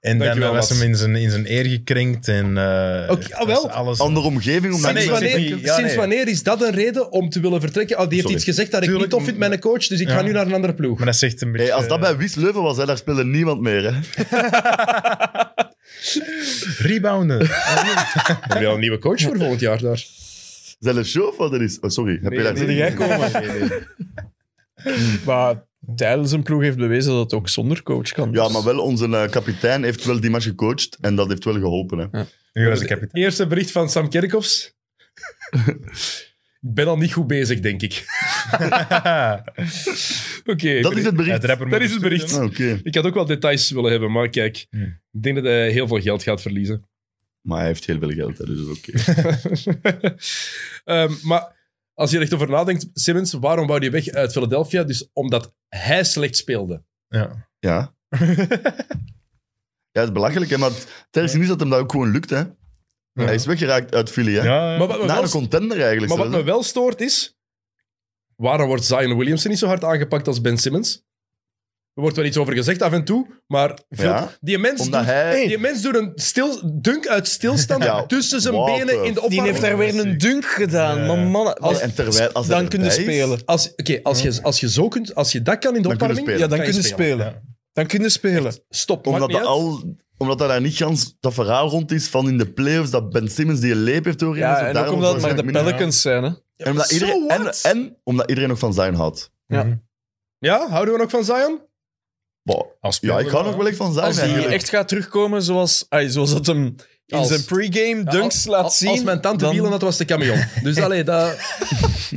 S4: En dan
S1: Dankjewel,
S4: eh, was
S1: Mats.
S4: hem in zijn, in zijn eer gekrenkt. En eh,
S1: Oké, ah, wel.
S4: was alles...
S3: Andere omgeving om
S4: Maar
S3: naar
S1: Sinds
S4: nee, ik
S1: wanneer,
S4: zeg niet- ja,
S1: sinds
S4: nee.
S1: wanneer is dat een reden om te willen vertrekken? Oh, die heeft
S3: Sorry.
S1: iets gezegd dat ik
S4: Tuurlijk,
S1: niet tof vind met een coach, dus ik ga
S4: ja.
S1: nu naar een andere ploeg.
S4: Maar dat zegt een beetje...
S3: Hey, als dat bij Wies Leuven was, hè, daar speelde niemand meer. Hè.
S4: Rebounden. eh,
S3: (laughs)
S1: Heb je al een nieuwe coach voor volgend jaar daar?
S3: Is dat een show of wat dat is? Oh, sorry, heb je daar
S5: nee, jij komen? (laughs) Maar tijdens een ploeg heeft bewezen dat het ook zonder coach kan.
S3: Ja, maar wel onze eh, kapitein heeft wel die match gecoacht en dat heeft wel geholpen. Hè.
S4: Nu was ik kapitein.
S1: Eerste bericht van Sam Kerkhoffs. ik ben al niet goed bezig, denk ik. (laughs)
S3: (laughs)
S1: Oké,
S3: Dat is het
S4: Ja,
S3: bericht.
S4: het rapper moet
S1: is het bericht.
S3: Ah, Oké,
S1: ik had ook wel details willen hebben, maar kijk,
S4: Hmm.
S1: ik denk dat hij heel veel geld gaat verliezen. (laughs)
S3: maar hij heeft heel veel geld, hè, dus dat is oké.
S1: Ehm, maar als je er echt over nadenkt, Simmons, waarom wou hij weg uit Philadelphia? Dus omdat hij slecht speelde.
S3: Eh,
S4: Ja.
S3: (laughs) Ja. ja, het is belachelijk, hè, maar het het ergste is dat hem dat ook gewoon lukt. Hè. Hij is weggeraakt uit Philly. Hè.
S4: Ja,
S1: Maar wat, me
S3: Naar
S1: wel,
S3: een contender eigenlijk.
S1: maar wat
S3: zelfs,
S1: me
S3: hè.
S1: wel stoort is, waarom wordt Zion Williamson niet zo hard aangepakt als Ben Simmons? Er wordt wel iets over gezegd af en toe, maar veel-
S3: Ja.
S1: die, mens
S3: Omdat
S1: doet,
S3: hij-
S1: Eh, die mens doet een stil, dunk uit stilstand
S3: (laughs) Ja,
S1: tussen zijn
S3: what
S1: benen
S3: the
S1: in de
S5: Die
S1: opwarming.
S5: heeft daar weer een dunk gedaan.
S4: Ja.
S5: Maar mannen,
S3: Allee, en terwijl, als hij
S5: dan kunnen
S3: erbij is,
S5: spelen.
S1: Als, oké, als, je, als, je zo kunt, als je dat kan in de
S3: Dan kun je
S1: opwarming,
S3: spelen.
S5: Ja, dan
S1: kan
S5: kunnen
S1: je
S5: spelen. Dan kunnen spelen.
S1: Stop, maakt
S3: Omdat
S1: niet
S3: dat,
S1: uit.
S3: al, omdat dat daar niet gans dat verhaal rond is van in de playoffs dat Ben Simmons die leep heeft doorgegeven.
S5: Ja,
S3: dus
S5: en ook
S3: daarom
S5: omdat het maar de
S3: waarschijnlijk minder-
S5: Pelicans zijn. Hè.
S3: En omdat,
S1: So
S3: iedereen, en,
S1: what?
S3: en omdat iedereen nog van zijn houdt.
S1: Ja, houden we nog van Zion?
S3: Wow.
S4: Als
S3: Ja, ik hou nog wel echt van zijn.
S5: Als hij
S3: eigenlijk.
S5: echt gaat terugkomen zoals, ay, zoals dat hem in
S1: Als-
S5: zijn pregame
S1: Ja,
S5: dunks laat
S1: als,
S5: zien.
S1: Als mijn tante
S5: dan-
S1: Bielen, dat was de camion.
S5: (laughs)
S1: Dus allee, dat,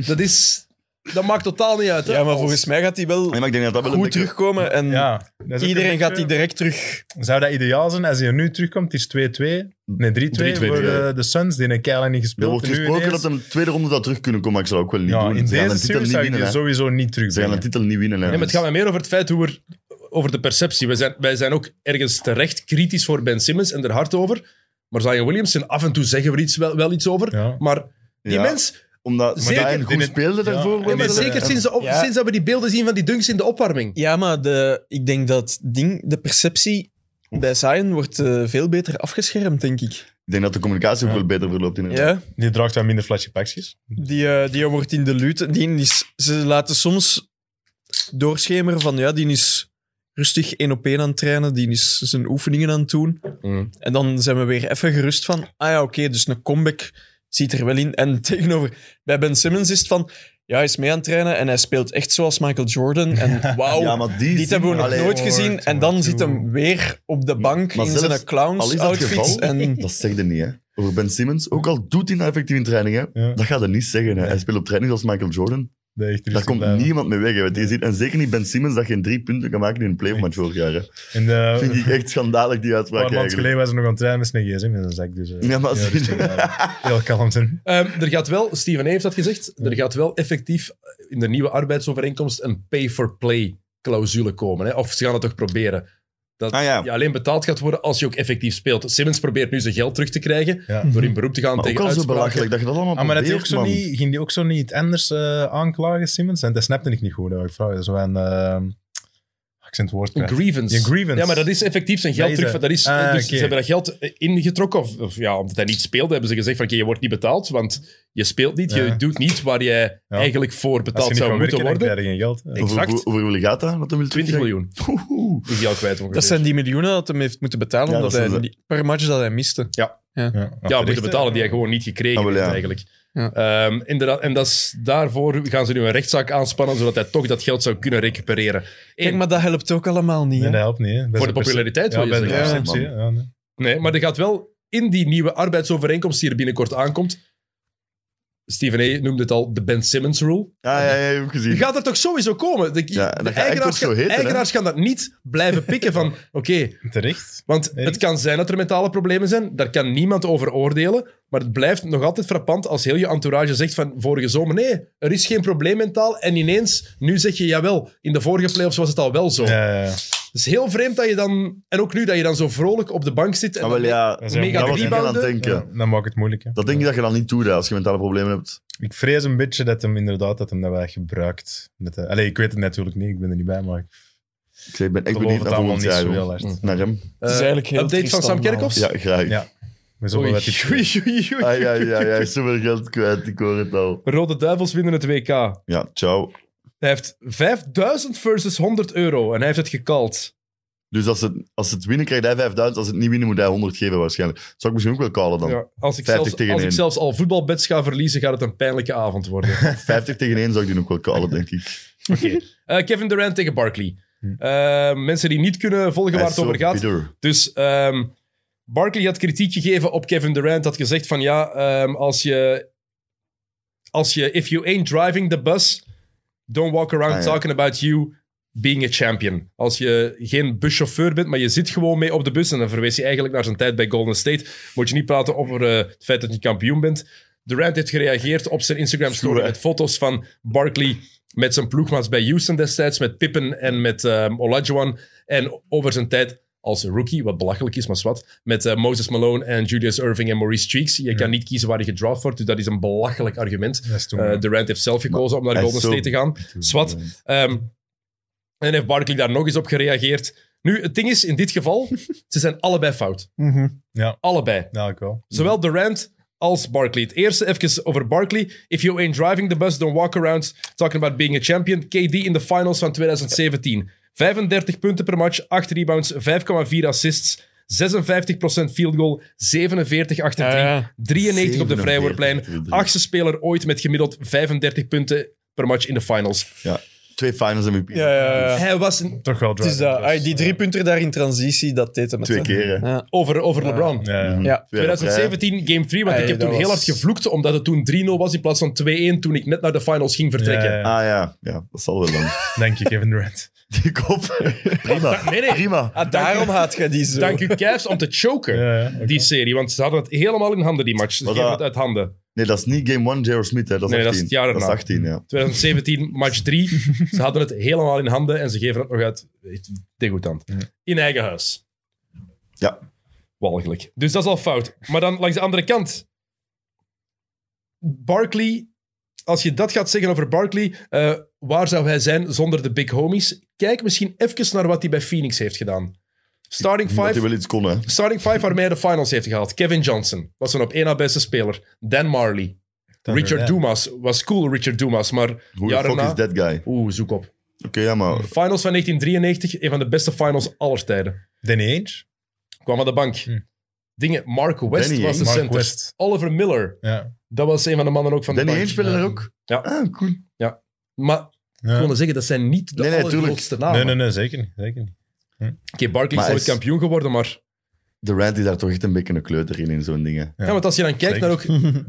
S1: dat, is, dat maakt totaal niet uit. Hè?
S5: Ja, maar
S1: Als-
S5: volgens mij gaat hij wel
S3: Nee, maar ik denk dat dat wel een
S5: goed
S3: beetje...
S5: terugkomen. En
S4: Ja, dat is ook
S5: iedereen
S4: een beetje-
S5: gaat die direct terug.
S4: Zou dat ideaal zijn als hij nu terugkomt? Het is 2-2. Nee, 3-2
S3: 3-2,
S4: voor
S3: ja.
S4: eh, de Suns. Die een keil niet
S3: Er
S4: gespeeld.
S3: wordt
S4: En nu
S3: gesproken dat
S4: ineens-
S3: hem de tweede ronde dat terug kunnen komen, maar ik zou ook wel niet
S4: Ja,
S3: doen.
S4: in
S3: Ze gaan
S4: deze
S3: de titel
S4: serie
S3: niet
S4: zou ik
S3: winnen.
S4: die
S3: hè.
S4: sowieso niet
S3: Ze gaan de
S4: terugbrengen.
S3: titel niet winnen. hè.
S1: Nee, maar het
S3: Dus-
S1: gaat mij meer over het feit hoe we... Over de perceptie. Wij zijn, wij zijn ook ergens terecht kritisch voor Ben Simmons en er hard over. Maar Zion Williamson, af en toe zeggen we er iets, wel, wel iets over.
S4: Ja.
S1: Maar die
S3: Ja,
S1: mens...
S3: Omdat
S1: Zeker
S3: Zion
S4: in
S3: goed
S4: het-
S3: speelde daarvoor. eh,
S4: Ja,
S3: wel,
S1: Ja, maar
S3: dat-
S1: zeker sinds, de op-
S5: Ja.
S1: sinds dat we die beelden zien van die dunks in de opwarming.
S5: Ja, maar de, ik denk dat ding, de perceptie bij Zion wordt eh, veel beter afgeschermd, denk ik.
S3: Ik denk dat de communicatie ook
S4: Ja.
S3: wel beter verloopt in het
S5: Ja,
S4: Die draagt wel minder flashy pakjes.
S5: die, eh, die wordt in de lute. Die is, ze laten soms doorschemeren van, ja, die is rustig één op één aan het trainen, die is zijn oefeningen aan het doen. En dan zijn we weer even gerust van, ah ja, oké, dus een comeback ziet er wel in. En (laughs) tegenover, bij Ben Simmons is het van, ja, hij is mee aan het trainen en hij speelt echt zoals Michael Jordan. (laughs) En wauw,
S3: Ja, maar die
S5: Dit hebben we nog
S3: Allee,
S5: nooit gezien.
S4: hoort,
S5: En dan
S4: hoort,
S5: zit hem
S4: hoort.
S5: weer op de bank
S3: maar
S5: in
S3: zelfs
S5: zijn
S3: Al is dat het
S5: clowns-outfit.
S3: geval, (laughs)
S5: En
S3: dat zegt hij niet. Hè. Over Ben Simmons, ook al doet hij dat effectief in training, hè,
S4: Ja.
S3: dat gaat hij niet zeggen. Hè.
S4: Nee.
S3: Hij speelt op training als Michael Jordan.
S4: Dat echt
S3: Daar
S4: rustig
S3: komt
S4: blijven.
S3: niemand mee weg. Hè, want je ziet, en zeker niet Ben Simmons, dat geen drie punten kan maken in een playoff-match vorig jaar. Hè.
S4: En eh,
S3: Vind ik echt schandalig, die
S4: een paar
S3: uitspraak
S4: maanden
S3: eigenlijk.
S4: geleden was er nog aan het trainen met zijn gsm in zijn zak. Dus, eh,
S3: Ja, maar zie je.
S4: rustig blijven.
S3: (laughs)
S4: Heel kalm zijn.
S1: Ehm, er gaat wel, Steven A. heeft dat gezegd, er gaat wel effectief in de nieuwe arbeidsovereenkomst een pay-for-play clausule komen. Hè? Of ze gaan het toch proberen. Dat
S3: Ah ja.
S1: je alleen betaald gaat worden als je ook effectief speelt. Simmons probeert nu zijn geld terug te krijgen
S4: Ja.
S1: door in beroep te gaan
S3: Maar ook
S1: tegen
S3: al zo
S1: uitspraken.
S3: belachelijk dat je dat allemaal
S4: Ah, maar dat hij ook
S3: probeert,
S4: zo
S3: man.
S4: niet, ging die ook zo niet anders eh, aanklagen, Simmons? En dat snapte ik niet goed. hè, Ik vraag zo aan... ik zijn het woord
S1: Een
S4: kwijt.
S1: grievance.
S4: Ja, grievance.
S1: Ja, maar dat is effectief zijn geld
S4: Deze.
S1: terug. Dat is, eh, dus
S4: Ah, oké.
S1: Ze hebben dat geld eh, ingetrokken. Of, of ja, omdat hij niet speelde, hebben ze gezegd van oké, je wordt niet betaald, want je speelt niet, je
S4: Ja.
S1: doet niet waar jij
S4: Ja.
S1: eigenlijk voor
S4: Als je
S1: betaald
S4: niet
S1: zou
S4: kan
S1: moeten
S4: werken, dan
S1: worden.
S4: krijg je geen geld. hè.
S1: Ik-
S3: Hoeveel-
S1: Exact.
S3: Hoeveel hoeveel gaat dat? Wat hem wil
S1: 20
S3: terugkrijgen?
S1: miljoen
S3: Oeh.
S1: is die al kwijt ongeveer.
S5: dat zijn die miljoenen dat hem heeft moeten betalen
S3: Ja,
S5: omdat
S3: dat
S5: hij,
S3: is een-
S5: niet- per match dat hij miste.
S4: Ja,
S1: Ja,
S4: terecht,
S1: moeten
S4: hè.
S1: betalen die hij gewoon niet gekregen
S3: Ah, wel,
S1: heeft
S3: ja.
S1: eigenlijk.
S5: Ja.
S1: Ehm, inderdaad, en dat is, daarvoor gaan ze nu een rechtszaak aanspannen, zodat hij toch dat geld zou kunnen recupereren.
S5: Kijk,
S1: Eén,
S5: maar dat helpt ook allemaal niet.
S4: Nee,
S5: hè.
S4: dat helpt niet. hè. Dat is
S1: voor de
S4: een perce-
S1: populariteit wil
S4: Ja,
S1: je
S4: bij de
S1: zeggen.
S3: ja,
S4: perceptie,
S3: man.
S4: hè. Ja, nee.
S1: Nee, maar er gaat wel in die nieuwe arbeidsovereenkomst die er binnenkort aankomt. Steven A. noemde het al de Ben Simmons rule.
S3: Ah, ja, ja, ja, heb ik gezien.
S1: Die gaat er toch sowieso komen? De,
S3: Ja,
S1: de
S3: dat gaat echt
S1: eigenaars,
S3: ook zo
S1: gaan-
S3: heten, hè?
S1: eigenaars gaan dat niet blijven pikken
S3: (laughs)
S1: van... Oké,
S4: Terecht.
S1: Want
S4: Nee.
S1: het kan zijn dat er mentale problemen zijn, daar kan niemand over oordelen. Maar het blijft nog altijd frappant als heel je entourage zegt van vorige zomer: nee, er is geen probleem mentaal. En ineens, nu zeg je jawel, in de vorige playoffs was het al wel zo.
S4: Ja, ja, ja.
S1: Het is heel vreemd dat je dan, en ook nu, dat je dan zo vrolijk op de bank zit. En
S3: Ah, wel, ja.
S4: Dat
S3: Dat
S4: is een mega
S3: was ik aan het
S1: rebounder.
S3: denken.
S4: Ja, Dan maakt het moeilijk. hè.
S3: Dat denk ik dat je dan niet doet hè, als je mentale problemen hebt.
S4: Ik vrees een beetje dat hem inderdaad dat hem dat wel gebruikt. Dat hij- allee, ik weet het natuurlijk niet, ik ben er niet bij, maar ik
S3: Ik, zeg, ik ben echt
S4: geloof
S3: benieuwd
S4: het
S3: naar
S4: allemaal
S3: volgend
S4: niet
S3: jaar.
S4: zo heel
S3: hoor.
S4: hard.
S3: Naar hem.
S1: eh,
S5: Het is eigenlijk heel
S1: update
S5: triest eh,
S1: van Sam
S5: allemaal.
S1: Kerkhoffs?
S3: Ja, graag.
S4: Ja. We zullen
S1: Oei,
S4: wel dat
S1: oei,
S4: hij-
S1: oei, oei.
S3: Ah, ja, ja, ja. Zoveel geld kwijt, ik hoor het al.
S1: Rode Duivels winnen het WK.
S3: Ja, ciao.
S1: Hij heeft 5000 versus 100 euro en hij heeft het gekald.
S3: Dus als het, als het winnen krijgt hij 5000, als het niet winnen moet hij 100 geven waarschijnlijk. Dat zou ik misschien ook wel callen dan.
S1: Ja, als ik,
S3: 50
S1: zelfs,
S3: tegen
S1: als ik
S3: één.
S1: zelfs al voetbalbeds ga verliezen, gaat het een pijnlijke avond worden.
S3: 50 tegen 1 zou ik die ook wel callen, denk ik.
S1: Oké. Eh, Kevin Durant tegen Barkley. Eh, mensen die niet kunnen volgen
S3: Hm. Hij
S1: waar
S3: is
S1: het
S3: zo
S1: over gaat.
S3: bitter.
S1: Dus ehm Barkley had kritiek gegeven op Kevin Durant. Had gezegd van ja, ehm, als je... Als je... If you ain't driving the bus, don't walk around
S3: Ah, ja.
S1: talking about you being a champion. Als je geen buschauffeur bent, maar je zit gewoon mee op de bus, en dan verwees hij eigenlijk naar zijn tijd bij Golden State, moet je niet praten over eh, het feit dat je kampioen bent. Durant heeft gereageerd op zijn Instagram-story
S3: Stoer, hè?
S1: met foto's van Barkley met zijn ploegmaats bij Houston destijds, met Pippen en met ehm Olajuwon, en over zijn tijd als rookie, wat belachelijk is, maar zwart, met eh, Moses Malone en Julius Irving en Maurice Cheeks. Je kan niet kiezen waar je gedraft wordt, dus dat is een belachelijk argument.
S4: Dat is toen
S1: Eh,
S4: wel.
S1: Durant heeft zelf gekozen om naar
S3: hij is
S1: Golden
S3: zo
S1: State te gaan. Zwat. Ehm, en heeft Barkley daar nog eens op gereageerd. Nu, het ding is, in dit geval, (laughs) ze zijn allebei fout.
S4: Ja.
S1: Allebei.
S4: Ja, Nou, ik wel.
S1: Zowel
S5: Mhm.
S1: Durant als Barkley. Het eerste even over Barkley. If you ain't driving the bus, don't walk around talking about being a champion. KD in de finals van 2017. 35 punten per match, 8 rebounds, 5,4 assists. 56% field goal, 47 achter
S5: Ja,
S1: drie,
S5: Ah, ja.
S1: 93 op de
S3: 47
S1: vrijwoordplein.
S3: achter drie.
S1: Achtste speler ooit met gemiddeld 35 punten per match in de finals.
S3: Ja. Twee finals MVP.
S5: Ja, ja, ja.
S1: Hij was een
S4: Toch wel
S5: Het is dat, ah, die drie punten daar in transitie, dat deed hem. het,
S3: Twee
S5: hè.
S3: keer, hè.
S5: Ja.
S1: over, over LeBron.
S4: Ja, ja.
S5: Ah, Ja.
S3: Twee op rij.
S1: 2017 Game 3, want
S5: Hey,
S1: ik heb
S5: dat
S1: toen heel hard
S5: was-
S1: gevloekt omdat het toen 3-0 was in plaats van 2-1 toen ik net naar de finals ging vertrekken.
S4: Ja, ja, ja.
S3: Ah ja. ja, dat zal wel dan.
S1: (laughs)
S4: Denk je, Kevin Durant.
S3: Die kop. Prima.
S1: Nee, nee.
S3: Prima.
S1: Ah,
S5: Daarom
S1: Daarom
S5: haat jij die zo.
S1: dank u Cavs om te choken,
S4: Ja, ja.
S1: die serie. Want ze hadden het helemaal in handen, die match. Ze
S3: Was
S1: geven
S3: dat-
S1: het uit handen.
S3: Nee, dat is niet game 1 J.R. Smith, hè. Dat is
S1: Nee,
S3: 18.
S1: dat is het jaar
S3: is
S1: erna.
S3: 18, ja.
S1: 2017, match 3. ze hadden het helemaal in handen en ze geven het nog uit. Degoutant. In eigen huis.
S3: Ja.
S1: Walgelijk. Dus dat is al fout. Maar dan langs de andere kant. Barkley, als je dat gaat zeggen over Barkley, eh, waar zou hij zijn zonder de big homies? Kijk misschien even naar wat hij bij Phoenix heeft gedaan. Starting
S3: Dat hij
S1: five,
S3: wel iets kon, hè.
S1: starting five waarmee hij de finals heeft gehaald. Kevin Johnson was een op één na beste speler. Dan Marley. Richard Dumas was cool, Richard Dumas, maar
S3: Hoe
S1: Ja,
S3: de fuck
S1: daarna-
S3: is that guy? Oké,
S1: oeh, zoek op.
S3: ja, maar...
S1: Finals van 1993, een van de beste finals aller tijden.
S4: Danny Ainge.
S1: Kwam aan de bank.
S4: Hm.
S1: Dingen, Mark West
S3: Danny
S1: was de
S4: Mark
S1: center.
S4: West.
S1: Oliver Miller,
S4: Ja.
S1: dat was een van de mannen ook van
S3: Danny
S1: de bank.
S3: Ainge spelen er ook?
S1: Ja.
S3: Ah, cool.
S1: Maar ik
S4: ja.
S1: wilde zeggen, dat zijn niet de
S3: Nee, nee, tuurlijk.
S1: allergrootste namen.
S4: Nee, nee, nee, zeker niet. Zeker niet.
S1: Oké, Barkley is
S3: Maar
S1: ooit
S3: is-
S1: kampioen geworden, maar...
S3: De Rand is daar toch echt een beetje een kleuter in, in zo'n dingen.
S1: Ja, want als je dan kijkt naar ook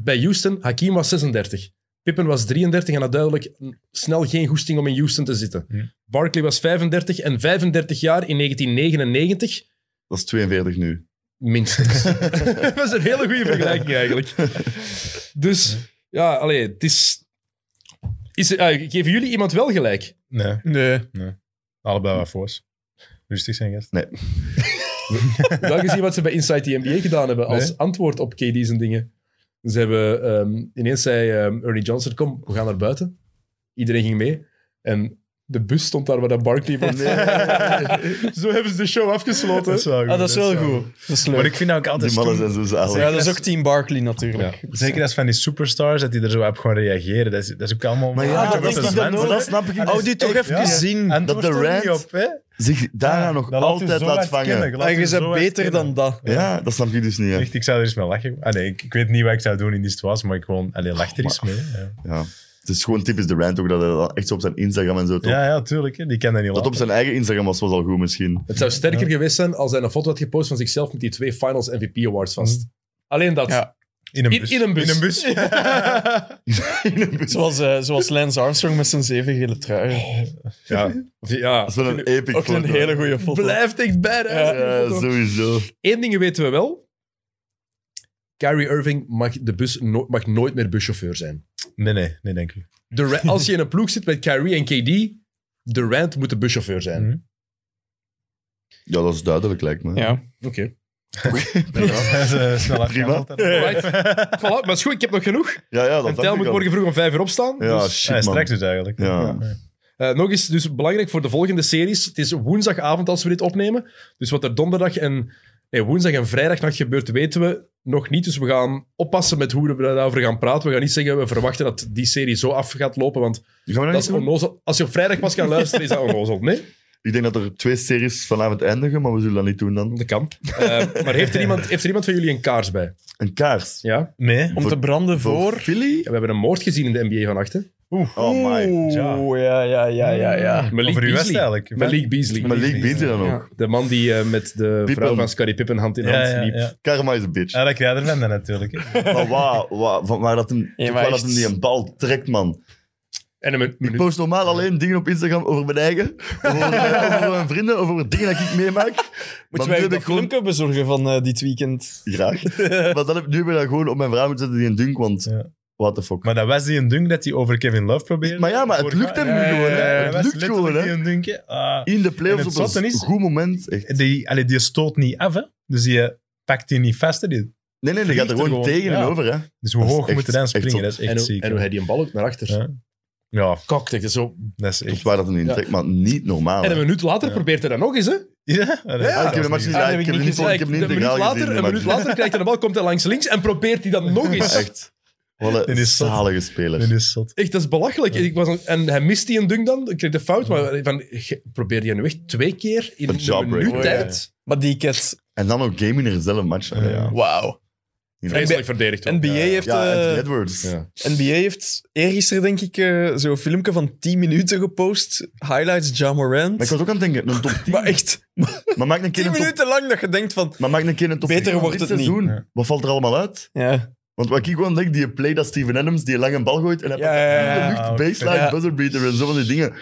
S1: bij Houston, Hakim was 36. Pippen was 33 en had duidelijk snel geen goesting om in Houston te zitten.
S4: Hm.
S1: Barkley was 35 en 35 jaar in 1999
S3: Dat is 42 nu.
S1: Minstens. (laughs) dat is een hele goede vergelijking eigenlijk. Dus ja, allee, het is. is eh, geven jullie iemand wel gelijk?
S4: Nee,
S5: Nee.
S4: allebei wat voor's. Rustig zijn, gast.
S1: Wel gezien wat ze bij Inside the NBA gedaan hebben als
S4: Nee.
S1: antwoord op KD's en dingen. Ze hebben ehm, ineens zei ehm, Ernie Johnson: Kom, we gaan naar buiten. Iedereen ging mee. En de bus stond daar waar dat Barkley was. (laughs) Zo hebben ze de show afgesloten.
S4: wel
S5: Ah, dat is wel goed. Dat is
S4: Maar
S5: leuk.
S4: ik vind ook altijd
S3: Die mannen
S4: stoer-
S3: zijn zo zalig.
S5: Ja, dat is ook Team Barkley natuurlijk.
S4: Zeker als van die superstars, dat die er zo op gewoon reageren. Dat is, dat is ook allemaal...
S3: Maar ja,
S5: Ah, dat
S3: dat,
S5: denk ik
S3: is
S5: dan
S3: maar
S5: ook.
S3: dat snap ik niet.
S5: Hou die toch even
S4: ja.
S5: zien.
S4: En
S3: dat de Rand-
S4: op, hè?
S3: Zich daarna nog
S2: Dat laat u
S4: dus
S3: altijd
S2: zo
S3: laat
S2: hard kennen,
S3: vangen.
S2: ik laat
S5: En
S2: u
S5: je
S2: zo
S5: bent
S2: hard
S5: beter dan
S2: kennen.
S5: dat.
S3: Ja, dat snap ik dus niet. hè.
S4: Echt, ik zou er eens mee lachen. Ah, nee, ik, ik weet niet wat ik zou doen in die situatie, maar ik gewoon... Allee, lach er eens mee. hè. Ja,
S3: Ja. Het is gewoon typisch de Rand ook, dat hij dat echt zo op zijn Instagram en zo... toont.
S4: ja, ja, tuurlijk. Hè. Die kan dat niet
S3: Dat op
S4: laten.
S3: zijn eigen Instagram was, was al goed
S1: (laughs)
S3: misschien.
S1: Het zou sterker geweest zijn als hij een foto had gepost van zichzelf met die twee Finals MVP Awards vast.
S3: Mhm.
S1: Alleen dat.
S5: Ja.
S4: In een
S1: In-
S4: bus.
S1: in een bus.
S4: In een bus.
S5: Zoals, eh, zoals Lance Armstrong met zijn zeven gele truien.
S1: Ja. ja.
S3: Dat is wel een epic
S5: Ook een
S3: foto.
S5: hele goede foto.
S1: Blijft echt bij.
S3: Ja, sowieso.
S1: Eén ding weten we wel. Kyrie Irving mag, de bus no- mag nooit meer buschauffeur zijn.
S4: Nee, nee, nee, denk ik.
S1: De Ra- als je in een ploeg zit met Kyrie en KD, Durant moet de buschauffeur zijn.
S4: Mhm.
S3: Ja, dat is duidelijk, lijkt me.
S5: Ja.
S1: Oké.
S4: Nee, (laughs) dat is, eh, snel
S3: Prima.
S4: afgehaald.
S1: Right. (laughs) Voilà, maar is goed, ik heb nog genoeg.
S3: Ja, ja, dat
S1: en
S3: dacht
S1: Tel
S3: ik
S1: moet
S3: al.
S1: morgen vroeg om vijf uur opstaan.
S3: Ja,
S1: Dus,
S3: shit,
S4: Ja,
S3: man.
S4: straks dus eigenlijk.
S3: Ja.
S1: eh, nog eens, dus belangrijk voor de volgende series. Het is woensdagavond als we dit opnemen. Dus wat er donderdag en... Nee, woensdag en vrijdagnacht gebeurt, weten we nog niet. Dus we gaan oppassen met hoe we daarover gaan praten. We gaan niet zeggen, we verwachten dat die serie zo af gaat lopen, want
S3: Gaan we dat
S1: Dat
S3: niet
S1: is
S3: doen?
S1: onnozel. Als je op vrijdag pas kan luisteren, is dat onnozel. Nee?
S3: Ik denk dat er twee series vanavond eindigen, maar we zullen dat niet doen dan.
S1: Dat kan. Eh, maar
S3: (laughs)
S1: heeft er, iemand, heeft er iemand van jullie een kaars bij?
S3: Een kaars.
S1: Ja.
S4: Nee.
S5: Om te branden voor...
S3: Philly?
S1: We hebben een moord gezien in de NBA vannacht. hè.
S3: Oh my.
S4: Ja.
S5: Oeh, Hmm. ja, ja, ja, ja, ja.
S1: Malik
S4: Over uw West
S1: Beasley.
S4: eigenlijk.
S1: Malik Beasley.
S3: Maar League beat je dan ook.
S1: De man die eh, met de vrouw
S3: Pippen.
S1: van Scottie Pippen hand in hand
S4: Ja, ja,
S1: liep.
S4: ja.
S3: Karma is een bitch.
S4: ja, dat krijg je ervan dan natuurlijk. hè.
S3: Maar waar, waar, van waar dat hem,
S5: Ja, maar
S3: waar dat
S5: echt.
S3: hem die een bal trekt, man.
S1: En een
S3: Ik
S1: minuut.
S3: post normaal alleen dingen op Instagram over mijn eigen, over, (laughs) mijn- over mijn vrienden, over dingen dat ik meemaak. Maar
S5: Moeten
S3: nu
S5: wij
S3: heb
S5: ook
S3: ik
S5: dat
S3: gewoon...
S5: filmpje bezorgen van eh, dit weekend?
S3: Graag. Maar dan heb, nu heb ik dat gewoon op mijn vrouw moeten zetten die een dunk, want...
S4: Ja.
S3: What the fuck.
S4: Maar dat was die een dunk dat hij over Kevin Love probeerde.
S3: Maar ja, maar het lukt hem nu gewoon, hè. Het
S4: dat was
S3: lukt
S4: letterlijk
S3: gewoon, hè.
S4: die een dunkje. Ah.
S3: In de playoffs
S4: En
S3: op
S4: het
S3: een
S4: zotte is-
S3: goed moment. Echt.
S4: die, allee, die stoot niet af, hè. Dus die eh, pakt die niet vast. hè. Die-
S3: Nee, nee, die gaat er
S4: Vliegt
S3: gewoon,
S4: er gewoon,
S3: tegen en
S4: ja.
S3: over, hè.
S4: Dus hoe
S3: Dat is
S4: hoog
S3: echt-
S4: moeten dan
S3: echt
S4: springen?
S3: top.
S4: Dat is
S1: En
S4: echt
S1: hoe,
S4: ziek.
S1: en hoe
S4: hè.
S1: hij die een bal ook naar achter
S4: Ja. Ja,
S1: kokt. echt, dat is zo.
S4: dat is
S3: Dat is
S4: echt...
S3: waar dat hem in trekt, maar niet normaal. hè.
S1: En een minuut later probeert hij dat nog eens. Hè?
S4: Ja, dat
S3: Ah,
S4: is-
S3: ik
S4: dat
S3: heb
S4: is
S3: de match niet
S4: niet-
S5: Ah, dat
S3: ik
S5: heb ik
S3: heb
S5: niet
S3: niet vol-
S5: gezien.
S3: ik heb niet
S1: een minuut
S3: integraal
S1: later,
S3: gezien.
S1: een
S3: maar-
S1: minuut later krijgt hij de bal, komt hij langs links en probeert hij dat nog eens. Echt,
S3: Echt. Wat
S4: Dit
S3: een
S4: is zot.
S3: zalige speler.
S4: Dat is zot.
S1: dat is belachelijk. Ik was een- en hij mist die een dunk dan, ik kreeg de fout, maar van, ge- probeer die nu echt twee keer in
S3: Een
S1: een
S3: jawbreaker.
S1: minuut tijd.
S5: Maar die cat,
S3: En dan ook game in dezelfde match. Allee, ja.
S5: wauw.
S1: Vreselijk verdedigd. hoor.
S5: NBA heeft...
S3: Ja,
S5: eh,
S3: Anthony Edwards.
S1: Ja.
S5: NBA heeft eergisteren, denk ik, eh, zo'n filmpje van 10 minuten gepost. Highlights, Ja Morant.
S3: Maar ik
S5: Maar,
S3: was ook aan het denken, een top 10. maar,
S5: echt, 10
S3: maak een keer een top,
S5: minuten lang dat je denkt van...
S3: maar maak een keer een top
S5: Beter
S3: 10 van
S5: wordt
S3: dit
S5: het niet.
S3: seizoen.
S4: Ja.
S3: Wat valt er allemaal uit?
S5: Ja,
S3: Want wat ik gewoon denk, die play dat Steven Adams die lange bal gooit en hij
S5: ja, ja, ja,
S3: pakt
S5: ja.
S3: in de lucht,
S4: oké.
S3: baseline,
S5: Ja.
S3: buzzer beater en zo van die dingen.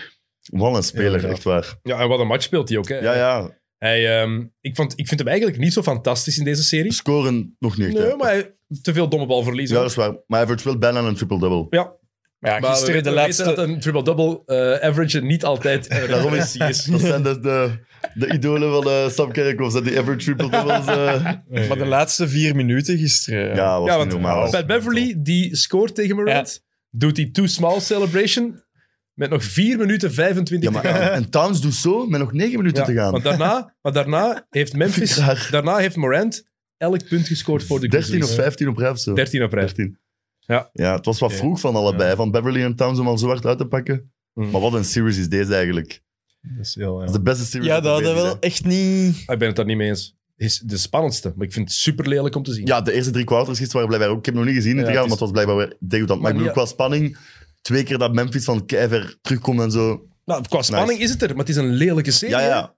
S3: Wat een speler,
S4: Ja,
S3: echt waar.
S1: Ja, en wat een match speelt hij ook. Hè.
S3: Ja, ja.
S1: Hij, ehm, ik, vond, ik vind hem eigenlijk niet zo fantastisch in deze serie.
S3: Scoren nog niet echt.
S1: Nee,
S3: hè.
S1: maar hij- te veel domme
S3: Ja,
S1: balverliezen.
S3: dat is waar. Maar hij heeft wel bijna een triple-double.
S1: Ja,
S5: maar ja,
S1: maar
S5: gisteren
S1: we,
S5: de
S1: we weten
S5: laatste...
S1: dat een triple-double eh, average niet altijd eh,
S3: (laughs) Daarom
S1: (laughs)
S3: is-
S1: precies is.
S3: Dat zijn dus de, de idolen van eh, Sam Kerkhoff, dat die ever triple-doubles... eh.
S5: Maar de laatste vier minuten gisteren...
S3: Ja, was
S1: Ja,
S3: niet
S1: want
S3: normaal.
S1: Pat Beverly, die scoort tegen Morant, doet die too small celebration met nog 4 minuten 25
S3: Ja, maar,
S1: te gaan.
S3: en Towns doet zo met nog negen minuten
S1: Ja,
S3: te gaan.
S1: Want daarna, want daarna
S3: (laughs)
S1: heeft Memphis,
S3: Vind ik raar.
S1: daarna heeft Morant elk punt gescoord voor de
S3: 13 of
S1: Grizzlies.
S3: 15 op rij of zo.
S1: 13 op rij.
S3: 13.
S1: Ja.
S3: ja, het was wat
S4: Ja.
S3: vroeg van allebei, van Beverly en Towns om al zo hard uit te pakken.
S1: Mm.
S3: Maar wat een series is deze eigenlijk.
S4: Dat is heel...
S3: Dat
S4: ja.
S3: is de beste series.
S5: Ja, dat
S3: ooit
S5: hadden wel
S3: geweest,
S5: echt niet...
S1: Ik ben het daar niet mee eens. Is de spannendste, maar ik vind het super lelijk om te zien.
S3: hè. Ja, de eerste drie quarters gisteren waren blijkbaar ook... Ik heb hem nog niet gezien in
S1: Ja,
S3: het
S1: het
S3: maar het was blijkbaar weer degoutant. Maar ik
S1: Maar
S3: bedoel, qua spanning, twee keer dat Memphis van keiver terugkomt en zo.
S1: Nou, qua spanning is het er, maar het is een lelijke serie.
S3: Ja,
S1: hè?
S3: ja.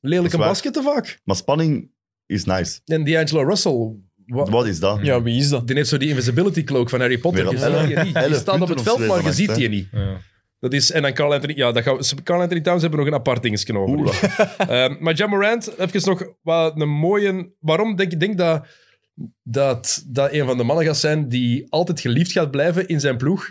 S1: Lelijke
S3: Dat is waar.
S1: basketten vaak.
S3: Maar spanning is nice.
S1: En D'Angelo Russell, wa-
S3: Wat is dat?
S5: Ja, wie is dat?
S1: die heeft zo die invisibility cloak van Harry Potter.
S3: Weer
S1: Je
S3: dat elf-
S1: ziet die niet. Die
S3: elf
S1: staat op
S3: punten
S1: het
S3: of
S1: veld,
S3: twee
S1: maar je
S3: gemaakt,
S1: ziet
S3: hè?
S1: die niet.
S4: Ja.
S1: Dat is, en dan Carl Anthony... Ja, dat gaan we, Carl Anthony Towns hebben we nog een apart dingetje over.
S3: Oeh.
S1: (laughs) Ehm, maar John Morant, even nog wat een mooie... Waarom denk ik denk dat, dat dat een van de mannen gaat zijn die altijd geliefd gaat blijven in zijn ploeg?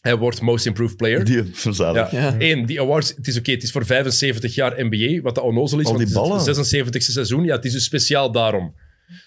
S1: Hij wordt Most Improved Player.
S3: Die (laughs) zalig.
S1: Ja.
S5: Ja.
S1: Eén, die awards, het is oké, het is voor 75 jaar NBA, wat dat onnozel is,
S3: Al die
S1: want het
S3: ballen.
S1: is het 76e seizoen. Ja, het is dus speciaal daarom.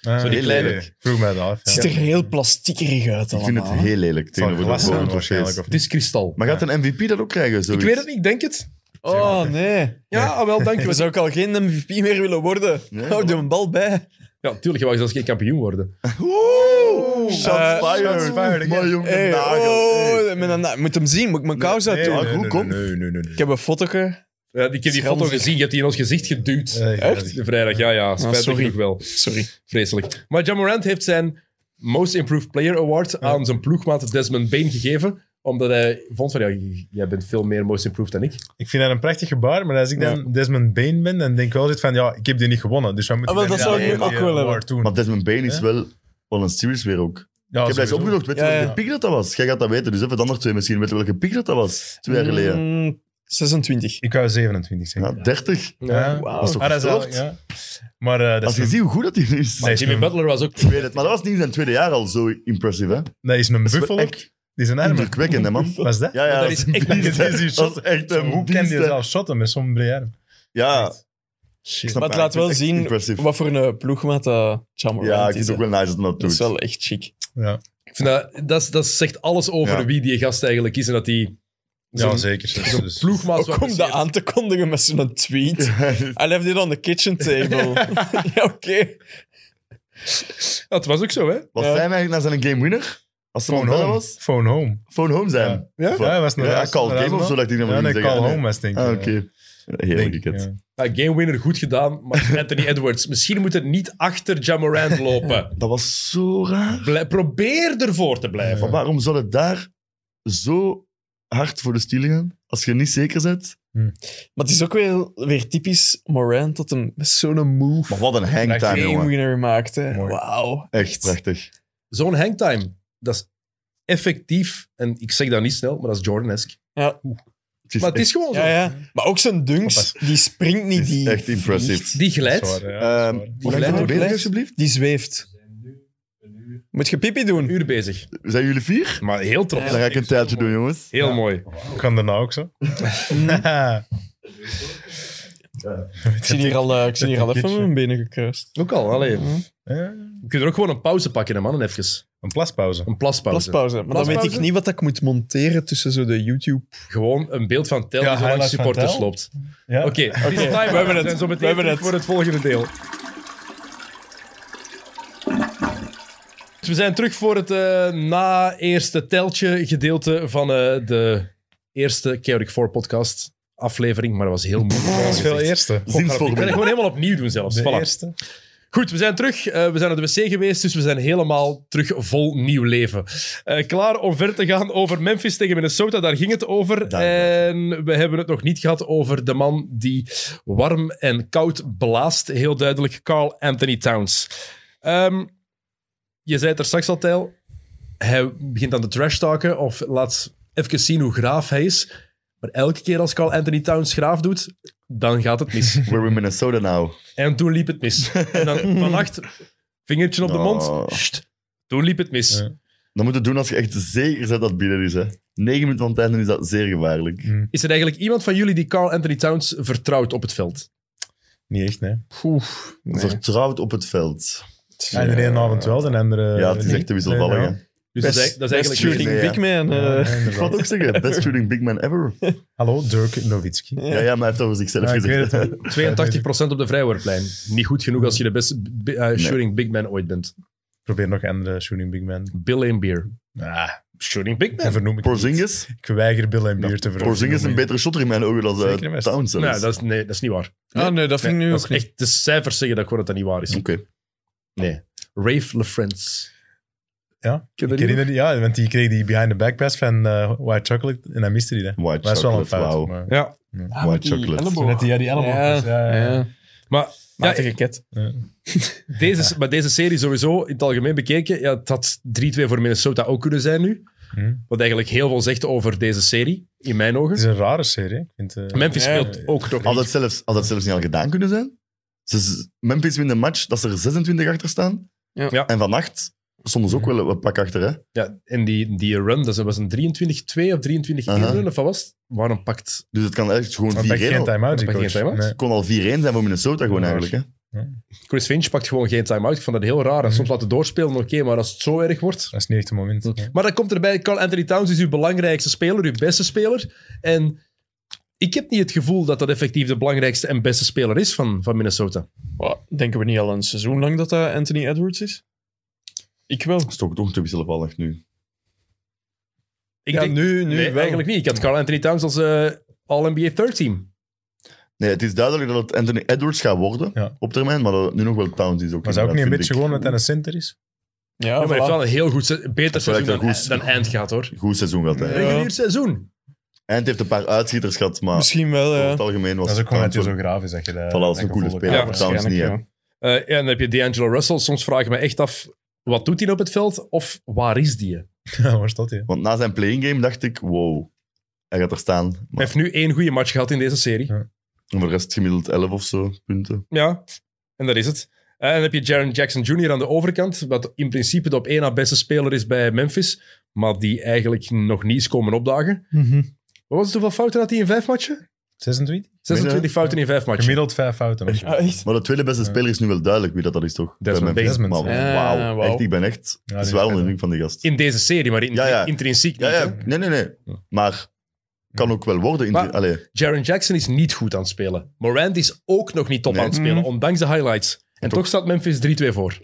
S4: Ah,
S1: Zo die
S4: oké.
S3: kleine.
S4: Vroeg mij dat af.
S5: Het
S4: ja.
S5: ziet er heel plastiekerig uit
S3: Ik vind het
S5: allemaal. hè?
S3: heel lelijk
S4: Van
S3: tegenover de
S4: glas
S3: gewone
S4: zijn
S3: trofees.
S4: waarschijnlijk. Of
S1: Het is kristal.
S3: Maar gaat een MVP dat ook krijgen?
S1: ik
S3: zoiets?
S1: weet het niet, ik denk het.
S5: Oh, nee.
S1: Ja, ah, wel, dank je
S5: We
S1: wel.
S5: zou ik al geen MVP meer willen worden. Oh,
S3: Nee,
S5: Hou
S3: voilà.
S5: de bal bij.
S1: Ja, tuurlijk, je wou zelfs geen kampioen worden.
S3: Oeh! Shots
S5: Eh,
S3: fired.
S4: shots fired again.
S3: Maar jongen,
S5: Hey,
S3: nagel.
S5: oh,
S3: Hey.
S5: met een na- moet hem zien, moet ik mijn kous uit doen.
S3: nee, hoe komt-
S4: Nee, nee, nee.
S5: Ik heb een fotoke.
S1: Ja, ik heb die
S5: Schandig. Eh, Ah,
S1: foto gezien, je hebt die in ons gezicht geduwd.
S4: Echt?
S1: De vrijdag, ja, ja. Spijtig
S5: sorry.
S1: genoeg wel.
S5: Sorry.
S1: Vreselijk. Maar John Morant heeft zijn Most Improved Player Award aan zijn ploegmaat Desmond Bain gegeven. Omdat hij vond van, ja, jij bent veel meer Most Improved dan ik.
S4: Ik vind dat een prachtig gebaar, maar als ik dan Desmond Bain ben, dan denk ik wel dit van, ja, ik heb die niet gewonnen, dus wat moet
S5: Ah, wel,
S4: dan
S5: dat zou
S4: met
S5: ik nu
S4: die
S5: ook wel hebben.
S4: award doen?
S3: Maar Desmond Bain is
S4: Ja.
S3: wel wel een series weer ook.
S4: Ja,
S3: ik heb dat eens
S4: sowieso.
S3: opgezocht. Weet je
S5: Ja,
S3: welke
S5: ja.
S3: piek dat, dat was? Jij gaat dat weten, dus even de andere twee misschien. Weet je welke piek dat, dat was? Twee jaar geleden.
S5: Mm, 26.
S4: Ik wou 27
S3: Ja,
S4: zeggen.
S3: 30.
S4: Ja.
S5: Wauw.
S3: Dat is toch
S4: Ah, dat is wel,
S3: gestoord?
S4: ja. Maar eh, dat,
S3: Als
S4: is
S3: je
S4: een,
S3: ziet hoe goed dat hij is.
S4: Nee.
S3: Maar,
S4: is
S1: Jimmy
S4: een-
S1: Butler was ook...
S3: ik weet het, maar dat was niet in zijn tweede jaar al zo impressief, hè?
S4: dat is een
S3: Dat is wel
S4: buffel. ook.
S3: echt
S4: Die is een arm.
S3: indrukwekkend, hè, man.
S4: Wat is dat?
S3: Ja, ja,
S1: dat
S3: dat
S1: is
S3: is een
S1: echt-
S3: beest,
S4: dat is
S3: hè.
S4: die
S3: Dat
S4: shot.
S3: is echt een
S4: Hoe kan
S3: beest,
S4: je
S3: hè.
S4: zelf shotten met zo'n brede arm?
S3: Ja,
S4: Shit.
S3: snap
S5: Maar het
S3: Ja,
S5: laat wel
S3: echt
S5: zien
S3: impressief.
S5: wat voor een ploegmaat dat Jamal
S3: ja, ik
S5: is.
S3: vind het ook
S5: hè.
S3: wel nice dat hij dat
S5: Dat is
S3: doet.
S5: wel echt chic.
S4: Ja,
S1: Ik vind dat, dat, dat zegt alles over
S3: Ja.
S1: wie die gast eigenlijk is en dat die...
S4: ja
S1: zo'n-
S4: zeker. Dus-
S1: zo'n
S4: dus-
S1: ploegmaat zo
S5: Ook om dat
S1: apprecieert.
S5: aan te kondigen met zo'n tweet.
S3: (laughs)
S5: I left it on the kitchen table. ja, oké.
S1: Ja, het was ook zo, hè?
S3: Was
S5: Ja.
S3: zijn eigenlijk naar zijn game winner? Als hij
S4: Phone
S3: nog bellen
S4: home.
S3: was?
S4: Phone home.
S3: Phone home zijn.
S4: Ja.
S3: Of wat?
S4: Ja, was een
S3: ja,
S4: raas-
S3: call
S4: een
S3: game
S4: raas-
S3: of zo, dat ik die nog
S4: Ja,
S3: niet
S4: nee,
S3: zeggen.
S4: call
S3: Nee.
S4: home was denk ik.
S3: Ah, oké.
S4: ja.
S3: Heerlijk
S4: Denk ik,
S3: gekend.
S4: ja.
S1: Ja, game winner goed gedaan, (laughs) maar Anthony Edwards. Misschien moet het niet achter Jamorant lopen.
S3: Dat was zo raar.
S1: Blij- probeer ervoor te blijven.
S3: Maar waarom zou het daar zo hard voor de stil gaan? Als je niet zeker bent.
S5: Maar het is ook weer, weer typisch Morant dat hem met zo'n move
S3: Maar wat een hangtime,
S5: game
S3: jongen.
S5: winner maakt. hè.
S4: Mooi.
S5: Wauw.
S3: Echt prachtig.
S1: Zo'n hangtime, dat is effectief. En ik zeg dat niet snel, maar dat is Jordan-esque.
S3: Het is
S1: Maar het
S3: echt-
S1: is gewoon Oh, zo.
S5: Ja, ja. Maar ook zijn dunks, die springt niet.
S3: Het is
S5: Die
S3: echt impressive.
S5: vliegt.
S1: Die
S4: Dat
S1: glijdt.
S4: is waar, ja, dat
S3: Ehm,
S4: is waar.
S3: hoe lang zijn
S5: blijft-
S3: we bezig,
S5: blijft-
S3: alsjeblieft?
S5: Die zweeft. Moet je pipi
S1: Een
S5: doen?
S1: uur bezig.
S3: Zijn jullie vier?
S1: Maar heel trots.
S3: Dan ga ik een tijdje doen, jongens.
S1: Heel mooi.
S4: Ik kan daarna ook zo. ja.
S5: Ik zie hier al, eh, ik zie hier al even mijn benen gekruist.
S1: Ook al, allee.
S4: Ja,
S1: We kunnen er ook gewoon een pauze pakken, hè, mannen, even.
S4: Een plaspauze.
S1: Een plaspauze.
S5: Plaspauze. Maar dan weet
S1: Plaspauze?
S5: ik niet wat ik moet monteren tussen zo de YouTube.
S1: Gewoon een beeld van Tel
S4: Ja,
S1: die zo langs
S4: highlight van
S1: supporters
S4: Tel.
S1: loopt.
S2: Ja.
S1: Oké, het is time-out.
S5: We hebben het.
S1: We zijn zo meteen
S5: We hebben
S1: terug
S5: het.
S1: voor het volgende deel. Dus we zijn terug voor het eh, na-eerste teltje gedeelte van eh, de eerste Chaotic 4 podcast aflevering, maar dat was heel moeilijk.
S4: Dat is veel eerste.
S1: Ik kan het
S3: Zinsvorming.
S1: gewoon helemaal opnieuw doen zelfs.
S4: De
S1: Voilà.
S4: eerste.
S1: Goed, we zijn terug. Eh, we zijn naar de wc geweest, dus we zijn helemaal terug vol nieuw leven. Eh, klaar om verder te gaan over Memphis tegen Minnesota. Daar ging het over.
S3: Daar.
S1: en we hebben het nog niet gehad over de man die warm en koud blaast. Heel duidelijk, Carl Anthony Towns. Ehm, je zei het er straks al, Tijl. Hij begint aan de trash talken of laat even zien hoe graaf hij is. Maar elke keer als Carl Anthony Towns graaf doet, dan gaat het mis.
S3: We're in Minnesota now.
S1: En toen liep het mis. En dan vannacht, vingertje op de
S3: Oh.
S1: mond. sst, toen liep het mis.
S4: Ja.
S3: Dat moet je doen als je echt zeker bent dat het binnen is. Hè. Negen minuten van het einde is dat zeer gevaarlijk.
S1: Is er eigenlijk iemand van jullie die Carl Anthony Towns vertrouwt op het veld?
S4: Niet echt, nee.
S5: Oef.
S3: Vertrouwd op het veld.
S4: Ja, de ene avond wel, de andere
S3: ja, het is
S4: niet.
S3: echt te wisselvallig.
S4: Eh, Nee,
S3: hè.
S4: ja.
S1: Dus
S5: Best-
S1: dat is, dat is
S5: best
S1: eigenlijk...
S5: shooting
S3: Nee, ja.
S5: big man.
S4: Ja,
S5: eh.
S4: inderdaad.
S3: Ik wou het ook zeggen, best shooting big man ever.
S4: Hallo, Dirk Nowitzki.
S3: Ja, ja maar hij heeft over zichzelf
S4: Ja, ik
S3: gezegd.
S4: weet het
S1: 82% op de vrijwoordplein. Niet goed genoeg als je de beste b- eh, shooting big man ooit bent.
S4: Probeer nog andere shooting big man.
S1: Bill en Beer.
S4: Ah,
S1: Shooting big
S4: dat
S1: man?
S4: vernoem ik niet.
S3: (laughs)
S4: (laughs)
S3: Porzingis?
S4: Ik weiger Bill en Beer te vernoemen.
S3: Porzingis is een betere shotter in mijn ogen dan eh,
S4: Zeker best. Nou,
S3: Towns. zelfs.
S1: Nee Nou, dat, is, nee, dat is niet waar.
S5: Ah, nee, dat vind ik nu
S1: Dat
S5: ook
S1: is
S5: niet.
S1: echt, de cijfers zeggen dat gewoon dat dat niet waar is.
S3: Oké.
S1: Rave LaFrance.
S4: Ja,
S1: Ken je dat
S4: ik
S1: niet
S4: herinner die- ja, want die kreeg die behind the back pass van eh, White Chocolate en hij miste die. Hè. Maar
S3: White
S4: dat is wel een
S3: chocolate,
S4: fout.
S3: wauw.
S4: maar-
S1: nog? Ja.
S5: Ah,
S3: White
S5: met die
S3: chocolate.
S5: elleboog.
S4: Net die- ja, die elleboog.
S5: Ja,
S4: Dus, ja, ja, ja.
S5: ja.
S1: Maar
S5: Matige ket.
S1: (laughs) Deze, Maar deze serie sowieso, in het algemeen bekeken, ja, het had 3-2 voor Minnesota ook kunnen zijn nu.
S4: Hm.
S5: Hmm.
S1: Wat eigenlijk heel veel zegt over deze serie, in mijn
S4: Het
S1: ogen.
S4: is een rare serie. Ik vind, eh,
S1: Memphis
S5: Ja.
S1: speelt ook nog
S3: Had
S1: niet.
S3: dat, zelfs, had dat zelfs niet al gedaan kunnen zijn? Ze z- Memphis wint een match dat ze er 26 achter staan.
S5: Ja.
S1: Ja.
S3: En vannacht stonden ze ook wel een pak achter. Hè?
S1: Ja, en die, die run, dat was een 23-2 of 23-1
S3: Aha.
S1: run, of wat was het? Waarom pakt...
S3: Dus het kan echt gewoon 4-1.
S4: maar bij geen
S3: al-
S4: time-out, die
S1: Bij geen
S4: coach.
S1: time-out?
S4: Nee.
S3: Het kon al 4-1 zijn voor Minnesota gewoon
S4: Ja.
S3: eigenlijk. Hè?
S1: Chris Finch pakt gewoon geen time-out. Ik vond dat heel raar. En
S5: Hmm.
S4: Mhm.
S1: soms laten doorspelen, oké, maar als het zo erg wordt...
S4: Dat is niet echt het moment. Ja.
S1: Maar dan komt erbij, Carl Anthony Towns is uw belangrijkste speler, uw beste speler. En ik heb niet het gevoel dat dat effectief de belangrijkste en beste speler is van, van Minnesota.
S5: Wow, Denken we niet al een seizoen lang dat dat Anthony Edwards is? Ik wel.
S3: Dat is toch, toch te wisselvallig nu.
S1: Ik
S5: ja,
S1: denk,
S5: nu, nu
S1: nee,
S5: wel.
S1: eigenlijk niet. Ik had Carl Anthony Towns als eh, All-NBA Third Team.
S3: Nee, het is duidelijk dat het Anthony Edwards gaat worden
S4: Ja.
S3: op termijn, maar dat het nu nog wel Towns is. Ook
S4: Maar zou ook niet een
S3: inderdaad, vind
S4: beetje gewoon dat hij een center is?
S5: Ja,
S1: Ja, maar hij
S5: voilà.
S1: heeft wel een heel goed, se- beter
S3: wel
S1: seizoen
S3: echt
S1: dan,
S3: een goed-
S1: dan Eind gehad, hoor.
S3: ik. Goed seizoen gehad.
S5: Ja.
S3: hij.
S1: Regulier seizoen.
S3: Eind heeft een paar uitschieters gehad, maar
S5: Misschien wel,
S3: over
S5: ja.
S3: het algemeen was
S4: eh, Dat is ook gewoon dat
S3: Towns
S4: hij zo
S3: wel-
S4: graaf is. Dat je dat,
S3: Voilà, dat is
S4: dat
S3: een coole
S4: gevoel
S3: speler.
S4: hebt.
S3: Ja, Towns
S5: waarschijnlijk
S3: niet, hè.
S5: wel.
S1: Eh, ja, en dan heb je D'Angelo Russell. Soms vraag ik me echt af, wat doet hij op het veld? Of waar is die? Hij
S4: Ja, waar staat hij?
S3: Want na zijn playing game dacht ik, wow, hij gaat er staan. Maar
S1: heeft nu één goede match gehad in deze serie.
S4: Ja.
S3: voor de rest gemiddeld 11 of zo punten.
S1: Ja, en dat is het. Eh, En dan heb je Jaron Jackson Jr. aan de overkant, wat in principe de op één na beste speler is bij Memphis, maar die eigenlijk nog niet is komen opdagen.
S3: Mhm.
S1: Wat was het, hoeveel fouten had hij in vijf matchen?
S4: 26?
S1: 26 fouten in vijf matchen.
S4: Gemiddeld vijf fouten. of zo.
S5: Ah, echt?
S3: Maar de tweede beste
S4: Ja.
S3: speler is nu wel duidelijk wie dat, dat is, toch? Bij
S1: Desmond
S3: Memphis.
S4: Desmond.
S3: Maar
S5: Ja,
S3: wauw,
S5: wauw.
S3: echt, ik ben echt
S4: Ja, die is
S3: zwaar onder
S4: vet,
S3: de
S4: hè.
S3: indruk van die gast.
S1: In deze serie, maar in,
S3: Ja, ja.
S1: intrinsiek
S3: Ja,
S1: niet.
S3: ja,
S1: hè.
S3: nee, nee, nee. Maar kan ook wel worden. In
S1: Maar-
S3: allee,
S1: Jaron Jackson is niet goed aan het spelen. Morant is ook nog niet top
S3: Nee. Mhm.
S1: aan het spelen,
S5: Mm.
S1: ondanks de highlights. En toch staat Memphis 3-2 voor.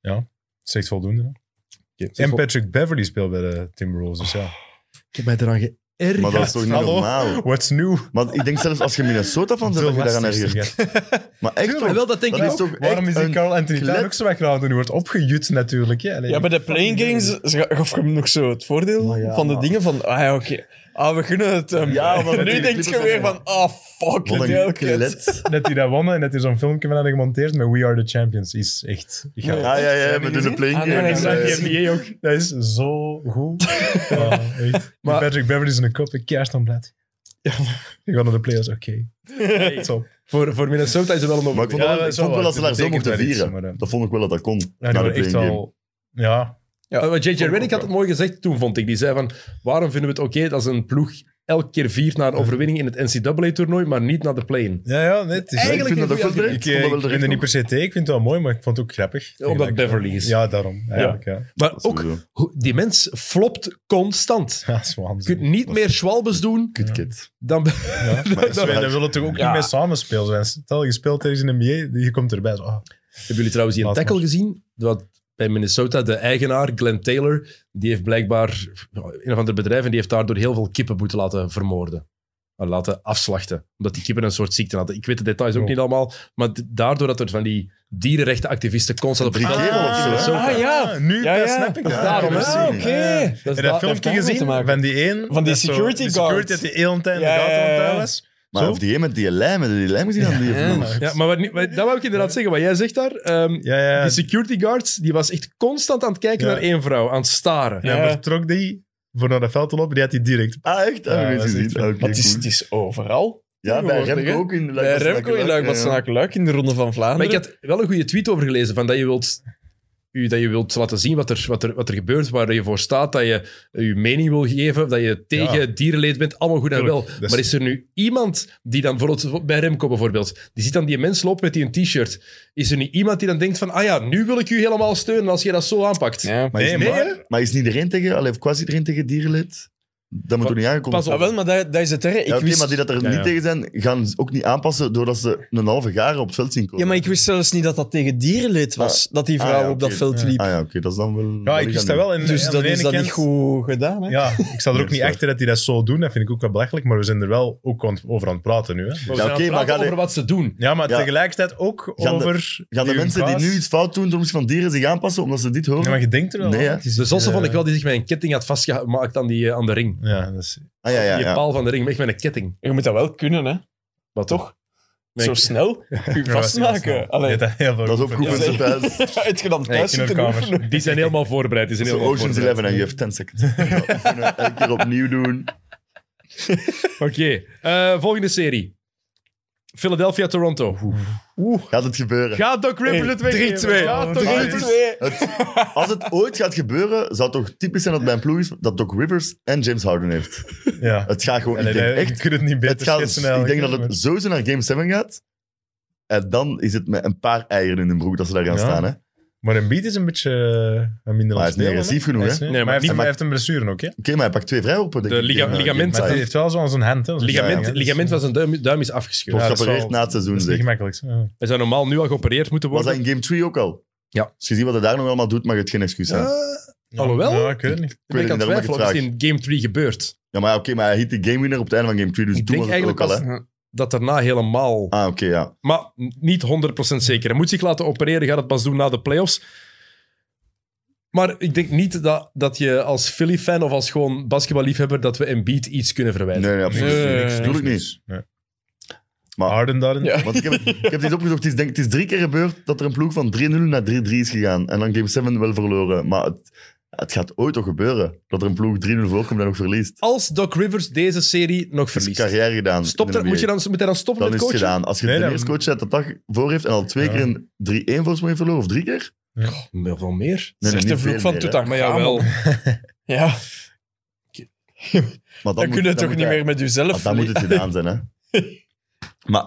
S4: Dat is echt voldoende. hè.
S1: Ik
S4: En Patrick Beverly speelt bij de Timberwolves, dus ja.
S1: heb mij eraan ge...
S4: erg.
S3: Maar dat is toch niet
S4: Hallo?
S3: normaal?
S4: What's new?
S3: Want ik denk zelfs als je Minnesota van bent, dat je daaraan ergert. Maar echt
S1: En
S3: toch?
S1: wel, dat denk
S3: Dat
S1: ik
S3: is
S1: ook.
S3: toch
S4: Waarom
S3: echt
S4: is die
S3: een
S4: Carl Anthony
S3: klet-
S4: Town ook zo weggehaald? Die wordt opgejut natuurlijk. Hè? Allee,
S5: Ja, bij de playing games ze- gaf je hem nog zo het voordeel
S2: Maar ja,
S5: van de
S2: maar-
S5: dingen van, ah ja, oké, ah, we gunnen het hem.
S3: Ja, maar
S5: nu
S3: die
S5: denk je
S3: Clippers
S5: weer
S3: zijn-
S5: van, ah, fuck,
S3: Wat
S5: het
S3: een
S5: heel kut.
S3: klet.
S4: Net die dat wonnen en net die zo'n filmpje van hadden gemonteerd met We Are The Champions. Is echt... Ik ga-
S5: Nee.
S3: Ah ja, ja, we
S4: Heb je
S3: doen de
S4: gezien?
S3: playing
S5: Ah, nee, nee,
S3: games.
S5: nee,
S3: eh,
S5: nee,
S4: ook. Dat is zo goed.
S3: (laughs)
S4: Ja, echt.
S5: Maar-
S4: Patrick Beverly is een kop, een kerst aan blad. Ja, we gaan naar de players, oké. (laughs) Top.
S1: Voor, voor Minnesota is er wel een
S3: Maar ik
S1: overwinning.
S3: vond, wel,
S4: Ja,
S3: ik
S4: zo
S3: vond wel
S4: wel.
S3: dat ze daar
S4: Het
S3: zo
S4: betekent
S3: mochten
S4: wel iets,
S3: vieren.
S4: maar, eh,
S3: dat vond ik wel dat dat kon.
S4: Ja,
S3: na
S4: die
S3: de
S4: waren echt
S3: playing game.
S4: al... Ja.
S1: Ja, Eh, want JJ Redick had het mooi gezegd toen, vond ik. Die zei van, waarom vinden we het oké dat ze een ploeg elke keer viert naar een overwinning in het NCAA-toernooi, maar niet naar de play-in?
S4: Ja, ja, nee, het is...
S3: Ja, ik
S1: Eigenlijk
S3: vind
S1: een
S3: dat ook wel
S1: goeie
S3: direct.
S4: Ik,
S3: Ik vond dat
S4: eh,
S3: wel
S4: ik
S3: direct
S4: ben er niet
S3: ook.
S4: per se tegen, ik vind het wel mooi, maar ik vond het ook grappig.
S1: Omdat
S4: Tegen dat-
S1: Beverly is.
S4: Ja, daarom. Eigenlijk, ja. (laughs)
S1: Maar
S3: Dat is
S1: ook,
S3: sowieso.
S1: hoe- die mens flopt constant.
S4: Ja, dat is waanzinnig.
S3: (laughs)
S1: Je kunt niet
S3: Dat
S1: meer Schwalbes doen
S3: Kutkit.
S1: dan...
S4: Ja.
S3: Maar is
S4: Wij
S3: wel-
S4: daar willen toch ook
S1: Ja.
S4: niet mee samenspelen zijn. Stel, je speelt tegen een NBA, je komt erbij. Zo, ah,
S1: Hebben jullie trouwens die een
S4: Laat
S1: tackle
S4: maar.
S1: gezien? Dat bij Minnesota, de eigenaar, Glenn Taylor, die heeft blijkbaar een of ander bedrijf en die heeft daardoor heel veel kippen moeten laten vermoorden. Maar Laten afslachten. Omdat die kippen een soort ziekte hadden. Ik weet de details ook
S4: Oh.
S1: niet allemaal. Maar d- daardoor dat er van die dierenrechtenactivisten constant op
S3: Drie
S1: Ah,
S3: keer al of zo, hè?
S1: Minnesota.
S5: Ah, ja.
S4: nu
S5: Ja,
S4: pas
S5: ja.
S4: snap ik
S3: Dat
S4: het.
S3: is
S1: daarom,
S4: Ja,
S3: hè?
S4: precies.
S5: Ah, oké.
S1: Ja. Dat
S4: En
S1: daar-
S4: dat
S5: heeft
S4: filmpje
S5: daarmee te
S4: gezien
S5: maken.
S4: van die één.
S5: Van die
S4: dat zo-
S5: security
S4: die security
S5: guard.
S4: dat die heel de tijd in de
S5: Ja,
S4: gaten
S5: ja,
S4: aan het
S5: ja.
S4: houden was.
S3: Maar
S4: Zo?
S3: of die een met die lijm, met die lijm gezien aan die
S5: Ja.
S3: of niet?
S1: Ja, maar, wat niet- maar dat wou ik inderdaad zeggen. Wat jij zegt daar, ehm,
S4: Ja, ja.
S1: die security guards, die was echt constant aan het kijken
S4: Ja.
S1: naar één vrouw, aan het staren.
S4: ja, maar trok die voor naar dat veld te lopen, die had die direct.
S3: Ah, echt?
S4: Ja,
S3: Ah,
S4: dat
S3: dat
S4: is
S3: gezien.
S4: echt-
S3: Ah, oké,
S5: Maar het is,
S3: cool.
S5: het is overal.
S3: Ja, bij
S5: tegenwoordig,
S3: Remco
S5: hè?
S3: ook in
S5: Bij Remco in Luik
S3: ja.
S5: wat luik in de Ronde van
S1: Maar
S5: Vlaanderen.
S1: ik had wel een goede tweet over gelezen, van dat je wilt, u, dat je wilt laten zien wat er, wat, er, wat er gebeurt, waar je voor staat, dat je je mening wil geven, dat je tegen
S4: Ja.
S1: dierenleed bent, allemaal goed en wel.
S4: Tuurlijk, dat is-
S1: Maar is er nu iemand die dan, bijvoorbeeld bij Remco bijvoorbeeld, die ziet dan die mens lopen met die een t-shirt, is er nu iemand die dan denkt van, ah ja, nu wil ik u helemaal steunen als je dat zo aanpakt?
S5: Ja.
S3: Maar is,
S4: Nee,
S3: niet-
S4: maar-
S3: maar, is niet iedereen tegen, allee, of quasi iedereen tegen dierenlid? Dat moet
S1: Pas-
S3: toch niet aangekomen
S1: pas op.
S5: Ah, wel, maar dat, dat is het, hè. Ik
S3: Ja, oké,
S5: wist...
S3: maar die dat er
S4: Ja,
S3: niet
S4: ja.
S3: tegen zijn, gaan ze ook niet aanpassen doordat ze een halve jaar op het veld zien komen.
S5: Ja, maar ik wist zelfs niet dat dat tegen dierenleed was, dat die
S3: Ah,
S5: vrouw
S3: ja,
S5: op dat
S3: oké.
S5: veld
S4: Ja.
S5: liep.
S3: Ah ja, oké, dat is dan wel...
S4: Ja, ik wist dat wel. En,
S5: Dus
S4: en aan
S5: dat
S4: de
S5: is
S4: ene
S5: dat
S4: kant-
S5: niet goed gedaan, hè?
S4: Ja, ik sta er
S3: Nee,
S4: ook niet
S3: dat is
S4: achter dat die dat zo doen. Dat vind ik ook wel belachelijk. Maar we zijn er wel ook aan het- over aan het praten nu. Hè.
S1: Maar we
S3: Ja,
S1: zijn
S3: oké,
S1: aan het
S3: maar
S1: praten
S3: ga de-
S1: over wat ze doen.
S4: Ja, maar
S3: Ja.
S4: tegelijkertijd ook
S3: Gaan de- (laughs)
S4: over...
S3: Gaan de
S4: hun
S3: mensen
S4: baas-
S3: die nu iets fout doen door misschien van dieren zich aanpassen omdat ze dit horen?
S4: Ja, maar je denkt er wel
S3: Nee,
S4: aan.
S3: hè?
S4: Het is
S1: De
S4: echt,
S1: zossen
S4: eh,
S1: Dus vond ik wel die zich met een ketting had vastgemaakt aan, die, eh, aan de ring.
S4: Ja, dat is...
S3: Ah ja, ja,
S1: die
S3: ja.
S1: paal van de ring, maar echt met een ketting.
S5: Je moet dat wel kunnen, hè?
S1: Wat
S5: Toch?
S1: Nee,
S5: Zo
S1: ik-
S4: (laughs)
S5: snel. U vastmaken.
S4: Ja,
S5: Allee.
S4: dat, heel veel
S3: Dat is ook
S4: geoefend.
S3: goed
S5: Ja,
S3: mensen
S5: nee.
S3: thuis. Dat
S5: (laughs) Het je dan
S1: Nee,
S5: thuis zitten
S4: kinderkamer.
S5: oefenen.
S1: Die
S3: (laughs)
S1: zijn helemaal voorbereid. Die zijn
S3: is zo
S1: helemaal
S3: Ocean's
S1: voorbereid.
S3: Eleven en je hebt 10 seconds. (laughs) Ja, oefenen, elke keer opnieuw doen.
S1: Oké, eh, volgende serie. Philadelphia-Toronto.
S3: Gaat het gebeuren?
S1: Gaat Doc Rivers
S5: Hey,
S1: het weggeven?
S5: 3-2.
S1: Gaat Doc
S4: Drie-
S1: Rivers-
S5: 3-2.
S3: Het- als het ooit gaat gebeuren, zou het toch typisch zijn dat bij een ploeg is dat Doc Rivers en James Harden heeft.
S4: Ja.
S3: Het gaat gewoon...
S4: Allee,
S3: ik denk
S4: nee,
S3: echt
S4: je kunt het niet beter
S3: Het gaat,
S4: schetsen
S3: ik denk
S4: eigenlijk,
S3: dat
S4: hè,
S3: het sowieso naar Game 7 gaat. En dan is het met een paar eieren in hun broek dat ze daar gaan
S4: Ja.
S3: staan. Hè? Oké,
S4: Maar een beat is een beetje eh, een
S3: Maar
S4: minder
S3: hij is niet
S4: speler,
S3: agressief
S4: hè?
S3: genoeg,
S4: Hij is
S3: hè?
S4: niet-
S1: Nee,
S4: maar hij
S1: maar
S4: heeft,
S1: niet-
S4: hij heeft een blessure ook, hè?
S3: maar hij pakt twee vrijworpen. denk
S1: De
S3: ik,
S1: liga-
S3: tegen, eh,
S1: ligamenten-
S4: Maar
S3: Game
S4: hij
S1: Ja.
S4: heeft wel zo'n hand, hè? Zo'n
S1: Ligament,
S4: ja, ja.
S1: ligament van zijn duim, duim is
S3: Wordt
S1: afgescheurd.
S4: Ja, dat is
S3: geopereerd
S4: wel-
S3: na het
S4: Dat
S3: seizoen,
S4: is niet
S3: zeg.
S4: gemakkelijk. hè.
S1: Hij zou normaal nu al geopereerd moeten
S3: Was
S1: worden.
S3: dat in Game 3 ook al?
S1: Ja.
S3: Dus je ziet wat hij daar nog allemaal doet, mag het geen excuus zijn.
S4: Ja.
S1: Alhoewel-
S4: Ja, ik weet het niet.
S1: Ik ben
S3: weet
S1: aan het
S3: het Dus niet, daarom heb ik
S1: twijfelen of het
S3: gevraagd.
S1: in Game 3 gebeurt.
S3: Ja, maar ja, oké, maar hij hit de gamewinner op het einde van Game 3, dus
S1: Ik
S3: toen
S1: denk
S3: was het ook
S1: eigenlijk
S3: al, hè?
S1: pas dat daarna helemaal...
S3: Ah, oké, ja.
S1: Maar niet 100% zeker. Hij moet zich laten opereren, gaat het pas doen na de playoffs. Maar ik denk niet dat, dat je als Philly-fan of als gewoon basketballiefhebber dat we Embiid iets kunnen
S3: Nee,
S1: verwijten.
S3: nee, absoluut
S5: Nee,
S3: niet.
S5: nee, nee.
S3: Tuurlijk niet.
S4: Nee.
S3: Maar-
S4: Harden daarin.
S5: Ja.
S3: Want ik heb, ik heb dit opgezocht. Het is, denk, ik, het is drie keer gebeurd dat er een ploeg van 3-0 naar 3-3 is gegaan. En dan Game 7 wel verloren. Maar het, het gaat ooit toch gebeuren dat er een ploeg 3-0 voorkomt en ook verliest.
S1: Als Doc Rivers deze serie nog
S3: Is
S1: verliest,
S3: carrière gedaan.
S1: Stopt
S3: in de
S1: er,
S3: NBA.
S1: moet, je dan, moet hij dan stoppen
S3: dan
S1: met
S3: is het
S1: coachen?
S3: gedaan. Als je
S4: Nee,
S3: de
S4: dan-
S3: eerste coach hebt dat dag voor heeft en al twee
S4: Ja.
S3: keer een 3-1 volgens mij verloren, of drie keer?
S1: Meer van meer.
S3: Nee,
S5: Zegt
S3: niet
S5: de vloek
S3: veel
S5: van
S3: meer, hè.
S5: Toetak.
S1: Maar jawel.
S5: (laughs) Ja, dan
S3: Maar moet-
S5: kun je toch
S3: moet
S5: niet
S3: hij-
S5: meer met
S3: Maar
S5: jezelf.
S3: dan moet het gedaan zijn,
S4: (laughs)
S3: hè. maar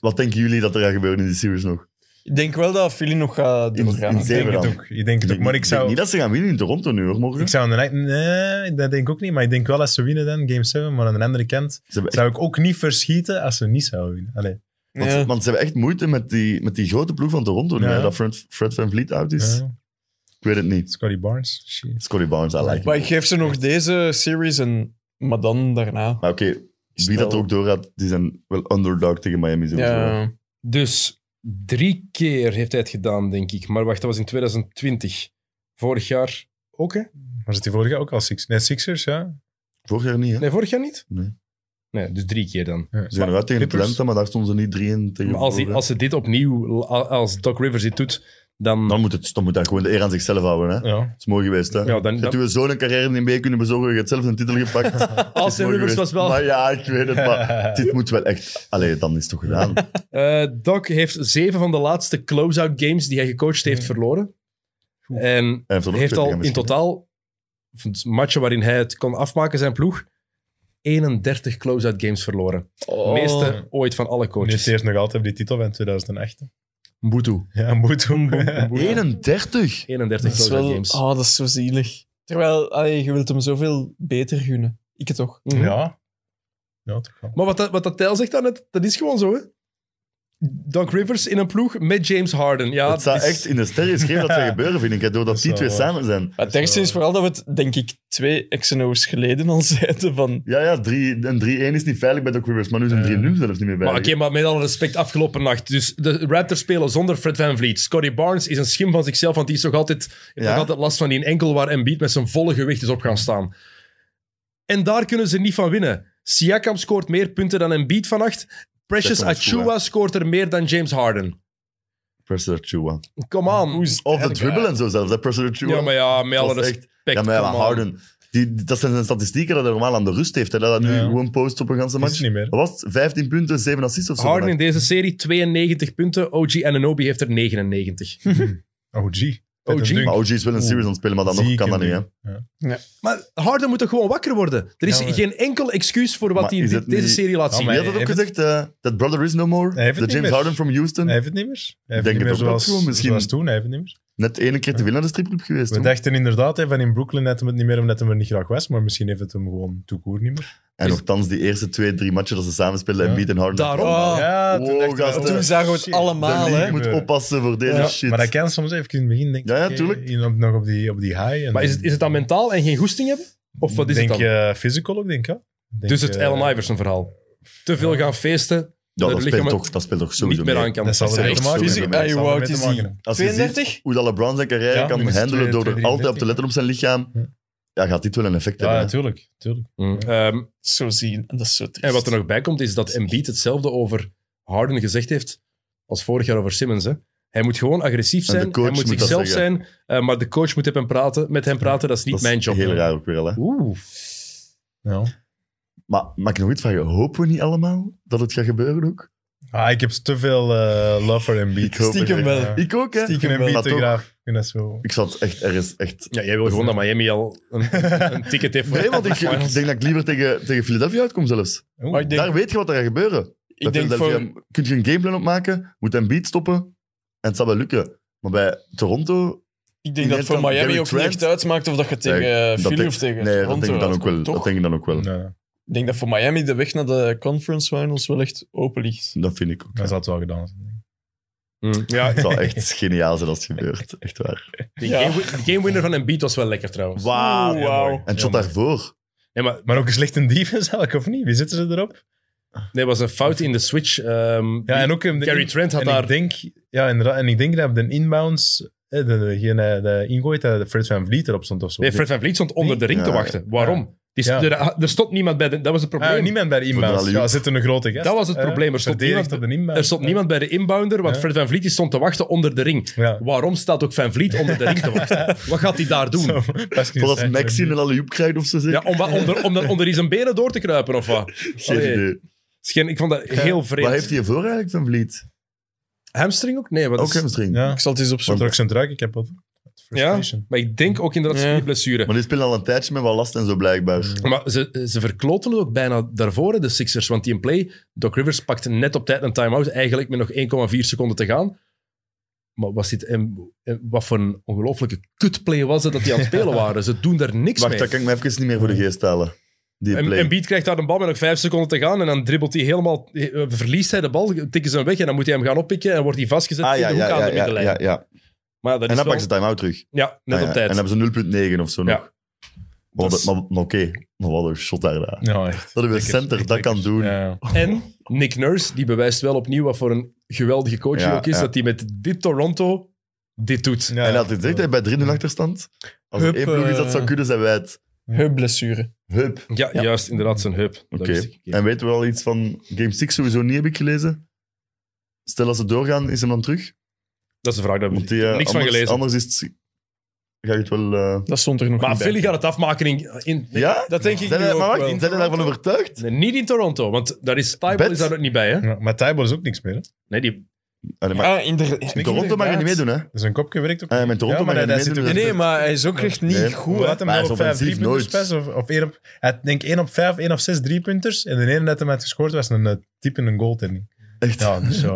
S3: wat denken jullie dat er gaat gebeuren in die series nog?
S5: Ik denk wel dat Philly nog gaat
S3: In-
S5: doorgaan.
S3: in
S5: Ik
S4: Ik
S5: denk-
S3: zeven-
S4: denk het
S3: dan.
S4: ook. Ik denk het ook. Maar ik
S3: denk niet
S4: zou...
S3: dat ze gaan winnen in Toronto nu, hoor, morgen.
S4: Ik zou aan de een- nee, dat denk ik ook niet. Maar ik denk wel als ze winnen dan, Game 7. Maar aan de andere kant
S3: Ze hebben echt-
S4: zou ik ook niet verschieten als ze niet zouden winnen. Allee.
S3: want, ze-
S5: Ja.
S3: want ze hebben echt moeite met die, met die grote ploeg van Toronto nu,
S4: Ja.
S3: hè, dat Fred, Fred Van Vliet uit is.
S4: Ja.
S3: Ik weet het niet.
S4: Scotty Barnes. Shit.
S3: Scotty Barnes, I like
S5: Maar
S3: it.
S5: ik geef ze nog deze series een Maar dan daarna.
S3: Maar oké, wie dat er ook door had, die zijn wel underdog tegen Miami. Sowieso.
S5: Ja,
S1: Dus drie keer heeft hij het gedaan, denk ik. Maar wacht, dat was in 2020. Vorig jaar ook, hè?
S4: Maar zit die vorige ook al Sixers? Nee, Sixers, ja.
S3: Vorig jaar niet, hè?
S1: Nee, vorig jaar niet?
S3: Nee.
S1: Nee, dus drie keer dan.
S3: Ze zijn eruit tegen
S4: Clippers?
S3: Atlanta, maar daar stonden ze niet 3 in tegen
S1: Maar als, die,
S3: vorig
S1: als ze dit opnieuw, als Doc Rivers dit doet, dan...
S3: jaar. Dan moet, het, dan moet hij gewoon de eer aan zichzelf houden. Hè?
S4: Ja.
S3: Het is mooi geweest. Hè?
S1: ja, dan,
S3: Dat
S1: dan-
S3: we zo'n carrière in mee kunnen bezorgen, je hebt zelf een titel
S1: (laughs)
S3: gepakt. Het is
S1: als de
S3: mooi
S1: Rivers
S3: geweest.
S1: was wel...
S3: Maar ja, ik weet het, maar dit moet wel echt... Allee, dan is het toch gedaan.
S1: Eh, Doc heeft zeven van de laatste close-out games die hij gecoacht heeft verloren.
S4: Oeh.
S1: En
S3: Hij heeft, er nog
S1: heeft
S3: twee
S1: al
S3: tegen
S1: in
S3: misschien.
S1: totaal, van de matchen waarin hij het kon afmaken, zijn ploeg, 31 close-out games verloren.
S5: Oh.
S1: Meeste ooit van alle
S4: Nu
S1: coaches.
S4: eerst nog altijd die titel van 2008. hè.
S1: Mbutu.
S4: (laughs) Ja, moet doen.
S1: Mbutu.
S3: 31?
S1: 31
S5: dat is
S1: close-out
S5: wel...
S1: games.
S5: Oh, dat is zo zielig. Terwijl, allee, je wilt hem zoveel beter gunnen. Ik het toch.
S1: Mhm.
S4: Ja. Ja, toch wel.
S1: Maar wat, dat- wat dat Tijl zegt daarnet, dat is gewoon zo, hè? Doc Rivers in een ploeg met James Harden. Ja, dus-
S3: het zou
S1: dat is-
S3: echt in de sterren geschreven
S1: (laughs)
S3: dat zou gebeuren, vind ik. Hè, doordat
S4: Dat
S3: die
S4: is
S3: twee
S4: wel waar.
S3: samen zijn.
S5: Maar het ergste
S4: wel-
S5: is vooral dat we het, denk ik, twee XNO's geleden al (laughs) zeiden van...
S3: Ja, ja, drie, een 3-1 is niet veilig bij Doc Rivers, maar nu zijn
S4: Eh.
S3: 3-0 zelfs niet meer
S1: Maar
S3: veilig.
S1: oké, maar met alle respect, afgelopen nacht. Dus de Raptors spelen zonder Fred Van Vliet. Scotty Barnes is een schim van zichzelf, want die is nog altijd, heeft
S3: Ja.
S1: nog altijd last van die enkel waar Embiid met zijn volle gewicht is op gaan staan. En daar kunnen ze niet van winnen. Siakam scoort meer punten dan Embiid vannacht. Precious
S3: Siakam is goed,
S1: Achua scoort er meer dan James Harden.
S3: Presser Chua.
S1: Come on.
S3: Of de dribbel en zo zelfs, hè, Presser Chua.
S1: Ja, maar ja, met
S3: Dat
S1: alle
S3: was
S1: respect.
S3: echt- ja, maar ja,
S1: come on.
S3: Harden. Die, die- dat zijn zijn statistieken dat hij normaal aan de rust heeft. Hè, dat hij nu
S4: Ja.
S3: gewoon post op een ganse
S4: Dat is
S3: match.
S4: niet meer.
S3: Dat was het? 15 punten, 7 assists of zo.
S1: Harden in deze serie 92 punten. OG Ananobi heeft er 99.
S4: OG.
S1: OG?
S3: maar OG is wel een
S4: Oeh.
S3: series aan het spelen, maar dan nog
S4: Ziek
S3: kan dat
S4: en
S3: niet. Hè.
S4: ding.
S1: Maar Harden moet toch gewoon wakker worden? Er is
S4: Ja, maar-
S1: geen enkel excuus voor wat
S3: Maar
S1: hij in
S3: is
S1: dit-
S3: het niet-
S1: deze serie laat
S4: Ja,
S1: zien.
S4: maar-
S3: Wie had dat ook
S4: heeft-
S3: gezegd? eh, Dat brother is no more.
S4: Hij heeft
S3: De
S4: het
S3: James
S4: niet
S3: Harden
S4: meer.
S3: from Houston.
S4: Hij heeft het niet meer. Hij heeft
S3: Denk
S4: het niet meer
S3: het ook wel,
S4: zoals,
S3: gewoon misschien.
S4: zoals toen. Hij heeft het niet meer.
S3: Net één keer te veel naar de stripclub geweest.
S4: We
S3: hoor.
S4: dachten inderdaad hè, van in Brooklyn net hem het niet meer omdat hij er niet graag was, maar misschien heeft het hem gewoon toekoor niet meer.
S3: En nogthans, die eerste twee, drie matchen dat ze samen spelen,
S4: Ja.
S3: Embiid en Harden.
S1: Daarom.
S5: Oh,
S4: ja,
S3: wow,
S4: we,
S3: gasten.
S4: oh,
S5: Toen zagen we het
S4: shit.
S5: allemaal, hè.
S3: de league moet
S4: Gebeuren.
S3: oppassen voor deze
S5: Ja.
S3: shit.
S4: Maar dat kan soms even in het begin denken.
S3: Ja, ja,
S4: oké,
S3: tuurlijk.
S4: in- op, nog op die, op die high. En
S1: Maar is het, is het dan mentaal en geen goesting hebben? Of wat is
S4: denk
S1: het dan?
S4: je eh, physical ook, denk ik. ja. Denk
S1: dus het
S4: je- eh,
S1: Allen Iverson verhaal. Te veel gaan feesten,
S3: Ja,
S1: dat
S3: dat, speelt
S1: lichaam
S3: toch, dat speelt toch
S1: niet
S3: sowieso
S1: meer
S3: mee.
S1: aan kan.
S4: Dat zal
S1: Dat
S4: er
S1: is
S4: echt
S1: echt
S4: maken.
S5: fysiek-
S4: hebben.
S5: Ah, je
S4: Zal er
S5: wou
S4: mee
S5: het
S4: te
S5: zien.
S4: maken hebben.
S3: Als je ziet
S5: 32?
S3: hoe dat LeBron zijn carrière
S4: Ja,
S3: kan
S4: minus
S3: handelen door er
S4: 32,
S3: altijd op te letten op zijn lichaam,
S4: Ja.
S3: ja, gaat dit wel een effect
S4: Ja,
S3: hebben. hè.
S4: tuurlijk. tuurlijk.
S1: Mm. Ehm,
S5: Zo zien. En dat is zo triest.
S1: en wat er nog bij komt, is dat Embiid hetzelfde over Harden gezegd heeft als vorig jaar over Simmons. Hè? Hij moet gewoon agressief
S3: En de
S1: zijn, hij
S3: coach
S1: moet,
S3: moet dat
S1: zichzelf zijn,
S3: zeggen.
S1: eh, maar de coach moet met hem praten. Met hem praten, dat is niet
S3: Dat is
S1: mijn job.
S3: heel raar ook weer. al, Hè.
S1: Oeh.
S4: Ja.
S3: Maar mag ik nog iets vragen? Hopen we niet allemaal dat het gaat gebeuren ook?
S4: Ah, ik heb te veel eh, love voor
S3: Ik
S4: Embiid.
S3: hoop
S5: Stiekem
S4: Ja.
S5: wel.
S3: Ik ook, hè?
S4: Stiekem Embiid
S3: Maar
S4: te
S3: toch,
S4: graag. Ik vind dat zo...
S3: Ik zat echt ergens echt...
S1: Ja, jij wil gewoon dat Miami al een, een ticket
S3: (laughs)
S1: heeft voor
S3: Nee, want ik, ik
S1: Finals.
S3: denk dat ik liever tegen, tegen Philadelphia uitkom zelfs.
S4: Oeh.
S5: Maar ik denk,
S3: Daar weet je wat er gaat gebeuren.
S5: ik denk voor...
S3: Kun je een gameplan opmaken, moet een beat stoppen en het zal wel lukken. Maar bij Toronto,
S5: Ik
S3: Ik
S5: denk dat
S3: denk
S5: voor
S3: dan
S5: Miami ook
S3: Gary
S5: niet
S3: Trent.
S5: echt uitmaakt of dat je tegen eh,
S3: dat
S5: Philly
S3: denk-
S5: of tegen
S3: nee, dat
S5: Toronto
S3: denk ik dan ook wel.
S5: uitkomt, toch?
S3: Dat denk ik dan ook wel.
S4: Nee,
S5: Ik denk dat voor Miami de weg naar de conference finals wel echt open ligt.
S3: Dat vind ik ook.
S4: dat zou het wel gedaan zijn.
S1: Mm. Ja,
S3: Het zou echt (laughs) geniaal zijn als het
S5: (laughs)
S3: gebeurt. Echt waar.
S1: de
S5: Ja.
S1: game, wi- game winner van Embiid was wel lekker trouwens.
S3: Wauw.
S5: Oeh, wauw.
S3: En het shot
S4: Jammer.
S3: daarvoor.
S1: Nee, maar
S4: Maar ook een slechte defense eigenlijk, of niet? Wie zitten ze erop?
S1: Nee, was een fout in de switch. ehm,
S4: Ja, en ook... in de
S1: Gary Trent had
S4: en
S1: daar...
S4: Ik denk, ja, inderdaad. En ik denk dat op de inbounds, eh, de, degene die ingooit, dat de Fred Van Vliet erop stond of zo.
S1: Nee, Fred Van Vliet stond onder de ring
S3: Ja.
S1: te wachten. Waarom? Die st-
S4: Ja.
S1: er, er stond niemand bij de... Dat was het
S4: Ah,
S1: probleem.
S4: niemand bij de inbounds.
S3: alley-oop.
S4: Ja, zit een grote gast.
S1: Dat was het
S4: eh,
S1: probleem. Er stond
S4: verdedigt
S1: niemand-
S4: op de inbound.
S1: er stond niemand bij de inbounder, want
S4: Ja.
S1: Fred Van Vliet die stond te wachten onder de ring.
S4: Ja.
S1: Waarom staat ook Van Vliet onder de ring te
S4: (laughs)
S1: wachten? Wat gaat hij daar doen?
S3: Voordat Maxi een alley-oop krijgt of zo. Zeg.
S1: Ja, om, wa- onder, om dan onder die zijn benen door te kruipen of wat?
S3: (laughs) Geen
S1: Allee,
S3: idee.
S1: Schijn, ik vond dat heel vreemd.
S3: Waar heeft hij voor eigenlijk, Van Vliet?
S1: Hamstring ook? Nee, wat
S3: Ook
S1: is-
S3: hamstring.
S4: Ja,
S5: Ik zal het eens
S4: zo'n
S5: opzoeken.
S4: druk zijn druik, ik heb wat.
S1: ja,
S4: Frustration.
S1: maar ik denk ook inderdaad
S5: Ja.
S1: die blessure.
S3: Maar die spelen al een tijdje met wat last en zo
S5: Mm.
S3: blijkbaar.
S1: Maar ze, ze verkloten het ook bijna daarvoor, hè, de Sixers. Want die in play, Doc Rivers pakte net op tijd een time-out. Eigenlijk met nog 1,4 seconden te gaan. Maar was dit, en, en wat voor een ongelooflijke kutplay was het dat
S3: (laughs)
S1: die aan het spelen waren. Ze doen daar niks
S3: Wacht,
S1: mee.
S3: dat kan ik me even niet meer voor de geest halen. Die
S1: En,
S3: play.
S1: en Beat krijgt daar een bal met nog 5 seconden te gaan. En dan dribbelt hij helemaal, eh, verliest hij de bal, tikken ze hem weg. En dan moet hij hem gaan oppikken en wordt hij vastgezet
S3: ah, ja,
S1: in de
S3: ja,
S1: hoek aan
S3: ja,
S1: de
S3: ja,
S1: middenlijn.
S3: ja, ja.
S1: Maar dat
S3: En
S1: is
S3: dan
S1: wel-
S3: pakken ze time-out terug.
S1: Ja, net
S3: Ah, ja.
S1: op tijd.
S3: En dan hebben ze 0.9 of zo
S1: Ja.
S3: nog. Maar,
S4: Dat is-
S3: maar- maar oké, maar wat een shot
S1: (laughs)
S3: daar. hè.
S4: Ja, echt.
S3: Dat een
S4: Lekker,
S3: center
S4: echt
S3: dat kan
S4: lekker.
S3: doen.
S4: Ja, ja.
S1: En Nick Nurse, die bewijst wel opnieuw wat voor een geweldige coach hij
S3: Ja,
S1: ook is,
S3: ja.
S1: dat hij met dit Toronto dit doet.
S4: Ja,
S3: en dat hij zegt, hè, bij 3-0 achterstand, als er
S5: Hup,
S3: één ploeg is dat
S5: eh,
S3: zou kunnen, zijn wij het.
S5: Heupblessure.
S3: Hup.
S1: Ja,
S5: Ja.
S1: juist, inderdaad, zijn heup. Dat
S3: Oké.
S1: wist ik. Ja.
S3: En weten we al iets van Game 6 sowieso niet, heb ik gelezen? Stel als ze doorgaan, is hem dan terug?
S1: Dat is de vraag, daar heb ik
S3: Want die, eh,
S1: niks van
S3: anders,
S1: gelezen.
S3: Anders is het... Ga je het wel... eh,
S5: Dat stond er nog
S1: maar
S5: niet bij.
S1: Philly gaat het afmaken in... in
S3: Ja?
S1: Dat denk ik
S3: Zijn
S1: nu
S3: er-
S1: ook
S3: maar wacht,
S1: wel.
S3: zijn jullie daarvan overtuigd? Ah,
S1: Nee, niet in Toronto, want daar is Tybal
S3: Bet?
S1: is daar ook niet bij, hè?
S4: Ja, Maar Tijbel is ook niks meer. Hè?
S1: Nee, die...
S3: Allee, maar
S5: Ah, inder-
S4: niks
S3: Toronto mag je niet
S5: inderdaad.
S3: meedoen, hè?
S4: Dus een kopje werkt ook
S3: Ah, ja, met Toronto mag je
S4: hij
S3: niet
S4: zit
S3: meedoen,
S4: ook-
S3: dat
S5: Nee, nee, maar hij is ook echt niet
S3: Nee.
S5: goed.
S4: Hoe
S5: hè.
S4: had hem
S3: Maar
S4: nou
S3: hij
S4: op
S3: is
S4: 5
S3: offensief
S4: driepunters
S3: nooit.
S4: pas? Of, of één op, hij had denk ik 1 op 5, 1 op 6 driepunters. En de ene dat hem had gescoord was een eh, type in een goaltending.
S3: Echt?
S4: Ja, dus zo.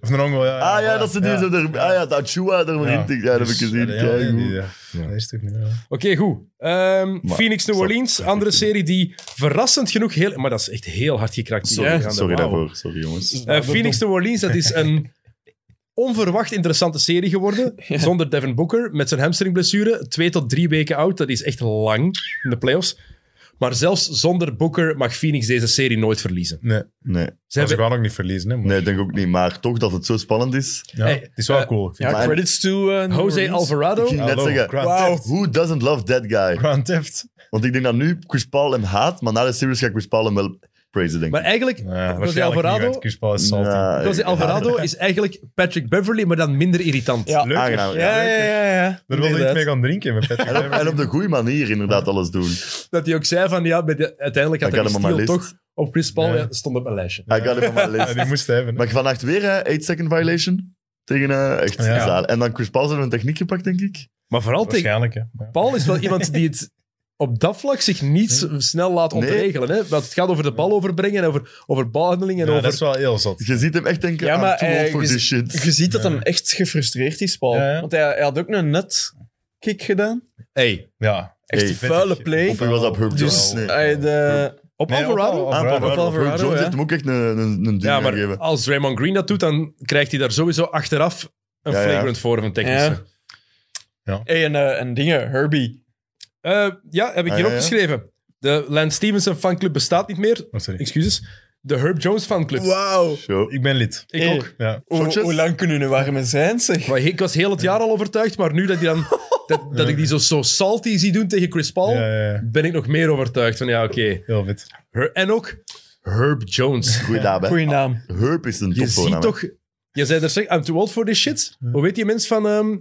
S4: Of een ongoal, ja.
S3: Ah ja, dat ze die
S4: Ja.
S3: zo er... Ah ja, dat Chua er maar
S4: Ja.
S3: in tikt. Ja, dat heb ik
S4: Dus,
S3: gezien.
S4: ja,
S3: Kijk,
S4: ja,
S3: hoe-
S4: die, ja. Dat is toch niet... Ja.
S1: Oké, goed. Ehm, Phoenix New
S3: zal-
S1: Orleans, andere serie die verrassend genoeg heel... Maar dat is echt heel hard gekraakt.
S3: Sorry,
S1: Ja.
S3: sorry
S1: Wauw.
S3: daarvoor. Sorry, jongens.
S1: Eh, Phoenix New Orleans, dat is een onverwacht interessante serie geworden. Zonder Devin Booker, met zijn hamstringblessure. Twee tot drie weken oud, dat is echt lang in de playoffs. Maar zelfs zonder Booker mag Phoenix deze serie nooit verliezen.
S4: Nee,
S3: Nee,
S1: Ze
S4: maar ze
S1: hebben,
S4: gaan ook niet verliezen. Hè, maar-
S3: nee, denk ik ook niet. Maar toch dat het zo spannend is.
S4: Ja,
S1: Hey,
S4: het is wel
S1: eh,
S4: cool. Ik vind
S5: Ja,
S3: Maar-
S5: credits to... eh, New
S1: Jose
S5: Orleans.
S1: Alvarado,
S3: Ik ging net
S4: Hallo,
S3: zeggen,
S4: Grant
S5: Wauw.
S3: who doesn't love that
S4: het-
S3: guy?
S4: Grand Theft.
S3: Want ik denk dat nu Chris Paul hem haat, maar na de series ga ik Chris Paul hem wel praisen, denk ik.
S1: maar eigenlijk...
S4: Ja,
S1: Jose
S4: waarschijnlijk niet,
S1: Alvarado,
S4: want Chris Paul is salty.
S3: Ja,
S1: Jose Alvarado is eigenlijk Patrick Beverly, maar dan minder irritant.
S5: Ja.
S4: Leuk.
S3: Aangenaam,
S4: hè?
S5: Ja, ja, ja. ja.
S4: Er wil iets
S5: Inderdaad.
S4: mee gaan drinken met
S3: En op,
S4: Patrick.
S3: en op de goede manier inderdaad alles doen.
S1: Dat hij ook zei van, ja, bij de- uiteindelijk had
S3: Ik
S1: hij
S3: had
S1: die
S3: hem op
S1: steal
S3: mijn
S1: toch op Chris Paul.
S4: Ja.
S1: Ja, stond op mijn lijstje.
S3: I got him on my
S4: Ja,
S3: list.
S4: die moest hij hebben. hè.
S3: Maar vannacht weer, hè, 8 second violation. Tegen, eh, echt,
S4: Ja.
S3: zaal. En dan Chris Paul zijn een techniek gepakt, denk ik.
S1: Maar vooral tegen
S4: Waarschijnlijk, hè. Ja.
S1: Paul is wel iemand die het op dat vlak zich niet s- snel laat
S3: Nee.
S1: ontregelen. Hè? Want het gaat over de bal overbrengen en over, over balhandeling en
S4: Ja, dat
S1: over...
S4: is wel heel zot.
S3: Je ziet hem echt denken,
S5: Ja,
S3: ja,
S5: maar,
S3: I'm too
S5: eh,
S3: old for
S5: je
S3: this
S5: Je
S3: shit.
S5: ziet dat
S4: Ja.
S5: hem echt gefrustreerd is, Paul.
S4: Ja, ja.
S5: Want hij, hij had ook een net kick gedaan.
S1: Hey,
S4: Ja.
S5: Echt
S3: Hey,
S5: een vuile
S4: vettig.
S5: play.
S3: Of hij was op Herb
S5: Dus
S3: Jones. Nee.
S5: hij de...
S1: op
S4: Nee,
S1: Alvarado?
S4: op- op-
S3: Ah, Paul
S4: Alvarado.
S3: Alvarado.
S5: Alvarado,
S3: Herb Jones
S5: ja.
S3: heeft hem ook echt een, een, een duw
S1: ja, maar Ah,
S3: gegeven.
S1: als Draymond Green dat doet, dan krijgt hij daar sowieso achteraf een
S3: Ja, ja.
S1: flagrant voor van technische.
S5: Ja. Hey, en, eh, en dingen, Herbie.
S1: Eh, ja, heb ik
S3: Ah,
S1: hier
S3: ja, ja.
S1: opgeschreven. De Lance Stevenson fanclub bestaat niet meer.
S4: Oh, sorry.
S1: Excuses. De Herb Jones fanclub.
S5: Wauw.
S3: Zo.
S4: Ik ben lid.
S1: Ik
S5: Hey.
S1: ook.
S4: Ja.
S5: Hoe
S3: Shotjes?
S5: hoe lang kunnen we nu warm zijn, zeg?
S1: Maar ik was heel het jaar al overtuigd, maar nu dat, hij dan,
S3: (laughs)
S1: dat, dat ik die zo, zo salty zie doen tegen Chris Paul,
S4: Ja, ja, ja.
S1: ben ik nog meer overtuigd van ja, oké.
S4: Heel vet.
S1: Her- en ook Herb Jones.
S3: Goeie naam, hè.
S5: Goeie naam.
S3: Herb is een
S1: Je ziet
S3: topvoornaam, hè.
S1: toch... Je zei er straks, I'm too old for this shit. Hoe weet die mens van ehm,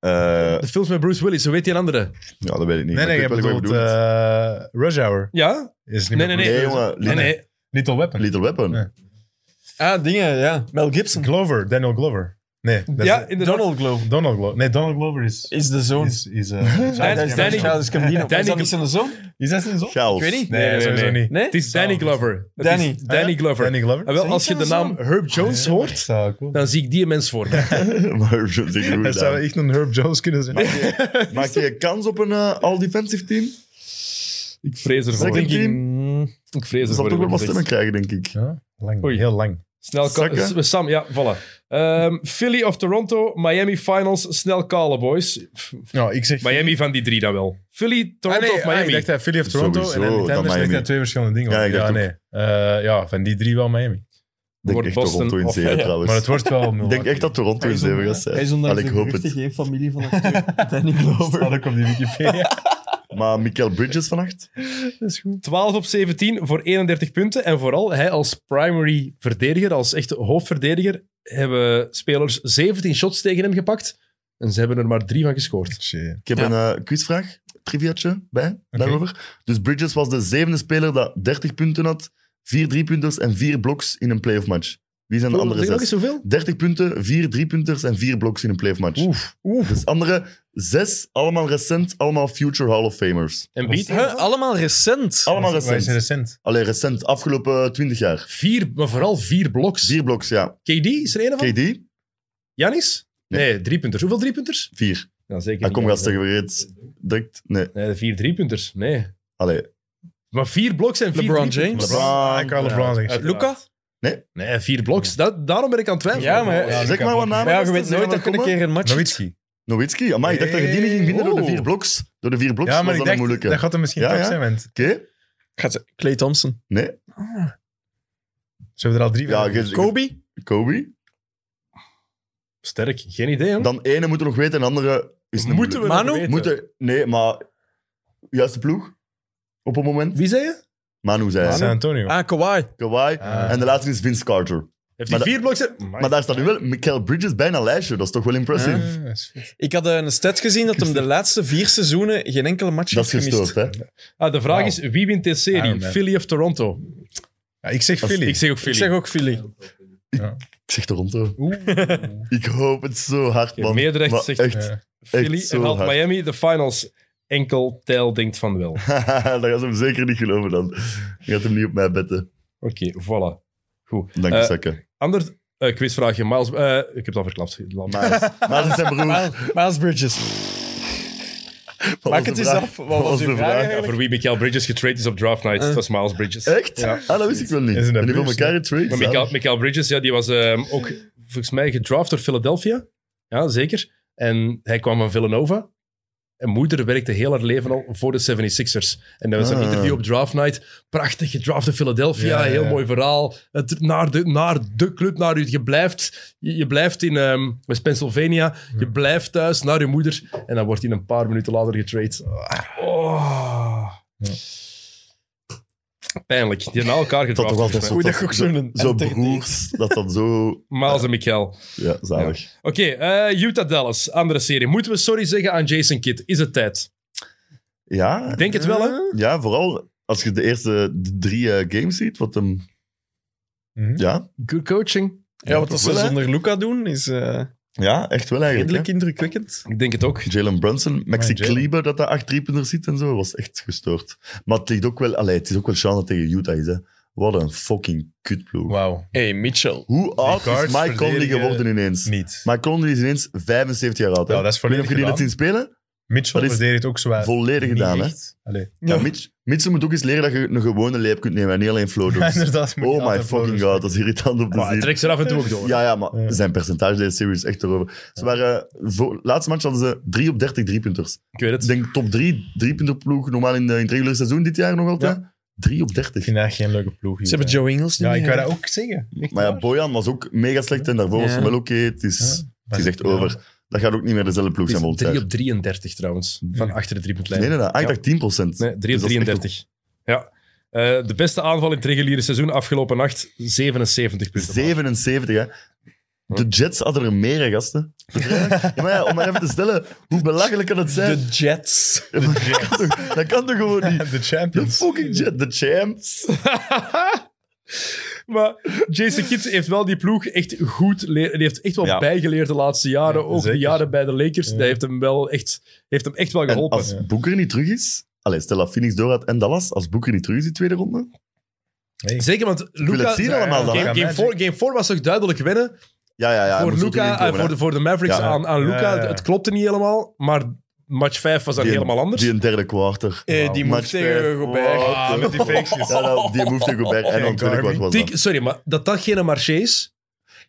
S3: Eh,
S1: de films met Bruce Willis? Hoe weet die een andere?
S3: Ja, dat weet ik niet. maar
S4: Nee, nee, je
S3: ik weet wel wat je
S4: bedoelt
S3: bedoelt.
S4: eh, Rush Hour.
S1: Ja?
S4: Is niet
S1: Nee,
S4: meer
S1: nee,
S3: Nee,
S4: Bruce Willis.
S1: Nee,
S3: jongen. Little,
S1: nee.
S4: Little Weapon.
S3: Little Weapon.
S4: Ja.
S5: Ah, dingen, ja. Mel Gibson.
S4: Glover, Daniel Glover. Nee, dat is-
S1: Ja, inderdaad.
S5: Donald Glover.
S4: Donald Glover. Nee, Donald Glover is...
S5: Is de zoon.
S4: Is, is, eh, is-
S1: Danny-
S4: is-
S1: Danny-
S5: Charles Gambino. Maar Is dat
S1: Danny-
S5: niet zijn zoon?
S4: Is dat zijn zoon?
S3: Chaos.
S5: Ik weet niet.
S4: Nee,
S1: Nee, nee,
S4: sowieso
S1: nee.
S4: niet.
S5: Nee?
S1: Het is Danny
S4: Samen.
S1: Glover. Het
S5: Danny.
S1: is Danny Glover.
S4: Eh?
S1: Ah,
S4: Danny Glover.
S1: En wel, als je de naam Herb Jones hoort,
S4: Zou cool.
S1: dan zie ik die mens voor me.
S3: (laughs) maar Herb Jones is een
S4: (laughs)
S3: goeie
S4: Dat zou
S3: naam.
S4: echt een Herb Jones kunnen zijn.
S3: Maak je kans op een eh, all-defensive team?
S1: Ik vrees ervoor.
S3: Second team?
S5: Mm.
S1: Ik vrees
S3: Ze zal
S1: ervoor.
S3: toch wel wat
S1: Ik
S3: stemmen
S1: zeg-
S3: krijgen, denk ik.
S4: Ja, lang.
S1: Oei.
S4: Heel lang.
S1: Snel
S3: Zakken.
S1: ka- Sam, ja, voilà. Ehm, Philly of Toronto, Miami Finals, snel callen, boys.
S4: Nou, ik zeg...
S1: Miami van die drie dan wel. Philly,
S4: Ah,
S1: Toronto
S4: nee,
S1: of
S4: ah,
S1: Miami?
S4: ik dacht dat Philly of Toronto
S3: Sowieso,
S4: en dan
S3: dan
S4: iets anders. Ik dacht
S3: Miami.
S4: dat twee verschillende dingen.
S3: Ja,
S4: waren.
S3: ik dacht
S4: ja,
S3: ook.
S4: nee. Eh, ja, van die drie wel Miami.
S3: Ik denk
S1: Wordt
S3: echt
S1: Boston
S3: Toronto in
S1: of-
S3: zeven,
S1: ja.
S3: trouwens.
S4: Maar het wordt wel
S3: (laughs) Ik denk echt dat Toronto in zeven gaat
S5: Hij is
S3: zijn.
S5: ondanks
S3: Allee, ik
S5: de
S3: hoop
S5: geruchten
S3: het.
S5: geen familie van
S3: (laughs)
S5: acteur Danny Glover.
S4: staat ook op die Wikipedia.
S3: Maar Michael Bridges vannacht?
S1: 12 op 17 voor 31 punten. En vooral hij als primary verdediger, als echte hoofdverdediger, hebben spelers 17 shots tegen hem gepakt. En ze hebben er maar drie van gescoord.
S4: Shit.
S3: Ik heb een eh, quizvraag, triviaatje bij, daarover. Dus Bridges was de zevende speler dat 30 punten had, vier driepunters en vier bloks in een playoff match. Wie zijn de andere
S1: Zeg nog eens
S3: zes?
S1: hoeveel?
S3: 30 punten, vier driepunters en vier bloks in een playoff match.
S1: Oef, oef.
S3: Dus andere zes, allemaal recent, allemaal future Hall of Famers.
S1: En beat
S5: Huh, allemaal recent.
S3: Allemaal
S4: Wat is- wat is
S3: recent.
S4: recent.
S3: Allee, recent, afgelopen 20 jaar.
S1: vier, maar vooral vier bloks.
S3: Vier bloks, ja.
S1: KD is er een van?
S3: KD,
S1: Janis?
S3: Nee.
S1: Nee, drie punters. Hoeveel drie punters?
S3: vier.
S1: Ja, zeker.
S3: Ah,
S1: niet.
S3: kom gasten, je vergeet direct. Nee,
S1: Nee, vier drie punters. Nee.
S3: allee.
S1: Maar vier bloks en vier
S5: LeBron
S1: driepunters.
S5: James?
S3: LeBron.
S4: Ah, ik wou LeBron zeggen.
S1: Uit-
S5: Luca?
S1: Nee, vier bloks. Dat, daarom ben ik aan het twijfelen. Oh,
S5: Ja, maar-
S4: Ja,
S3: Zeg
S4: dat
S3: maar
S4: kan
S3: wat
S4: ook.
S3: namen.
S5: Maar ja, je weet
S3: Zeg
S5: nooit
S3: maar
S5: dat je een
S3: komen.
S5: keer een match...
S4: Nowitzki.
S3: Nowitzki? Amai, ik dacht dat je die niet ging winnen door de vier bloks. Door de vier bloks
S4: Ja,
S3: was
S4: maar
S3: dat
S4: ik
S3: een
S4: dacht,
S3: moeilijke.
S4: dat gaat hem misschien
S3: Ja,
S4: toch
S3: ja.
S4: zijn, want
S3: Oké,
S5: Gaat ze- Clay Thompson.
S3: nee.
S4: ze hebben er al drie
S3: Ja,
S4: van.
S3: ge- ge-
S5: Kobe?
S3: Kobe.
S1: Sterk. Geen idee, hè?
S3: Dan ene moeten we nog weten, en andere is een
S1: Moeten we
S3: moeilijke.
S5: Manu?
S1: nog weten.
S3: Moeten, nee, maar juiste ploeg op het moment.
S1: Wie zei je?
S3: Manu zei hij.
S4: San Antonio.
S5: Ah, Kawhi.
S3: Kawhi.
S4: Ah.
S3: En de laatste is Vince Carter.
S1: Heeft
S3: Maar
S1: hij
S3: da-
S1: vier blokjes?
S3: Maar daar staat nu wel Michael Bridges bijna een lijstje. Dat is toch wel impressief.
S4: Ah, dat is goed.
S5: Ik had eh, een stat gezien dat hem de laatste vier seizoenen geen enkele match
S3: Dat
S5: heeft
S3: is
S5: gemist.
S3: gestoord, hè?
S1: Ah, de vraag
S4: Wauw.
S1: is, wie wint deze
S4: Iron
S1: serie?
S4: Man.
S1: Philly of Toronto?
S4: Ja, ik zeg
S3: Dat is-
S4: Philly.
S1: Ah, Ik zeg ook
S5: Ik
S1: Philly.
S5: zeg ook Philly.
S3: Ik zeg Toronto.
S4: Oeh.
S3: Ik hoop het zo hard,
S1: Oké,
S3: man.
S1: Meerdrecht
S3: Maar
S1: zegt-
S3: echt. (laughs)
S4: Ja.
S1: Philly
S3: zo
S1: en haalt
S3: hard.
S1: Miami de finals. Enkel Tijl denkt van wel. Oké,
S3: dat gaat ze hem zeker niet geloven dan. Je gaat hem niet op mij betten.
S1: voilà. Goed.
S3: Dank je,
S1: Eh,
S3: Sakke.
S1: Ander eh, quizvraagje. Miles, eh, ik heb het al verklapt. Laat maar.
S3: Maar dat is zijn broer.
S5: Miles Bridges.
S3: Wat
S5: Maak
S3: was
S5: het
S3: de
S5: eens
S3: vraag?
S5: af. Wat
S3: Wat
S5: was
S3: was
S5: uw
S3: de
S5: vraag
S3: vraag?
S1: Ja,
S5: eigenlijk?
S1: voor wie Michael Bridges getraind is op draft night.
S5: Eh.
S1: Dat is Miles Bridges.
S3: Echt? Ah, dat wist ik wel niet.
S4: Is in de
S3: En die van
S4: buurt,
S3: elkaar in trades.
S1: Maar Michael, Michael Bridges, ja, die was ehm, ook volgens mij gedraft door Philadelphia. Ja, zeker. En hij kwam van Villanova. En moeder werkte heel haar leven al voor de 76ers. En dat was een
S3: Ah.
S1: interview op draft night. Prachtig, gedraft in Philadelphia.
S4: Ja, ja,
S1: heel
S4: ja.
S1: mooi verhaal. Het, naar, de, naar de club, naar u. Je blijft, je, je blijft in ehm, West Pennsylvania. Je blijft thuis, naar je moeder. En dan wordt hij een paar minuten later getraind. Ah. Oh.
S4: Ja.
S1: Pijnlijk. Die hebben na elkaar
S3: Dat
S1: gedraft.
S3: toch
S1: volgens
S3: altijd zo.
S5: Hoe dat
S3: dat-
S5: je ook zo'n...
S3: Zo
S5: en tegen-
S3: broers, dat dan zo...
S1: mij. Miles en Michael.
S3: Ja, zalig.
S1: Oké, eh, Utah Dallas, andere serie. Moeten we sorry zeggen aan Jason Kidd? Is het tijd?
S3: Ja,
S1: Ik denk het wel, hè?
S3: ja vooral als je de eerste d- drie eh, games ziet, wat hem...
S4: Mhm.
S3: Ja,
S1: Good coaching.
S5: Ja, wat dat ze
S3: Wel, hè?
S5: zonder Luca doen is eh
S3: ja, echt wel eigenlijk.
S5: redelijk
S3: hè.
S5: indrukwekkend.
S1: Ik denk het ook.
S3: Jalen Brunson, Maxi
S4: Ja, Jalen.
S3: Kleber, dat daar acht driepunter zit en zo, was echt gestoord. Maar het ligt ook wel... Allee, het is ook wel chance dat het tegen Utah is, hè. Wat een fucking kutploeg.
S4: Wauw.
S5: Hey, Mitchell.
S3: Hoe oud is
S4: guards
S3: Mike Conley
S4: verdedigen-
S3: geworden ineens?
S4: Niet.
S3: Mike Conley is ineens 75 jaar oud. Hè?
S4: Ja, dat is
S3: Ik weet niet of
S4: volledig
S3: je die net zien
S4: gedaan.
S3: spelen?
S4: Mitchell
S3: Dat is
S4: verdedigt ook zwaar.
S3: Volledig gedaan, hè?
S4: Allee.
S3: Ja, Mitch, Mitchell moet ook eens leren dat je een gewone leep kunt nemen en niet alleen
S4: (laughs)
S3: flow
S4: Ja,
S3: doet.
S4: inderdaad. moet je
S3: Oh my
S4: altijd
S3: fucking
S4: voor-
S3: god, dat is irritant op
S1: Maar hij
S3: te zien.
S1: trekt ze er af en toe ook door.
S3: Ja, ja, maar
S4: Ja.
S3: zijn percentage deze serie is echt erover. Ze waren, eh, voor, laatste match hadden ze 3 op 30 driepunters.
S1: Ik weet
S3: Ik
S1: het.
S3: denk top 3 driepunterploeg, normaal in, de, in het reguliere seizoen dit jaar nog altijd. 3 op
S4: Ik
S3: 30.
S4: vind dat geen leuke ploeg.
S5: Ze
S4: Utah.
S5: hebben Joe Ingles niet
S4: Ja, ik
S5: meer.
S4: wou dat ook zeggen. Echt
S3: Maar ja,
S4: waar.
S3: Bojan was ook mega slecht en daarvoor was
S5: Ja.
S3: hij wel oké. Het, is,
S4: Ja.
S3: het is echt over. Dat gaat ook niet meer dezelfde ploeg zijn
S1: Het
S3: volgend
S1: is 3
S3: jaar.
S1: op 33 trouwens, van achter de driepuntlijn.
S3: Nee, nee, nee. Ah, ik
S1: Ja.
S3: dacht dus 10 procent.
S1: Nee, 3 op 33. Ja. Eh, de beste aanval in het reguliere seizoen afgelopen nacht, 77 punten.
S3: 77, hè. De Jets hadden er meer, hè, gasten. Ja, maar ja, om maar even te stellen, hoe belachelijk kan het zijn?
S5: De Jets.
S3: Ja, maar dat, kan toch, dat kan toch gewoon niet?
S4: De
S3: De
S4: champions.
S3: fucking Jets, de champs.
S1: maar Jason Kidd heeft wel die ploeg echt goed leren. Die heeft echt wel
S3: Ja.
S1: bijgeleerd de laatste jaren.
S4: Ja,
S1: ook
S4: zeker.
S1: de jaren bij de Lakers.
S4: Ja.
S1: Dat heeft hem wel echt, heeft hem echt wel
S3: En
S1: geholpen.
S3: als Boeker niet terug is... Allee, stel dat Phoenix doorgaat en Dallas. Als Boeker niet terug is in de tweede ronde...
S1: Zeker, want
S3: wil
S1: Luca...
S3: het zien allemaal dan, hè.
S1: Game, game,
S4: Magic.
S1: four, game four was toch duidelijk winnen
S3: Ja, ja, ja. hij
S1: voor,
S3: moest ook erin
S1: Luca,
S3: komen,
S1: eh, voor, de,
S3: hè.
S1: voor de Mavericks
S3: Ja.
S1: aan, aan
S4: Ja,
S1: Luca.
S4: ja, ja.
S1: Het, het klopte niet helemaal, maar match 5 was dan
S3: Die-
S1: helemaal anders.
S3: Die een derde quarter.
S5: Eh, die
S3: Match
S5: moest tegen
S3: vijf.
S5: Gobert.
S3: Wow.
S4: Ah, met die fakes.
S3: (laughs) Ja, nou, die move tegen Gobert. En dan
S4: Geen
S3: tweede kwart was
S1: Tik-
S3: dat.
S1: sorry, maar dat dat geen marché is...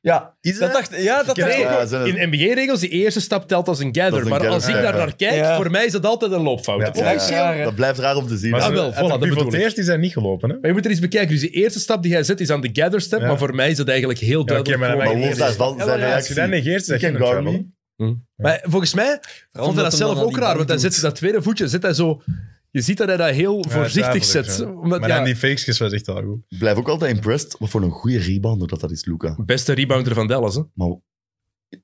S3: Ja, is
S5: Dat dacht, ja, dat
S1: Nee,
S5: dacht ik ook.
S3: Ja, zijn het-
S1: in NBA-regels, die eerste stap telt als een gather.
S3: Dat is een
S1: maar
S3: gather,
S1: als ik
S4: ja,
S1: daar
S4: ja.
S1: naar kijk,
S5: Ja.
S1: voor mij is dat altijd een loopfout.
S4: Ja.
S1: Het is
S3: Ja,
S1: echt-
S5: ja.
S3: Dat blijft raar om te zien.
S4: Maar
S3: hè.
S1: Ah, wel, voilà, dat bedoel ik.
S4: pivoteert is hij niet gelopen, hè?
S1: Maar je moet er eens bekijken. Dus die eerste stap die jij zet is aan de gather step,
S4: Ja.
S1: maar voor mij is dat eigenlijk heel duidelijk.
S4: maar dat
S1: gewoon-
S3: Maar
S4: maakt
S3: los daarvan,
S5: Ja,
S3: zijn
S5: maar ja,
S4: Als je dat
S3: reactie...
S4: negeert, zeg
S3: Ik
S4: je
S3: ken
S4: een travel.
S3: Garmy.
S1: Maar volgens mij vond hij
S5: omdat
S1: dat
S5: hem
S1: zelf
S5: dan aan
S1: ook
S5: die
S1: raar,
S5: bal
S1: want hij
S5: doet.
S1: zet ze dat tweede voetje, zet hij zo... Je ziet dat hij dat heel voorzichtig
S4: duidelijk,
S1: zet.
S4: ja.
S1: Omdat,
S4: Maar
S1: ja,
S4: dan die fakes was echt al goed.
S3: Ik blijf ook altijd impressed wat voor een goede rebounder dat, dat is, Luca.
S1: Beste rebounder van Dallas, hè?
S3: Maar,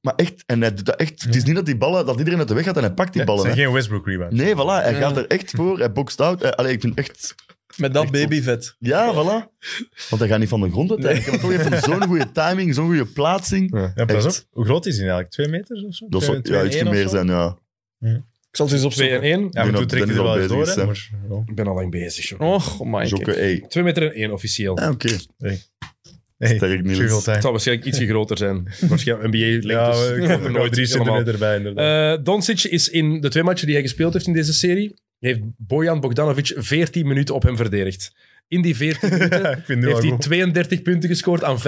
S3: maar echt, en hij doet dat echt, het is niet dat, die ballen, dat iedereen uit de weg gaat en hij pakt die
S4: Het
S3: ballen.
S4: zijn
S3: hè.
S4: geen Westbrook rebounds.
S3: Nee, voilà, hij
S5: Ja.
S3: gaat er echt voor, hij bokst out. Hij- Allee, ik vind echt...
S5: Met dat
S3: Echt top.
S5: babyvet.
S3: Ja, voilà. Want hij gaat niet van de grond uiteindelijk. Maar toch heeft hij zo'n goede timing, zo'n goede plaatsing.
S4: Ja,
S3: Echt.
S4: pas op. Hoe groot is hij nou? eigenlijk? Twee meters of zo?
S3: Dat
S4: Twee-
S3: zou
S4: twee
S3: ja,
S4: en
S3: ietsje
S4: één of
S3: meer
S4: zo?
S3: zijn, ja.
S5: Ik zal het eens
S1: 2 en
S5: opzoeken.
S1: 1.
S4: Ja, maar
S3: Ik
S4: toen
S3: denk
S4: trekt hij
S3: dat
S4: er wel eens
S3: Dennis al
S4: door,
S3: bezig
S4: hè?
S3: is,
S4: Maar- oh.
S1: Ik ben al lang bezig, joh.
S5: Och, my
S3: Jokke,
S5: god.
S3: hey.
S1: 2 meter en 1 officieel.
S5: Ah,
S3: Ja, oké.
S4: Hey,
S3: Sterk, Niels.
S4: Hoeveel tijd?
S1: Het zal waarschijnlijk ietsje groter zijn. Waarschijnlijk NBA-lengtes.
S4: Ja,
S3: (laughs)
S4: we- ik heb er nooit drie centimeter bij, inderdaad.
S1: Eh Doncic is in de twee matchen die hij gespeeld heeft in deze serie, heeft Bojan Bogdanovic 14 minuten op hem verdedigd.
S4: (laughs)
S1: In die 14 minuten
S4: ik vind het
S1: Eh,
S4: nu
S1: heeft
S4: al
S1: hij
S4: goed.
S1: 32 punten gescoord aan 65%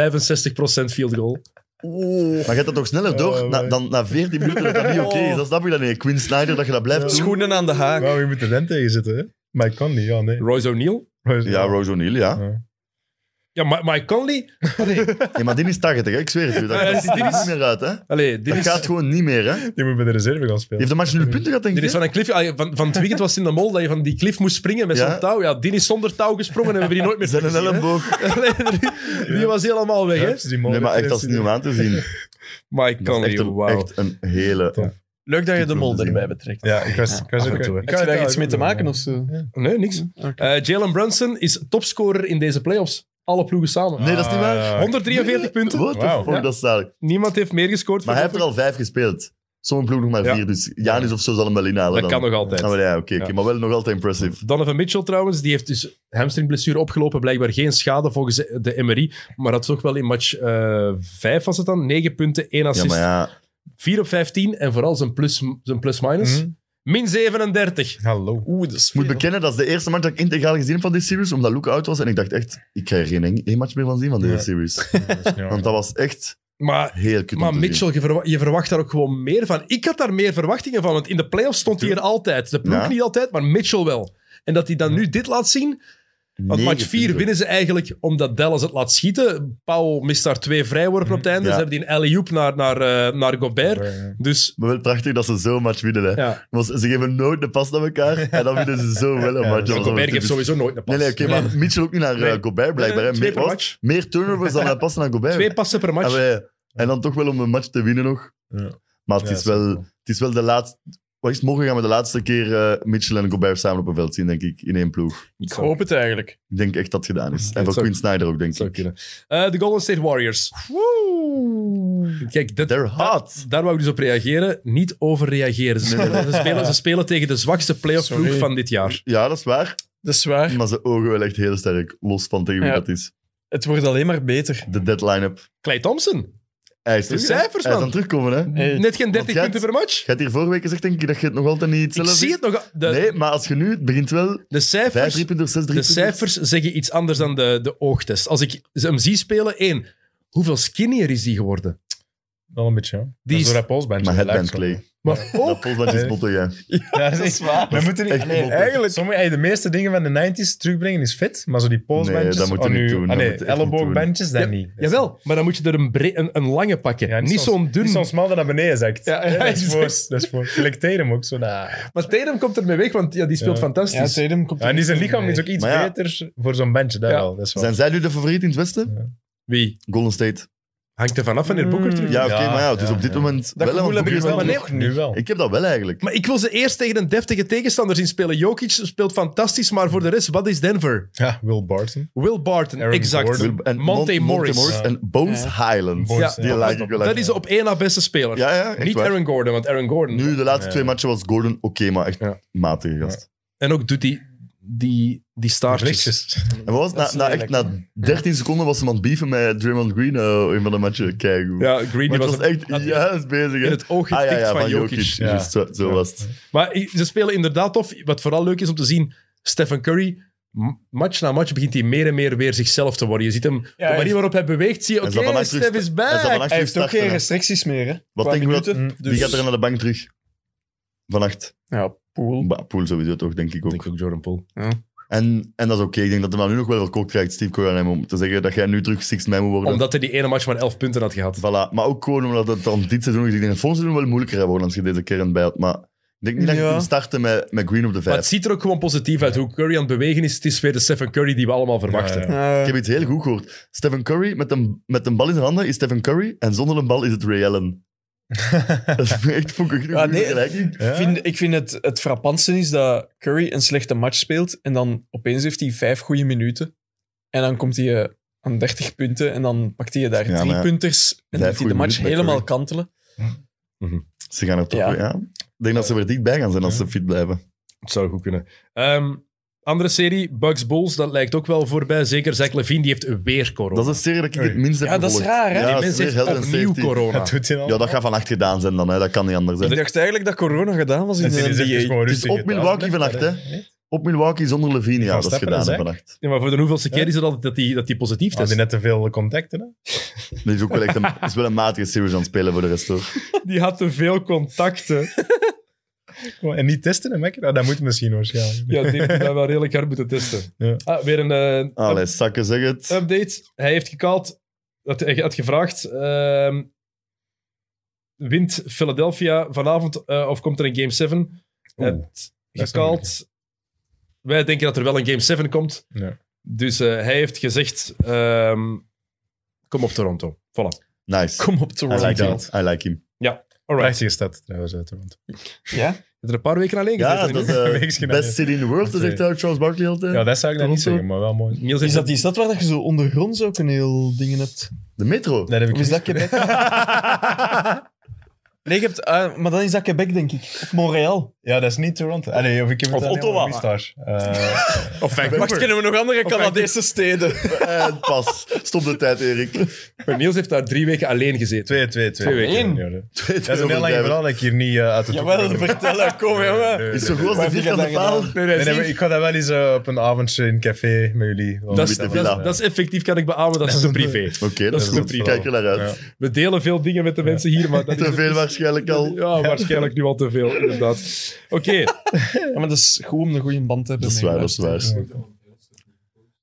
S1: field goal.
S5: Oeh.
S3: Maar gaat dat toch sneller door
S4: Oh,
S3: na,
S4: man.
S3: dan na 14 minuten dat dat niet oké is? Dat snap ik dan niet. Quinn Snyder, dat je dat blijft doen.
S5: Schoenen aan de haak.
S4: Wauw, je moet de rem tegen zitten, hè? Maar ik kan niet, ja, nee.
S1: Royce O'Neill?
S3: Ja, Rose O'Neill, ja.
S1: Ja, Ma- Mike Conley? Allee,
S3: Nee, maar die is 80, hè? ik zweer het u. Dat
S1: Ja,
S3: dat ziet er
S1: die is-
S3: niet meer uit, hè?
S1: allee dit,
S3: Dat
S1: is,
S3: gaat gewoon niet meer, hè? Die
S4: Die moet bij de reserve gaan spelen.
S3: heeft de match nul punten gehad, denk
S1: dit
S3: ik.
S1: is van een cliff. allee, Van, van het weekend was het in de mol dat je van die cliff moest springen met
S3: Ja.
S1: zo'n touw. Ja, die is zonder touw gesprongen en we hebben die nooit meer
S3: Zijn een
S1: teruggezien, hè. (laughs)
S3: elleboog.
S1: Allee, die, die was helemaal weg, hè?
S4: Hups, die
S3: Nee, maar echt, dat is niet om
S4: molen-
S3: aan te zien.
S1: Mike
S3: Dat is
S1: Conley,
S3: echt een,
S1: wauw.
S3: echt een hele...
S5: Leuk dat je de mol
S3: Goed om te
S5: erbij
S3: zien.
S5: betrekt.
S4: Ja, ik was, ik was
S2: af en
S4: ook...
S2: toe, hè.
S5: Heb
S4: ik
S5: je
S4: had-
S5: daar
S4: ja,
S5: iets
S4: ik
S5: mee te
S4: bedoel,
S5: maken
S4: ja.
S5: of zo?
S1: Nee, niks.
S5: Oké.
S1: Eh, Jalen Brunson is topscorer in deze playoffs. Alle ploegen samen.
S3: Nee, dat is niet waar.
S4: Ah,
S1: 143 punten.
S3: What the
S4: Wauw.
S3: fuck,
S1: Ja.
S3: dat is zalig.
S1: Niemand heeft meer gescoord.
S3: Maar hij heeft er
S1: voordat
S3: al vijf gespeeld. Sommige ploeg nog maar
S1: Ja.
S3: vier, dus Janis of zo zal hem wel
S1: ik-
S3: inhalen
S1: Dat
S3: dan.
S1: kan nog altijd.
S3: Ah, maar ja, oké, oké,
S1: Ja.
S3: maar wel nog altijd impressive.
S1: Donovan Mitchell trouwens, die heeft dus hamstringblessure opgelopen. Blijkbaar geen schade volgens de MRI. Maar dat toch wel in match 5 was het dan. 9 punten, 1
S3: Ja,
S1: assist.
S3: maar ja,
S1: 4 op 15 en vooral zijn plus-minus. Zijn plus minus.
S4: Mhm.
S1: Min 37.
S3: (laughs)
S4: Hallo.
S5: Oeh, dat is
S3: ik moet
S5: veel.
S3: bekennen, dat is de eerste match dat ik integraal gezien heb van deze series, omdat Luke out was. En ik dacht echt, ik ga er geen eng- één match meer van zien van deze
S4: Ja.
S1: (laughs)
S3: series.
S4: Ja.
S3: Want dat was echt
S1: Maar,
S3: heel kut om
S1: maar
S3: te zien.
S1: Mitchell, je, verwa- je verwacht daar ook gewoon meer van. Ik had daar meer verwachtingen van, want in de playoffs stond hij er altijd. De ploeg
S3: Ja. Mhm.
S1: niet altijd, maar Mitchell wel. En dat hij dan nu dit laat zien, Want
S3: Negen
S1: match 4
S3: punten.
S1: winnen ze eigenlijk omdat Dallas het laat schieten. Powell mist daar twee vrijworpen op het einde.
S3: Ja.
S1: Ze hebben die een alley-oop naar, naar, eh, naar Gobert.
S4: Ja.
S1: Dus
S3: Maar wel prachtig dat ze zo'n match winnen. Hè.
S1: Ja.
S3: Want ze geven nooit de pas naar
S1: (laughs)
S3: elkaar en dan winnen ze zo wel een match.
S4: Ja, ja,
S3: Dat was wel
S1: Gobert geeft
S3: typisch.
S1: sowieso nooit een pas.
S3: Nee, nee, oké, maar Mitchell ook niet naar eh,
S1: Nee.
S3: Gobert blijkbaar.
S1: Nee, nee,
S3: hè.
S1: twee
S3: meer,
S1: per
S3: wat?
S1: match.
S3: meer
S1: (laughs)
S3: turnovers dan hij passen naar Gobert.
S1: Twee passen per match.
S3: Ah, maar ja. En dan toch wel om een match te winnen nog.
S4: Ja.
S3: Maar het,
S4: Ja,
S3: is wel,
S4: zeker.
S3: het is wel de laatste... Wat is het? Morgen gaan we de laatste keer eh, Mitchell en Gobert samen op een veld zien, denk ik, in één ploeg.
S5: Ik hoop het eigenlijk.
S3: Ik denk echt dat het gedaan is. En
S1: Het
S3: voor
S1: zou-
S3: Quinn Snyder ook, denk
S1: Zou
S3: ik.
S1: kunnen. Eh, de Golden State Warriors. Kijk, dat,
S3: They're hot.
S1: daar, daar wou ik dus op reageren. Niet overreageren. Ze spelen, ze spelen, ze spelen tegen de zwakste playoff ploeg
S5: Sorry.
S1: van dit jaar.
S3: Ja, dat is waar.
S5: Dat is waar.
S3: Maar zijn ogen wel echt heel sterk. Los van tegen wie
S5: Ja.
S3: dat is.
S5: Het wordt alleen maar beter.
S3: De deadline-up.
S1: Clay Thompson.
S3: Hij is
S1: De
S3: terug, hè?
S1: cijfers,
S3: Hij is
S1: man.
S3: aan het terugkomen, hè?
S5: Hey,
S1: Net geen 30
S3: jij
S1: punten per match.
S3: Je hebt hier vorige week gezegd, denk ik, dat je het nog altijd niet
S1: Ik
S3: zelf
S1: zie
S3: is.
S1: het nog. De,
S3: Nee, maar als je nu... Het begint wel...
S1: de
S3: Vijf
S1: cijfers...
S3: driepunters, zes
S1: De
S3: driepunters.
S1: cijfers zeggen iets anders dan de, de oogtest. Als ik ze- hem zie spelen, één, hoeveel skinnier is die geworden?
S4: Wel een beetje, ja.
S1: Die
S4: Die
S1: is-
S4: is... Dat is
S3: Maar headband, Clay.
S1: Maar
S3: Dat polsbandje is
S4: Nee.
S3: botten, ja.
S4: Ja, (laughs) dat is waar. We moeten niet,
S3: echt
S4: allee,
S3: mopperen.
S4: eigenlijk, sommige, hey, de meeste dingen van de 90s terugbrengen is fit, maar zo die polsbandjes,
S3: Nee, dat moet je
S4: oh,
S3: niet
S4: nu-
S3: doen,
S4: ah,
S3: dat
S4: nee,
S3: moet je echt niet
S4: elleboogbandjes, dat
S1: Ja,
S4: niet. Dat is-
S1: jawel, maar dan moet je er een, bre- een, een lange pakken.
S4: Ja,
S1: niet
S4: zo'n-
S1: zo'n dun.
S4: Niet zo'n smal dat naar beneden zakt.
S1: Ja, ja,
S4: Hè, dat is voor.
S1: exact.
S4: Dat is voor. Selecteer hem ook zo. nah.
S1: Maar Tatum komt ermee weg, want ja, die speelt
S4: Ja.
S5: Ja,
S1: fantastisch.
S5: Tatum komt
S4: Ja, en die zijn lichaam is
S5: Nee.
S4: ook iets
S3: Maar ja.
S4: beter voor zo'n bandje, daar
S1: Ja.
S4: wel. Dat is waar.
S3: Zijn zij nu de favoriet in het Westen?
S1: Wie? Hmm.
S3: Golden State.
S1: Hangt er vanaf wanneer Booker terug
S3: Ja, oké,
S4: Ja,
S3: maar ja, het is
S4: ja,
S3: op dit
S4: ja.
S3: moment
S5: Dat
S3: wel
S5: gevoel
S3: want
S5: heb ik
S3: Booker
S5: wel.
S3: is
S1: Maar
S3: dan-
S1: nee,
S4: Nu wel.
S3: Ik heb dat wel eigenlijk.
S1: maar ik wil ze eerst tegen een deftige tegenstander zien spelen. Jokic speelt fantastisch, maar voor de rest, wat is Denver?
S4: Ja, Will Barton.
S1: Will Barton,
S4: Aaron
S1: exact.
S4: Gordon.
S3: Wil- en
S1: Monte
S3: Mon-
S1: Morris.
S4: Ja.
S3: en Bones Highland.
S4: Bones,
S3: Die
S4: ja.
S3: lijkt ik wel
S1: Dat
S3: echt.
S1: is de op één na beste speler.
S3: Ja, ja, echt
S1: Niet
S3: waar.
S1: Aaron Gordon, want Aaron Gordon...
S3: Nu, de laatste
S4: Ja.
S3: twee matchen was Gordon oké, maar echt
S4: Ja.
S3: matige gast.
S1: En ook doet die, die, die staartjes.
S4: Vliegjes.
S3: En wat was het?
S5: Dat is
S3: na, na, echt,
S5: lelijk,
S3: na 13 seconden was iemand beefen met Draymond Green eh, in van de matchen. Kijk hoe.
S1: Ja, Green
S3: maar
S1: die was,
S3: het was echt
S1: had-
S3: juist bezig. hè.
S1: in het oog
S3: Ah,
S1: getikt van, Jokic.
S4: Ja.
S3: Juist, zo, zo
S4: Ja.
S3: was het.
S1: Maar i- ze spelen inderdaad tof. Wat vooral leuk is om te zien, Stephen Curry, m- match na match begint hij meer en meer weer zichzelf te worden. Je ziet hem, de
S5: hij-
S1: manier waarop hij beweegt, zie je,
S3: Hij
S1: oké,
S3: zal vannacht terug
S1: Steph is
S3: Hij zal
S1: bij.
S3: vannacht
S5: Hij
S3: weer
S5: heeft ook geen
S3: starten. hè.
S5: restricties meer, hè?
S3: Wat
S5: Qua
S3: denk je dat-
S5: minuten. dus-
S4: Mm.
S3: Wie gaat
S1: dus-
S3: er naar de bank terug? Vannacht.
S5: Ja, pool.
S3: Bah, Poel sowieso toch, denk ik ook.
S1: ook Jordan Poole.
S3: En, en dat is oké. Ik denk dat hij dan nu nog wel veel kook krijgt, Steve Kerr, aan hem, om te zeggen dat jij nu terug six man moet worden.
S1: Omdat hij die ene match maar 11 punten had gehad.
S3: Voilà. Maar ook gewoon omdat het dan dit seizoen... Ik denk dat het volgend seizoen wel moeilijker gaat worden als je deze kern bij had. Maar ik denk niet dat je
S5: Ja.
S3: kunt starten met, met Green op de
S1: Maar
S3: vijf.
S1: het ziet er ook gewoon positief uit. Hoe Curry aan het bewegen is, het is weer de Stephen Curry die we allemaal verwachten.
S4: Ja,
S5: eh,
S3: Ik heb iets heel goed gehoord. Stephen Curry, met een, met een bal in zijn handen, is Stephen Curry. En zonder een bal is het Ray Allen. dat is echt fokkig.
S5: Ja, nee.
S4: Ja.
S5: Ik vind, ik vind het, het frappantste is dat Curry een slechte match speelt en dan opeens heeft hij vijf goede minuten. En dan komt hij eh, aan 30 punten en dan pakt hij daar
S3: Ja, maar
S5: drie
S3: ja.
S5: punters en
S3: Vijf
S5: doet hij de
S3: goeie
S5: match
S3: minuten bij
S5: helemaal
S3: Curry.
S5: kantelen.
S3: Ze gaan er toch...
S5: Ja.
S3: weer- Ja. Ik denk dat ze er dichtbij gaan zijn als
S4: Ja.
S3: ze fit blijven.
S1: Het zou goed kunnen. Ehm, andere serie, Bugs Bulls, dat lijkt ook wel voorbij. Zeker Zach Levine, die heeft weer corona.
S3: Dat is een serie dat ik
S4: Oei.
S3: het minst heb
S5: Ja, dat is
S3: gevolgd.
S5: raar, hè?
S3: Ja,
S1: die
S3: dat is
S1: mensen
S3: weer
S1: heeft
S3: health and
S1: opnieuw
S3: safety.
S1: corona.
S4: Dat doet hij al.
S3: Ja, dat gaat vannacht gedaan zijn dan. Hè. Dat kan niet anders. Hè.
S5: Ik dacht eigenlijk dat corona gedaan was in eh, E
S4: Dat is
S5: de
S4: even
S5: NBA.
S4: gewoon
S3: Het is
S4: rustig
S3: op
S4: gedaan.
S3: Milwaukee
S4: Blijft
S3: vannacht,
S4: dat,
S3: hè?
S4: hè?
S3: op Milwaukee zonder Levine. Ja,
S4: gaan
S3: dat is
S4: stappen,
S3: gedaan hè,
S4: hè,
S3: vannacht.
S1: Ja, Ah, maar voor de hoeveelste keer
S4: Ja.
S1: is het altijd dat die, dat die positief
S4: Had
S1: test.
S4: je net te veel contacten, hè?
S3: Dat is ook wel echt een, is wel een matige series aan het spelen voor de rest, hoor.
S1: Die had te veel contacten.
S4: Gewoon- En niet testen, hè, Mekker? Ah, dat moet misschien waarschijnlijk.
S1: Ja, die heeft wel redelijk hard moeten testen.
S4: Ja.
S1: Ah, weer een eh,
S3: Allee, zakken, zeg het.
S1: update. Hij heeft gecalled, had, hij had gevraagd, ehm, wint Philadelphia vanavond eh, of komt er een Game 7? Hij
S4: Oeh,
S1: heeft
S4: dat is
S1: gecalled. Wij denken dat er wel een Game 7 komt.
S4: Ja.
S1: Dus eh, hij heeft gezegd, ehm, kom op Toronto. Voilà.
S3: Nice.
S5: Kom op,
S3: I
S5: Toronto.
S3: like him.
S4: dat.
S3: I like him.
S1: Alright.
S4: Prachtige stad, trouwens, uit Toronto.
S5: Ja?
S1: Je hebt er een paar weken alleen
S3: Ja,
S1: gezeten,
S3: dat
S1: hè?
S3: is
S4: Wees
S3: de
S4: genaaid.
S3: best city in the world, dat zegt eh, Charles Barkley altijd.
S4: Ja, dat zou ik dan niet
S3: Toronto.
S4: zeggen, maar wel mooi.
S1: Niels
S5: Is
S1: heeft
S5: dat die stad waar dat je zo ondergronds ook een heel dingen hebt?
S3: De metro.
S4: Dat heb ik
S5: Of is dat
S4: gezien.
S5: Quebec? nee, je hebt, ah, maar dan is dat Quebec, denk ik. Of Montreal.
S4: Ja, dat is niet Toronto. Allee, of ik heb het
S5: Of
S4: aan
S5: Ottawa,
S4: helemaal gemist daar. Eh,
S1: Of
S5: Wacht, kennen we nog andere Canadese steden?
S3: (laughs) Eh, pas. Stop de tijd, Erik. (laughs)
S1: Maar Niels heeft daar drie weken alleen gezeten.
S4: Twee, twee, twee.
S1: Twee weken.
S4: Ja, ja. Dat is een heel lang verhaal dat ik hier niet eh, uit het
S5: Jawel, vertellen. Kom, jongen.
S3: Is zo goed als de vierkante paal.
S4: Nee, nee, maar ik ga dat wel eens eh, op een avondje in een café met jullie. Want-
S1: Dat is,
S3: Witte
S1: dat,
S3: Villa.
S1: is- dat is effectief, kan ik beamen. Dat is te privé.
S3: Oké,
S1: Dat
S3: dat
S1: is
S3: is goed.
S1: goed.
S3: Kijk er naar
S4: Ja.
S3: uit.
S1: We delen veel dingen met de mensen hier, maar dat is-
S3: Te veel waarschijnlijk al.
S1: Ja, waarschijnlijk nu al te veel, inderdaad. Oké,
S5: Ja, maar dat is goed om een goede band te hebben.
S3: Dat is
S5: met
S3: waar, dat is
S5: elkaar.
S3: waar.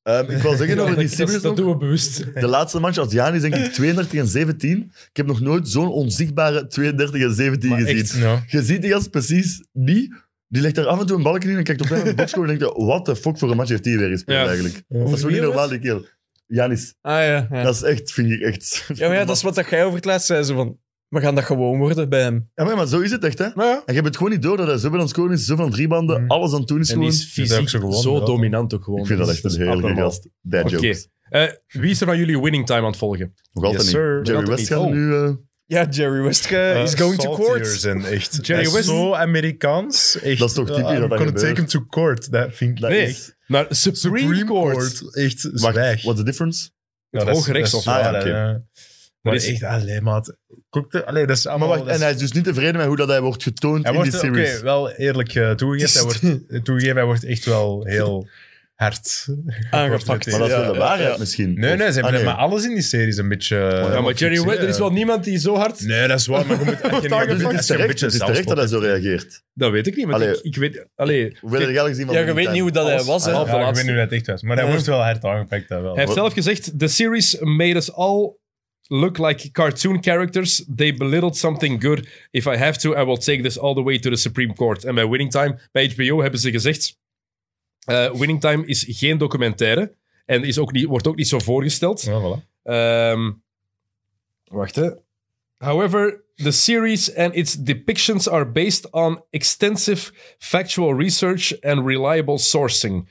S3: Ehm, ik wil zeggen over die
S1: (laughs) dat,
S3: series
S1: dat,
S3: nog.
S1: doen we bewust.
S3: De laatste match als Jan is denk ik 32 en 17. Ik heb nog nooit zo'n onzichtbare 32 en 17 gezien.
S4: Ja.
S3: Je ziet die gast precies niet. Die legt daar af en toe een balkje in en kijkt op
S4: (laughs)
S3: de boxscore en denkt, wat de fuck voor een match heeft die weer gespeeld
S1: Ja.
S3: eigenlijk. Dat
S1: Over
S3: is wel
S1: wie
S3: niet
S1: was?
S3: normaal, die kerel. Janis,
S5: Ah ja, ja.
S3: dat is echt, vind ik echt... (laughs)
S5: Ja, maar ja, dat is wat dat jij over het laatst zei. Zo van, we gaan dat gewoon worden bij hem.
S3: Ja, maar, maar zo is het echt, hè. En je hebt het gewoon niet door dat hij zo veel aan het scoren is, zo van drie banden,
S4: Mm.
S3: alles aan het doen is
S1: En die
S3: gewoon...
S1: is
S4: Dat is dus
S1: fysiek
S4: ook zo
S1: zo,
S4: gewoon, ja.
S1: dominant ook gewoon. Dus-
S3: Ik vind dat
S1: is-
S3: echt een
S1: is
S3: heerlijke
S1: abnormaal.
S3: gast. Dad
S1: Oké.
S3: jokes.
S1: Eh, wie is er van jullie winning time aan het volgen?
S3: Nog altijd
S4: Yes, sir.
S3: niet. Jerry
S1: Nog altijd
S3: West
S1: niet.
S3: gaat
S1: Oh.
S3: nu... eh,
S5: Ja, Jerry West eh, is going to court.
S4: En echt.
S1: Jerry
S4: Jerry West.
S1: West-
S4: Zo Amerikaans. Echt.
S3: Dat is toch typisch
S4: Ja,
S3: dat dat
S4: I'm gonna
S3: gebeurt.
S4: take him to court. Dat vind ik
S3: dat
S1: Nee.
S3: is-
S1: Naar Supreme, Court.
S4: Echt
S3: Wacht,
S4: zwijg.
S3: what's the difference?
S1: Het Hoge Rechtshof.
S3: Ah, ja,
S4: ja,
S3: oké.
S4: Maar
S1: is-
S4: echt, allee, maat. Koek de- Allee, dat is
S3: Maar
S4: allemaal...
S3: wacht,
S4: Oh, dat
S3: en
S4: is-
S3: hij is dus niet tevreden met hoe dat hij wordt getoond
S4: Hij
S3: in die
S4: wordt, eh, oké,
S3: series.
S4: wel eerlijk eh, toegegeven. Hij
S3: (laughs)
S4: wordt, toegegeven, hij wordt echt wel heel hard
S5: Aangepakt.
S3: Maar dat is wel de
S4: Ja,
S3: waarheid misschien.
S4: Nee, nee, ze hebben
S3: Ah,
S4: maar alles in die serie is een beetje... eh,
S1: Ja, maar Jerry
S4: fictie,
S1: West,
S4: hè.
S1: er is wel niemand die zo hard...
S4: Nee, dat is waar, maar
S3: (laughs)
S4: je moet... als je
S3: Dus
S4: niet-
S3: het
S4: als
S3: is
S4: je een
S3: terecht,
S4: beetje
S3: het is terecht dat hij zo reageert.
S1: Dat weet ik niet, want
S3: Allee.
S1: ik, ik weet... Allee,
S3: Hoeveel heb je al gezien van
S5: Ja, je
S3: Winning
S5: weet niet hoe dat
S3: Time?
S5: hij
S3: Alles.
S5: was, hè.
S1: Alles.
S4: Ja, ik
S1: laatste.
S4: weet niet hoe dat echt was. Maar hij
S5: Ja.
S4: wordt wel hard aangepakt, dat wel.
S1: Hij heeft
S3: Wat-
S1: zelf gezegd: The series made us all look like cartoon characters. They belittled something good. If I have to, I will take this all the way to the Supreme Court. En bij Winning Time, bij HBO, hebben ze gezegd: eh, Winning Time is geen documentaire. En is ook niet, wordt ook niet zo voorgesteld.
S4: Ja, voilà.
S1: Ehm, wacht hè. However, the series and its depictions are based on extensive factual research and reliable sourcing.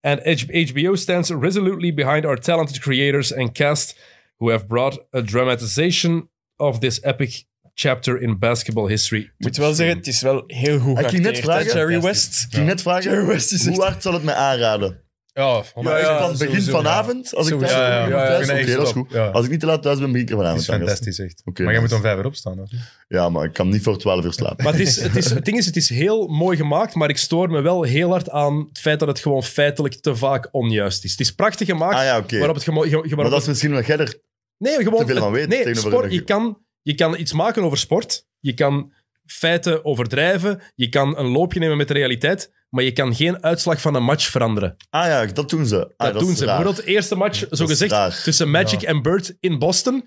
S1: And H- HBO stands resolutely behind our talented creators and cast who have brought a dramatization of this epic chapter in basketball history.
S5: Ik moet wel zeggen, het is wel heel goed
S3: Ik ging net
S5: geacteerd, hè,
S3: vragen-
S5: Jerry West.
S3: Ik ging net vragen,
S5: Jerry West is echt...
S3: hoe hard zal het mij aanraden?
S4: Ja,
S3: Maar
S5: ja,
S3: van het begin
S4: sowieso,
S3: vanavond, als ik
S5: Sowieso,
S3: thuis
S5: ja, ja,
S3: ben,
S5: ja, ja,
S3: thuis,
S4: ik vind
S3: oké,
S4: dat
S3: dat is
S4: echt
S3: goed.
S4: top, ja.
S3: Als ik niet te laat thuis ben, begin ik er
S4: Dat
S3: vanavond
S4: is
S3: aan, gast.
S4: fantastisch, echt.
S3: Oké,
S4: maar je moet
S3: nice.
S4: om vijf uur opstaan. hoor.
S3: Ja, maar ik kan niet voor 12 uur slapen.
S1: Maar het, is, het, is, het ding is, het is heel mooi gemaakt, maar ik stoor me wel heel hard aan het feit dat het gewoon feitelijk te vaak onjuist is. Het is prachtig gemaakt,
S3: Ah ja, oké.
S1: waarop het, gemo- ge- ge- waarop
S3: Maar
S1: het
S3: dat is misschien wat jij er...
S1: Nee, gewoon...
S3: Te veel van weten
S1: Nee,
S3: tegenover
S1: sport,
S3: een-
S1: je, kan, je kan iets maken over sport. Je kan feiten overdrijven. Je kan een loopje nemen met de realiteit. Maar je kan geen uitslag van een match veranderen.
S3: Ah ja, dat doen ze. Ah,
S1: dat,
S3: is
S1: doen ze.
S3: raar.
S1: Bijvoorbeeld de eerste match,
S3: is raar.
S1: zogezegd, tussen Magic
S4: Ja.
S1: en Bird in Boston.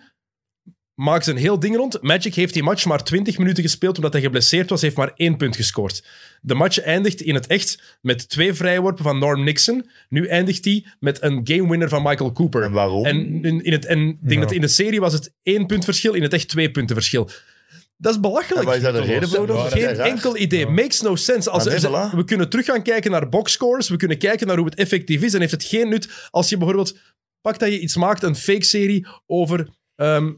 S1: Maakt ze een heel ding rond. Magic heeft die match maar 20 minuten gespeeld omdat hij geblesseerd was. heeft maar één punt gescoord. De match eindigt in het echt met twee vrijworpen van Norm Nixon. Nu eindigt die met een gamewinner van Michael Cooper.
S3: En waarom?
S1: En in, in het, en ik denk
S4: Ja.
S1: dat in de serie was het één punt verschil, in het echt twee punten verschil. Dat is belachelijk.
S3: En waar is daar de reden voor dan? Dat
S1: Geen
S3: is raar.
S1: enkel idee.
S4: Ja.
S1: Makes no sense. Als
S3: Ah, nee,
S1: er-
S3: voilà.
S1: We kunnen terug gaan kijken naar boxscores. We kunnen kijken naar hoe het effectief is. En heeft het geen nut als je bijvoorbeeld... Pak dat je iets maakt, een fake-serie over... ehm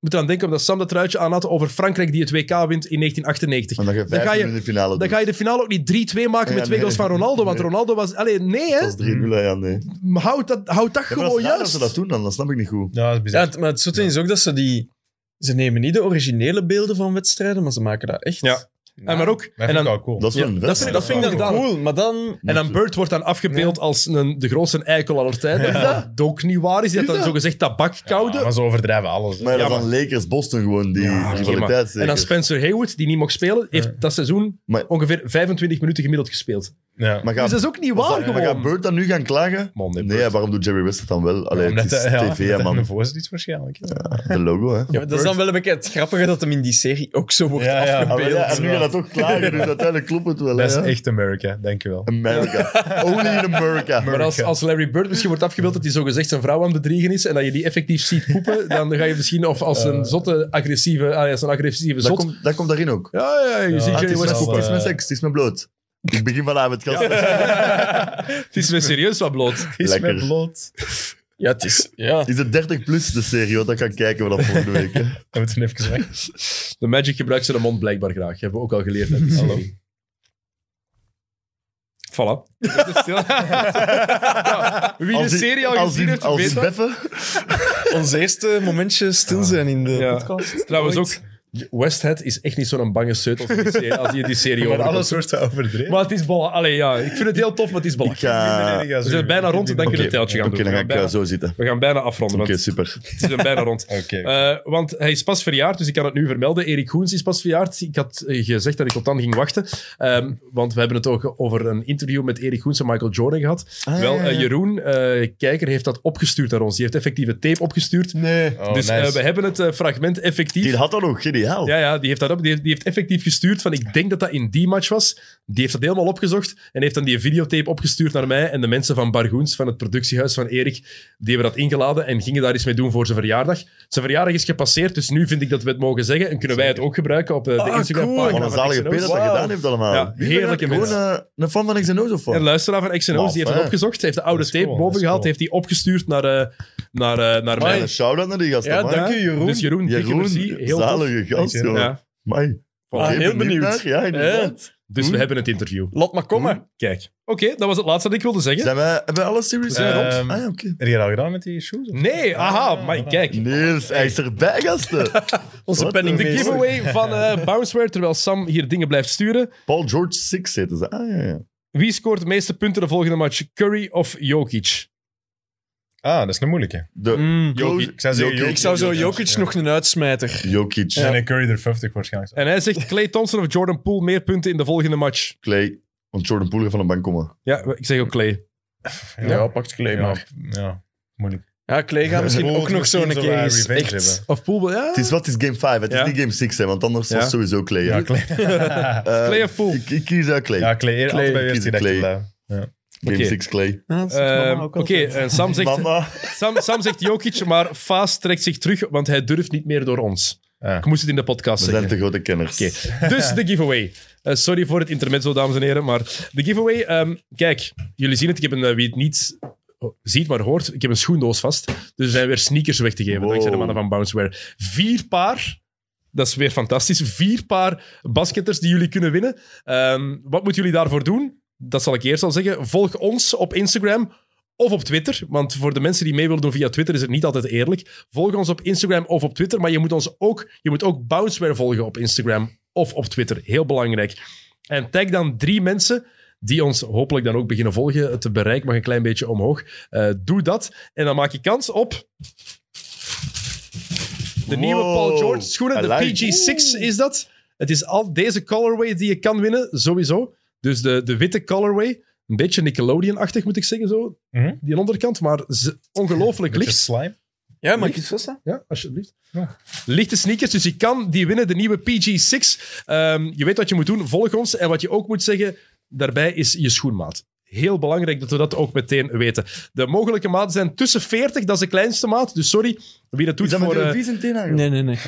S1: moet eraan denken, omdat Sam dat truitje aan had, over Frankrijk die het WK wint in 1998.
S3: Want dat je vijf
S1: ga je-
S3: minuten in de finale
S1: Dan
S3: doet.
S1: ga je de finale ook niet 3-2 maken
S3: Ja,
S1: met twee
S3: nee.
S1: goals van Ronaldo, want
S3: Nee.
S1: Ronaldo was... Allee, nee, hè.
S3: Dat is 3-0, ja, nee. Ja,
S1: Houd dat, houd dat
S3: maar dat
S1: gewoon
S3: is raar dat
S1: juist.
S3: ze dat doen dan, dat snap ik niet goed.
S4: Ja, dat is
S5: Ja,
S4: bizar.
S5: het- maar het zoete is ook dat ze die... Ze nemen niet de originele beelden van wedstrijden, maar ze maken dat echt.
S1: Ja. En maar ook.
S4: Dat
S1: en
S4: vind ik
S1: dan,
S4: wel cool.
S3: Dat is wel
S1: Ja,
S3: een
S1: dat
S3: wedstrijd.
S1: vind, dat vind ik dan cool.
S5: cool, maar dan...
S1: En dan Bird wordt dan afgebeeld als een, de grootste eikel aller tijden. Dat ook niet waar is. Die had dan zogezegd tabakkoude.
S4: Ja, maar ze overdrijven alles. hè.
S3: Maar ja,
S1: Ja,
S3: dat is dan Lakers Boston gewoon, die
S1: Ja, oké,
S3: rivaliteit
S1: en dan
S3: zeker.
S1: Spencer Hayward, die niet mocht spelen, heeft dat seizoen
S3: Maar-
S1: ongeveer 25 minuten gemiddeld gespeeld.
S4: Ja.
S3: Maar
S1: Dus
S3: gaat,
S1: dat is ook niet waar
S3: maar gaat
S1: gewoon.
S3: Bird dan nu gaan klagen?
S1: Man, nee,
S3: Nee,
S1: Bird.
S3: waarom doet Jerry West het dan wel? Allee,
S4: Omdat
S3: het is
S4: hij- (laughs) ja,
S3: tv, hè,
S4: omdat hij een
S3: man.
S4: voice doet waarschijnlijk. Ja.
S3: De logo, hè. Ah,
S5: Ja, maar dat is dan wel een beetje het grappige dat hem in die serie ook zo wordt
S4: Ja, ja.
S3: Ah, maar
S5: afgebeeld.
S3: ja, en nu gaat dat toch klagen,
S4: (laughs)
S3: dus uiteindelijk klopt het wel. hè,
S4: Dat is
S3: ja.
S4: echt America, dankjewel. (laughs)
S3: America. Only in America.
S1: Maar als, als Larry Bird misschien wordt afgebeeld dat hij zogezegd zijn vrouw aan het bedriegen is en dat je die effectief ziet poepen, (laughs) dan ga je misschien of als een zotte, agressieve, ah, ja, als een agressieve
S3: Dat
S1: zot.
S3: komt, dat komt daarin ook. Ah,
S1: Ja, ja, je ziet
S4: het
S1: Jerry
S3: het,
S1: West eh,
S3: is
S1: poepen.
S3: met, het
S4: wel,
S3: is met
S4: eh,
S3: seks, het is met bloot. Ik
S1: (laughs)
S3: begin vanavond, gast.
S1: Het is weer serieus wat bloot.
S4: is
S3: lekker.
S4: met bloot.
S5: Ja, het is... Ja.
S3: Is het 30 plus de serie? Want dan gaan kijken we dat volgende week. hè.
S4: Dan moeten we
S3: (laughs)
S4: even weg.
S1: De Magic gebruikt zijn mond blijkbaar graag. Hebben we ook al geleerd. uit die serie. Voilà.
S3: (laughs)
S1: Ja, wie de
S3: Als die-
S1: serie al
S3: als
S1: gezien
S3: die-
S1: heeft,
S3: als
S1: weet
S3: die
S1: dat.
S3: beffen.
S5: Ons eerste momentje stil zijn in de
S1: Ja.
S5: podcast.
S1: Trouwens
S5: Ooit.
S1: ook, Westhead is echt niet zo'n bange seut als, die serie- als je die serie
S4: Maar
S1: over.
S4: alles wordt overdreven.
S1: Maar het is bal. Allee, ja, ik vind het heel tof, maar het is bal.
S3: Ik ga...
S1: We zijn bijna rond, dan kunnen we een teltje gaan
S3: Oké,
S1: doen.
S3: dan
S1: We
S3: ga
S1: gaan
S3: ik
S1: bijna,
S3: eh, zo zitten.
S1: we gaan bijna afronden,
S3: Oké,
S1: want (laughs)
S3: super.
S1: we zijn bijna rond.
S4: (laughs) Oké.
S1: Eh, want hij is pas verjaard, dus ik kan het nu vermelden. Erik Goens is pas verjaard. Ik had eh, gezegd dat ik op dan ging wachten. Ehm, want we hebben het ook over een interview met Erik Goens en Michael Jordan gehad.
S3: Ah,
S1: Wel, eh, Jeroen, eh, kijker, heeft dat opgestuurd naar ons. Die heeft effectieve tape opgestuurd.
S5: Nee.
S4: Oh,
S1: dus
S4: nice.
S1: eh, we hebben het eh, fragment effectief.
S3: Die had dat ook, geniaal.
S1: Ja, ja, die heeft dat op. Die heeft, die heeft effectief gestuurd van ik denk dat dat in die match was. Die heeft dat helemaal opgezocht en heeft dan die videotape opgestuurd naar mij en de mensen van Bargoens, van het productiehuis van Erik. Die hebben dat ingeladen en gingen daar iets mee doen voor zijn verjaardag. Zijn verjaardag is gepasseerd, dus nu vind ik dat we het mogen zeggen en kunnen wij het ook gebruiken op eh, de
S5: Ah,
S1: Instagram-pagina.
S5: cool.
S3: Wat een
S1: van
S3: zalige
S1: XNO's.
S3: Peter dat dat gedaan heeft allemaal.
S1: Ja,
S3: Wie ben
S1: heerlijke
S3: ik? Gewoon
S1: mensen.
S3: eh, een fan van XNO's of
S1: Een
S3: wat?
S1: luisteraar van XNO's,
S3: Maf,
S1: die heeft dat
S3: hè?
S1: opgezoven, heeft de oude
S4: Dat is
S1: tape
S4: cool, dat is
S1: bovengehaald,
S4: cool.
S1: heeft die opgestuurd naar, eh, naar, eh, naar
S3: Een
S1: mij.
S3: Ah, shout-out naar die gast.
S5: Ja,
S3: man.
S5: dank je, Jeroen.
S1: Dus Jeroen, dikke
S3: Jeroen,
S1: merci. Heel tof.
S3: zalige gast,
S4: Jeroen.
S3: joh.
S1: Ja.
S3: Mai.
S5: Ah,
S3: Oké,
S5: heel benieuwd.
S3: naar? Ja, inderdaad.
S1: Dus we hebben het interview. Hmm,
S5: Laat maar komen.
S1: Kijk. Oké, dat was het laatste dat ik wilde zeggen.
S3: Zijn wij, hebben we alle series
S4: Ehm,
S3: rond? Ah ja, oké.
S4: Heb je dat al gedaan met die shoes?
S1: Nee, aha, maar kijk.
S3: Niels, hij is erbij, gasten.
S5: Onze
S3: Wat
S5: penning
S3: een
S1: De giveaway van eh Bounceware, terwijl Sam hier dingen blijft sturen.
S3: (laughs) Paul George Six zitten ze. Ah, ja, ja.
S1: Wie scoort de meeste punten de volgende match? Curry of Jokic?
S4: Ah, dat is een moeilijke.
S3: De
S1: Jokic.
S4: Ik zou zeggen
S5: Mm, Ik zou zo
S4: Jokic,
S5: Jokic
S4: ja.
S5: nog een uitsmijter.
S3: Jokic,
S4: En een Curry er 50 waarschijnlijk.
S1: En hij zegt Clay Thompson of Jordan Poole meer punten in de volgende match.
S3: Clay. Want Jordan Poole gaat van de bank komen.
S1: Ja, ik zeg ook Clay.
S5: pakt
S4: ja,
S5: Clay
S4: ja, moeilijk.
S5: Ja, Clay gaat misschien ook nog zo'n keer eens echt...
S1: Of Poole, ja.
S3: Het is wat, het is game 5. Het
S1: Ja.
S3: is niet game 6, hè, want anders
S1: Ja.
S3: was het sowieso Clay. hè.
S4: Ja, Clay.
S3: Eh,
S1: Clay of Poole?
S3: Ik, ik kies uit Clay.
S4: ja, Clay. Eerst altijd bij
S3: Kies
S4: eerst gedacht.
S3: Clay.
S4: Clay.
S3: Game
S1: oké.
S3: 6 Clay.
S1: Ehm, Oké, en Sam zegt,
S3: Mama.
S1: Sam, Sam zegt Jokic, maar Faas trekt zich terug, want hij durft niet meer door ons.
S4: Ah.
S1: Ik moest het in de podcast
S3: We
S1: zeggen.
S3: zijn te grote kenners.
S1: Oké. Dus de giveaway. Eh, sorry voor het intermezzo, dames en heren. Maar de giveaway. ehm, kijk, jullie zien het. Ik heb een, eh, wie het niet ziet, maar hoort. Ik heb een schoendoos vast. Dus er zijn weer sneakers weg te geven.
S3: Wow.
S1: Dankzij de mannen van Bounceware. Vier paar. Dat is weer fantastisch. Vier paar basketters die jullie kunnen winnen. Ehm, wat moeten jullie daarvoor doen? Dat zal ik eerst al zeggen. Volg ons op Instagram of op Twitter. Want voor de mensen die mee willen doen via Twitter is het niet altijd eerlijk. Volg ons op Instagram of op Twitter. Maar je moet ons ook, je moet ook Bounceware volgen op Instagram of op Twitter. Heel belangrijk. En tag dan drie mensen die ons hopelijk dan ook beginnen volgen. Het bereik mag een klein beetje omhoog. Eh, doe dat. En dan maak je kans op... De nieuwe
S3: Wow.
S1: Paul George schoenen.
S3: I
S1: De
S3: like
S1: PG6 is dat. Het is al deze colorway die je kan winnen, sowieso. Dus de, de witte colorway. Een beetje Nickelodeon-achtig, moet ik zeggen, zo.
S4: Mhm.
S1: Die onderkant, maar ze- ongelooflijk
S4: Beetje
S1: licht.
S4: slime.
S5: Ja, maar ik is vast
S1: Ja, alsjeblieft.
S4: Ja.
S1: Lichte sneakers, dus je kan die winnen, de nieuwe PG6. Ehm, je weet wat je moet doen, volg ons. En wat je ook moet zeggen, daarbij is je schoenmaat. Heel belangrijk dat we dat ook meteen weten. De mogelijke maten zijn tussen 40, dat is de kleinste maat. Dus sorry, wie dat doet
S3: Is dat met
S1: voor...
S3: een
S1: eh,
S3: vies in teen aangegaan?
S5: Nee, nee, nee.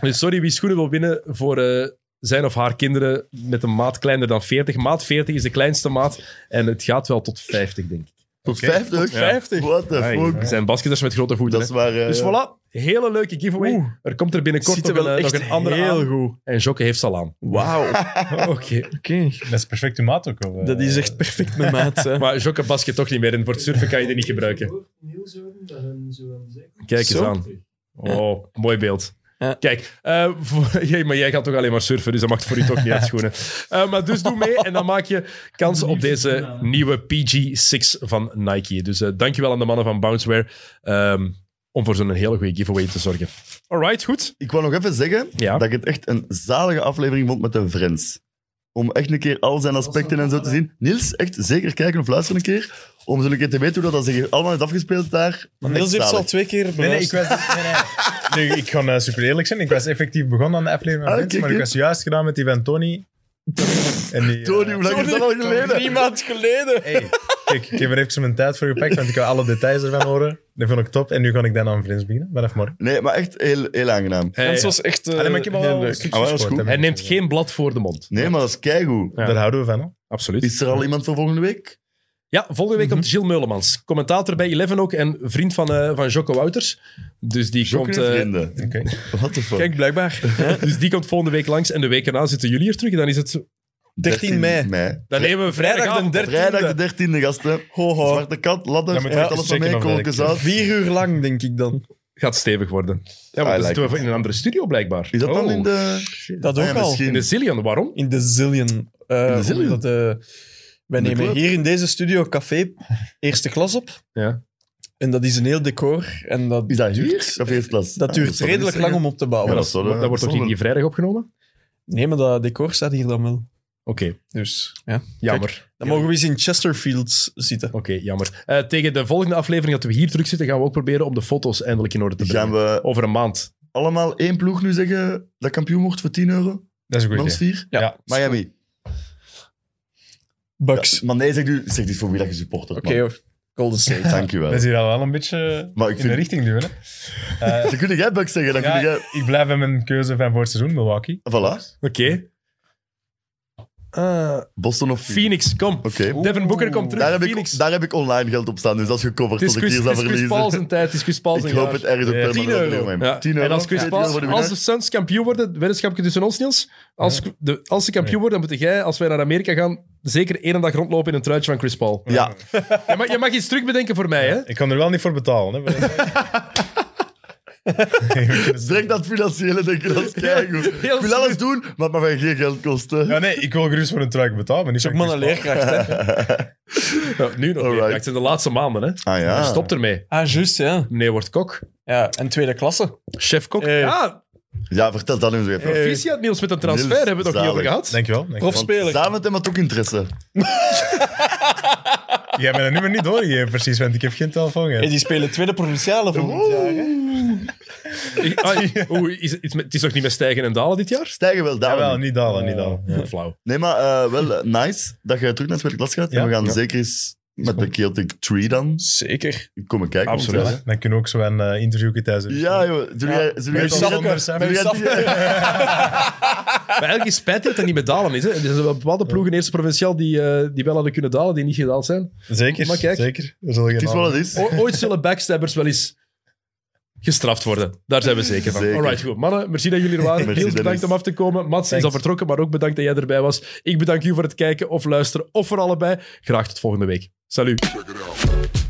S1: dus sorry, wie schoenen wil winnen voor eh, zijn of haar kinderen met een maat kleiner dan 40. Maat 40 is de kleinste maat en het gaat wel tot 50, denk ik.
S3: Tot
S4: Oké.
S3: 50?
S4: Tot
S5: 50.
S3: What the fuck?
S1: Er zijn basketters met grote voeten.
S3: Dat is
S1: hè.
S3: waar... eh,
S1: Dus
S3: ja.
S1: voilà, hele leuke giveaway.
S5: Oeh.
S1: er komt er binnenkort
S5: Ziet er
S1: nog
S5: wel
S1: een, eh, nog
S5: echt
S1: een andere
S5: heel
S1: aan. goed. En Jokke heeft ze al
S5: (laughs)
S1: aan.
S5: Wauw. Oké.
S1: Oké.
S4: Dat is perfect tomaat ook. of, eh,
S5: Dat is echt perfect mijn maat. hè.
S1: Maar Jokke basket toch niet meer en voor het surfen kan je die niet gebruiken.
S6: Niels horen dat hun zo aan zeggen.
S1: Kijk eens
S5: Zo.
S1: aan. Oh, mooi beeld.
S5: Ja.
S1: Kijk, eh, voor- (laughs) jij- maar jij gaat toch alleen maar surfen, dus dat maakt voor u
S5: (laughs)
S1: toch niet uit schoenen. Eh, maar dus doe mee en dan maak je kans op deze nieuwe PG6 van Nike. Dus eh, dankjewel aan de mannen van Bounceware ehm, om voor zo'n hele goede giveaway te zorgen. Alright, goed.
S3: Ik wou nog even zeggen
S1: Ja.
S3: dat ik het echt een zalige aflevering vond met de Friends. Om echt een keer al zijn aspecten en zo te zien. Niels, echt zeker kijken of luisteren een keer. Om zo een keer te weten hoe dat, dat zich allemaal heeft afgespeeld daar.
S5: Maar Niels
S3: Echt
S5: heeft ze al
S3: zalig.
S5: twee keer
S4: Nee, nee, ik was... Nee, (laughs) nee. Nu, ik ga eh, super eerlijk zijn. Ik was effectief begonnen aan de aflevering van
S3: Ah,
S4: Friends,
S3: kijk,
S4: maar ik
S3: kijk.
S4: was juist gedaan met die van Tony. En die, eh,
S3: Tony, hoe lang is dat al geleden?
S5: Drie maand geleden.
S4: Hey, kijk, ik heb er even mijn tijd voor gepakt, want ik wil alle details ervan horen. Dat vond ik top. En nu ga ik dan aan Friends beginnen, vanaf morgen.
S3: Nee, maar echt heel, heel aangenaam.
S1: Eh,
S5: Hans was echt eh,
S4: Allee, maar ik heb al
S5: heel
S4: wel
S5: leuk.
S4: stukjes
S3: Ah, wel, dat is
S4: gehoord,
S3: goed.
S4: hè.
S1: Hij neemt geen blad voor de mond.
S3: Nee, maar dat is keigoed.
S1: Ja.
S4: Daar houden we van, hoor.
S1: Absoluut.
S3: Is er al iemand voor volgende week?
S1: Ja, volgende week
S4: Mhm.
S1: komt Gilles Meulemans. Commentator bij Eleven ook en vriend van, eh van Jocko Wouters. Dus die, komt,
S3: Komt,
S1: eh,
S3: vrienden.
S4: Oké.
S3: Wat de fuck?
S5: Kijk, blijkbaar.
S1: dus die komt volgende week langs. En de week erna zitten jullie hier terug. Dan, is het,
S5: 13 mei.
S1: dan nemen
S5: Vrijdag de
S1: we vrijdagavond op.
S5: 13e.
S3: Vrijdag de 13e, gasten.
S5: Ho, ho.
S3: Zwarte kat, ladder,
S4: Dan
S3: ja,
S4: moeten we
S3: alles
S4: even
S5: dus
S3: van
S4: checken
S3: mee,
S4: of dat
S3: kolkjes uit.
S5: Vier uur lang, denk ik dan.
S1: Gaat stevig worden. Ja,
S3: I
S1: maar dat
S3: like
S1: zitten we
S3: it.
S1: in een andere studio blijkbaar.
S3: Is dat dan
S1: Oh.
S3: in de...
S5: Dat
S3: Ah
S5: ook
S3: ja,
S5: al.
S3: misschien.
S1: In de Zillion, waarom?
S5: In de zillion. Eh,
S3: In de zillion?
S5: omdat, eh, wij
S3: In de
S5: nemen
S3: club?
S5: hier in deze studio
S3: (laughs)
S5: café eerste klas op.
S1: Ja.
S5: En dat is een heel decor. En dat,
S3: Is dat hier?
S5: duurt,
S3: Of eerst klas?
S5: dat
S3: Ah,
S5: duurt
S3: zou ik
S5: redelijk
S3: zeggen.
S5: lang om op te bouwen.
S3: Ja,
S1: dat,
S3: dat zou-
S1: dat
S3: dat
S1: wordt toch
S3: zou-
S1: niet die vrijdag opgenomen?
S5: Nee, maar dat decor staat hier dan wel.
S1: Oké,
S5: Dus ja.
S1: jammer.
S5: Dan mogen we eens in Chesterfield zitten.
S1: Oké, jammer. Eh, tegen de volgende aflevering dat we hier terug zitten, gaan we ook proberen om de foto's eindelijk in orde te brengen.
S3: Dus Gaan we
S1: Over een maand.
S3: allemaal één ploeg nu zeggen dat kampioen wordt voor 10 euro?
S4: Dat is een goed
S3: Met ons
S4: idee.
S3: vier?
S5: Ja.
S3: Miami.
S5: Bucks.
S3: Maar nee, zeg nu zeg dit voor wie dat je supportert,
S5: Oké hoor. Golden State.
S3: man. (laughs) Dank je
S4: Dat is
S3: wel.
S4: hier al wel een beetje
S3: Maar ik
S4: in de
S3: vind-
S4: richting duwen. hè.
S3: (laughs)
S4: Eh,
S3: Dan kun jij Bucks zeggen. Dan
S4: ja,
S3: kun jij...
S4: ik blijf bij mijn keuze van voor het seizoen, Milwaukee.
S3: Voilà.
S1: Oké. Eh,
S3: Boston of
S1: Phoenix, kom.
S3: Oké.
S1: Devin Booker komt terug.
S3: Daar heb,
S1: Phoenix.
S3: ik, daar heb ik online geld op staan, dus dat is gecoverd
S1: Het is
S3: tot ik
S1: Chris,
S3: hier zou
S1: het is Chris Paul
S3: verliezen.
S1: zijn tijd. Het is Chris Paul
S3: (laughs) Ik
S1: zijn
S3: hoop
S1: jaar.
S3: het ergens op
S4: Ja.
S3: wel, maar
S5: 10
S3: dat
S5: euro.
S3: wil ik
S1: Ja.
S3: hem. 10 euro.
S1: En als Chris
S3: 10 euro voor
S1: Paul,
S3: de
S1: als
S3: winnaar.
S1: de Suns kampioen worden, weddenschapje tussen ons, Niels. Als, de, als ze kampioen worden, dan moeten jij, als wij naar Amerika gaan, zeker één dag rondlopen in een truitje van Chris Paul.
S3: Ja,
S1: Je mag, je mag iets terugbedenken voor mij, hè?
S4: Ik kan er wel niet voor betalen. Hè. (laughs) We kunnen-
S3: direct dat financiële denken, dat is keigoed.
S1: heel
S3: Ik wil alles doen, maar het mag mij geen geld kosten. Ah
S4: ja, Oh, nee, ik wil gerust voor een truik betalen. Maar niet
S5: is ook
S4: voor
S5: maar een
S4: Chris Paul.
S5: leerkracht,
S3: (laughs)
S5: hè?
S1: Ja, nu nog.
S3: Alright.
S1: niet. Het zijn de laatste maanden, hè?
S3: Ah ja.
S1: Stop ermee.
S5: Ah, juist, ja.
S1: Meneer wordt kok.
S5: ja. En tweede klasse.
S1: Chef kok.
S5: Eh.
S1: Ja,
S3: Ja, vertel dat nu eens even.
S1: proficiat Niels met een transfer.
S3: Niels,
S1: hebben we het nog niet over
S3: zalig.
S1: gehad.
S4: Dankjewel. dankjewel.
S5: Profspeler.
S3: Samen met hem had ook interesse.
S4: Jij hebt mijn nummer niet doorgegeven, precies, want ik heb geen telefoon
S5: Hey,
S4: gehad.
S5: die spelen tweede provinciale volgend jaar. Hè?
S1: Ik- ah, oeh, is, het- het is toch niet meer stijgen en dalen dit jaar?
S3: Stijgen wel, daar
S4: Jawel, niet dalen, niet dalen. Ja.
S1: Flauw.
S3: Nee, maar eh, wel eh, nice dat je terug naar de tweede klas gaat.
S4: Ja,
S3: en we gaan
S4: ja.
S3: zeker eens met de Celtic 3 dan
S5: Zeker.
S3: komen kijken.
S1: Absoluut.
S3: Want,
S4: Dan kunnen we ook zo een eh, interviewje thuis
S3: eh,
S4: doen.
S3: Ja, joh. Zullen
S5: Ja.
S3: jij- zullen
S5: Met
S3: jij-
S5: Safke,
S3: zullen
S4: met
S3: jij- zullen jij-
S1: Maar eigenlijk is het spijtig dat dat niet met dalen is. Hè. Er zijn wel bepaalde ploegen in Eerste Provinciaal die, eh, die wel hadden kunnen dalen, die niet gedaald zijn.
S4: Zeker,
S1: Maar kijk.
S4: zeker. Er zullen
S3: (laughs)
S4: geen
S3: Het is wat
S4: namen-
S3: het is.
S1: O- ooit zullen backstabbers wel eens gestraft worden. Daar zijn we zeker van.
S3: Zeker.
S1: Alright, goed. Mannen, merci dat jullie er waren.
S3: Merci,
S1: Niels, bedankt
S3: Dennis.
S1: om af te komen. Mats is
S4: Thanks.
S1: al vertrokken, maar ook bedankt dat jij erbij was. Ik bedank u voor het kijken of luisteren of voor allebei. Graag tot volgende week. Salut.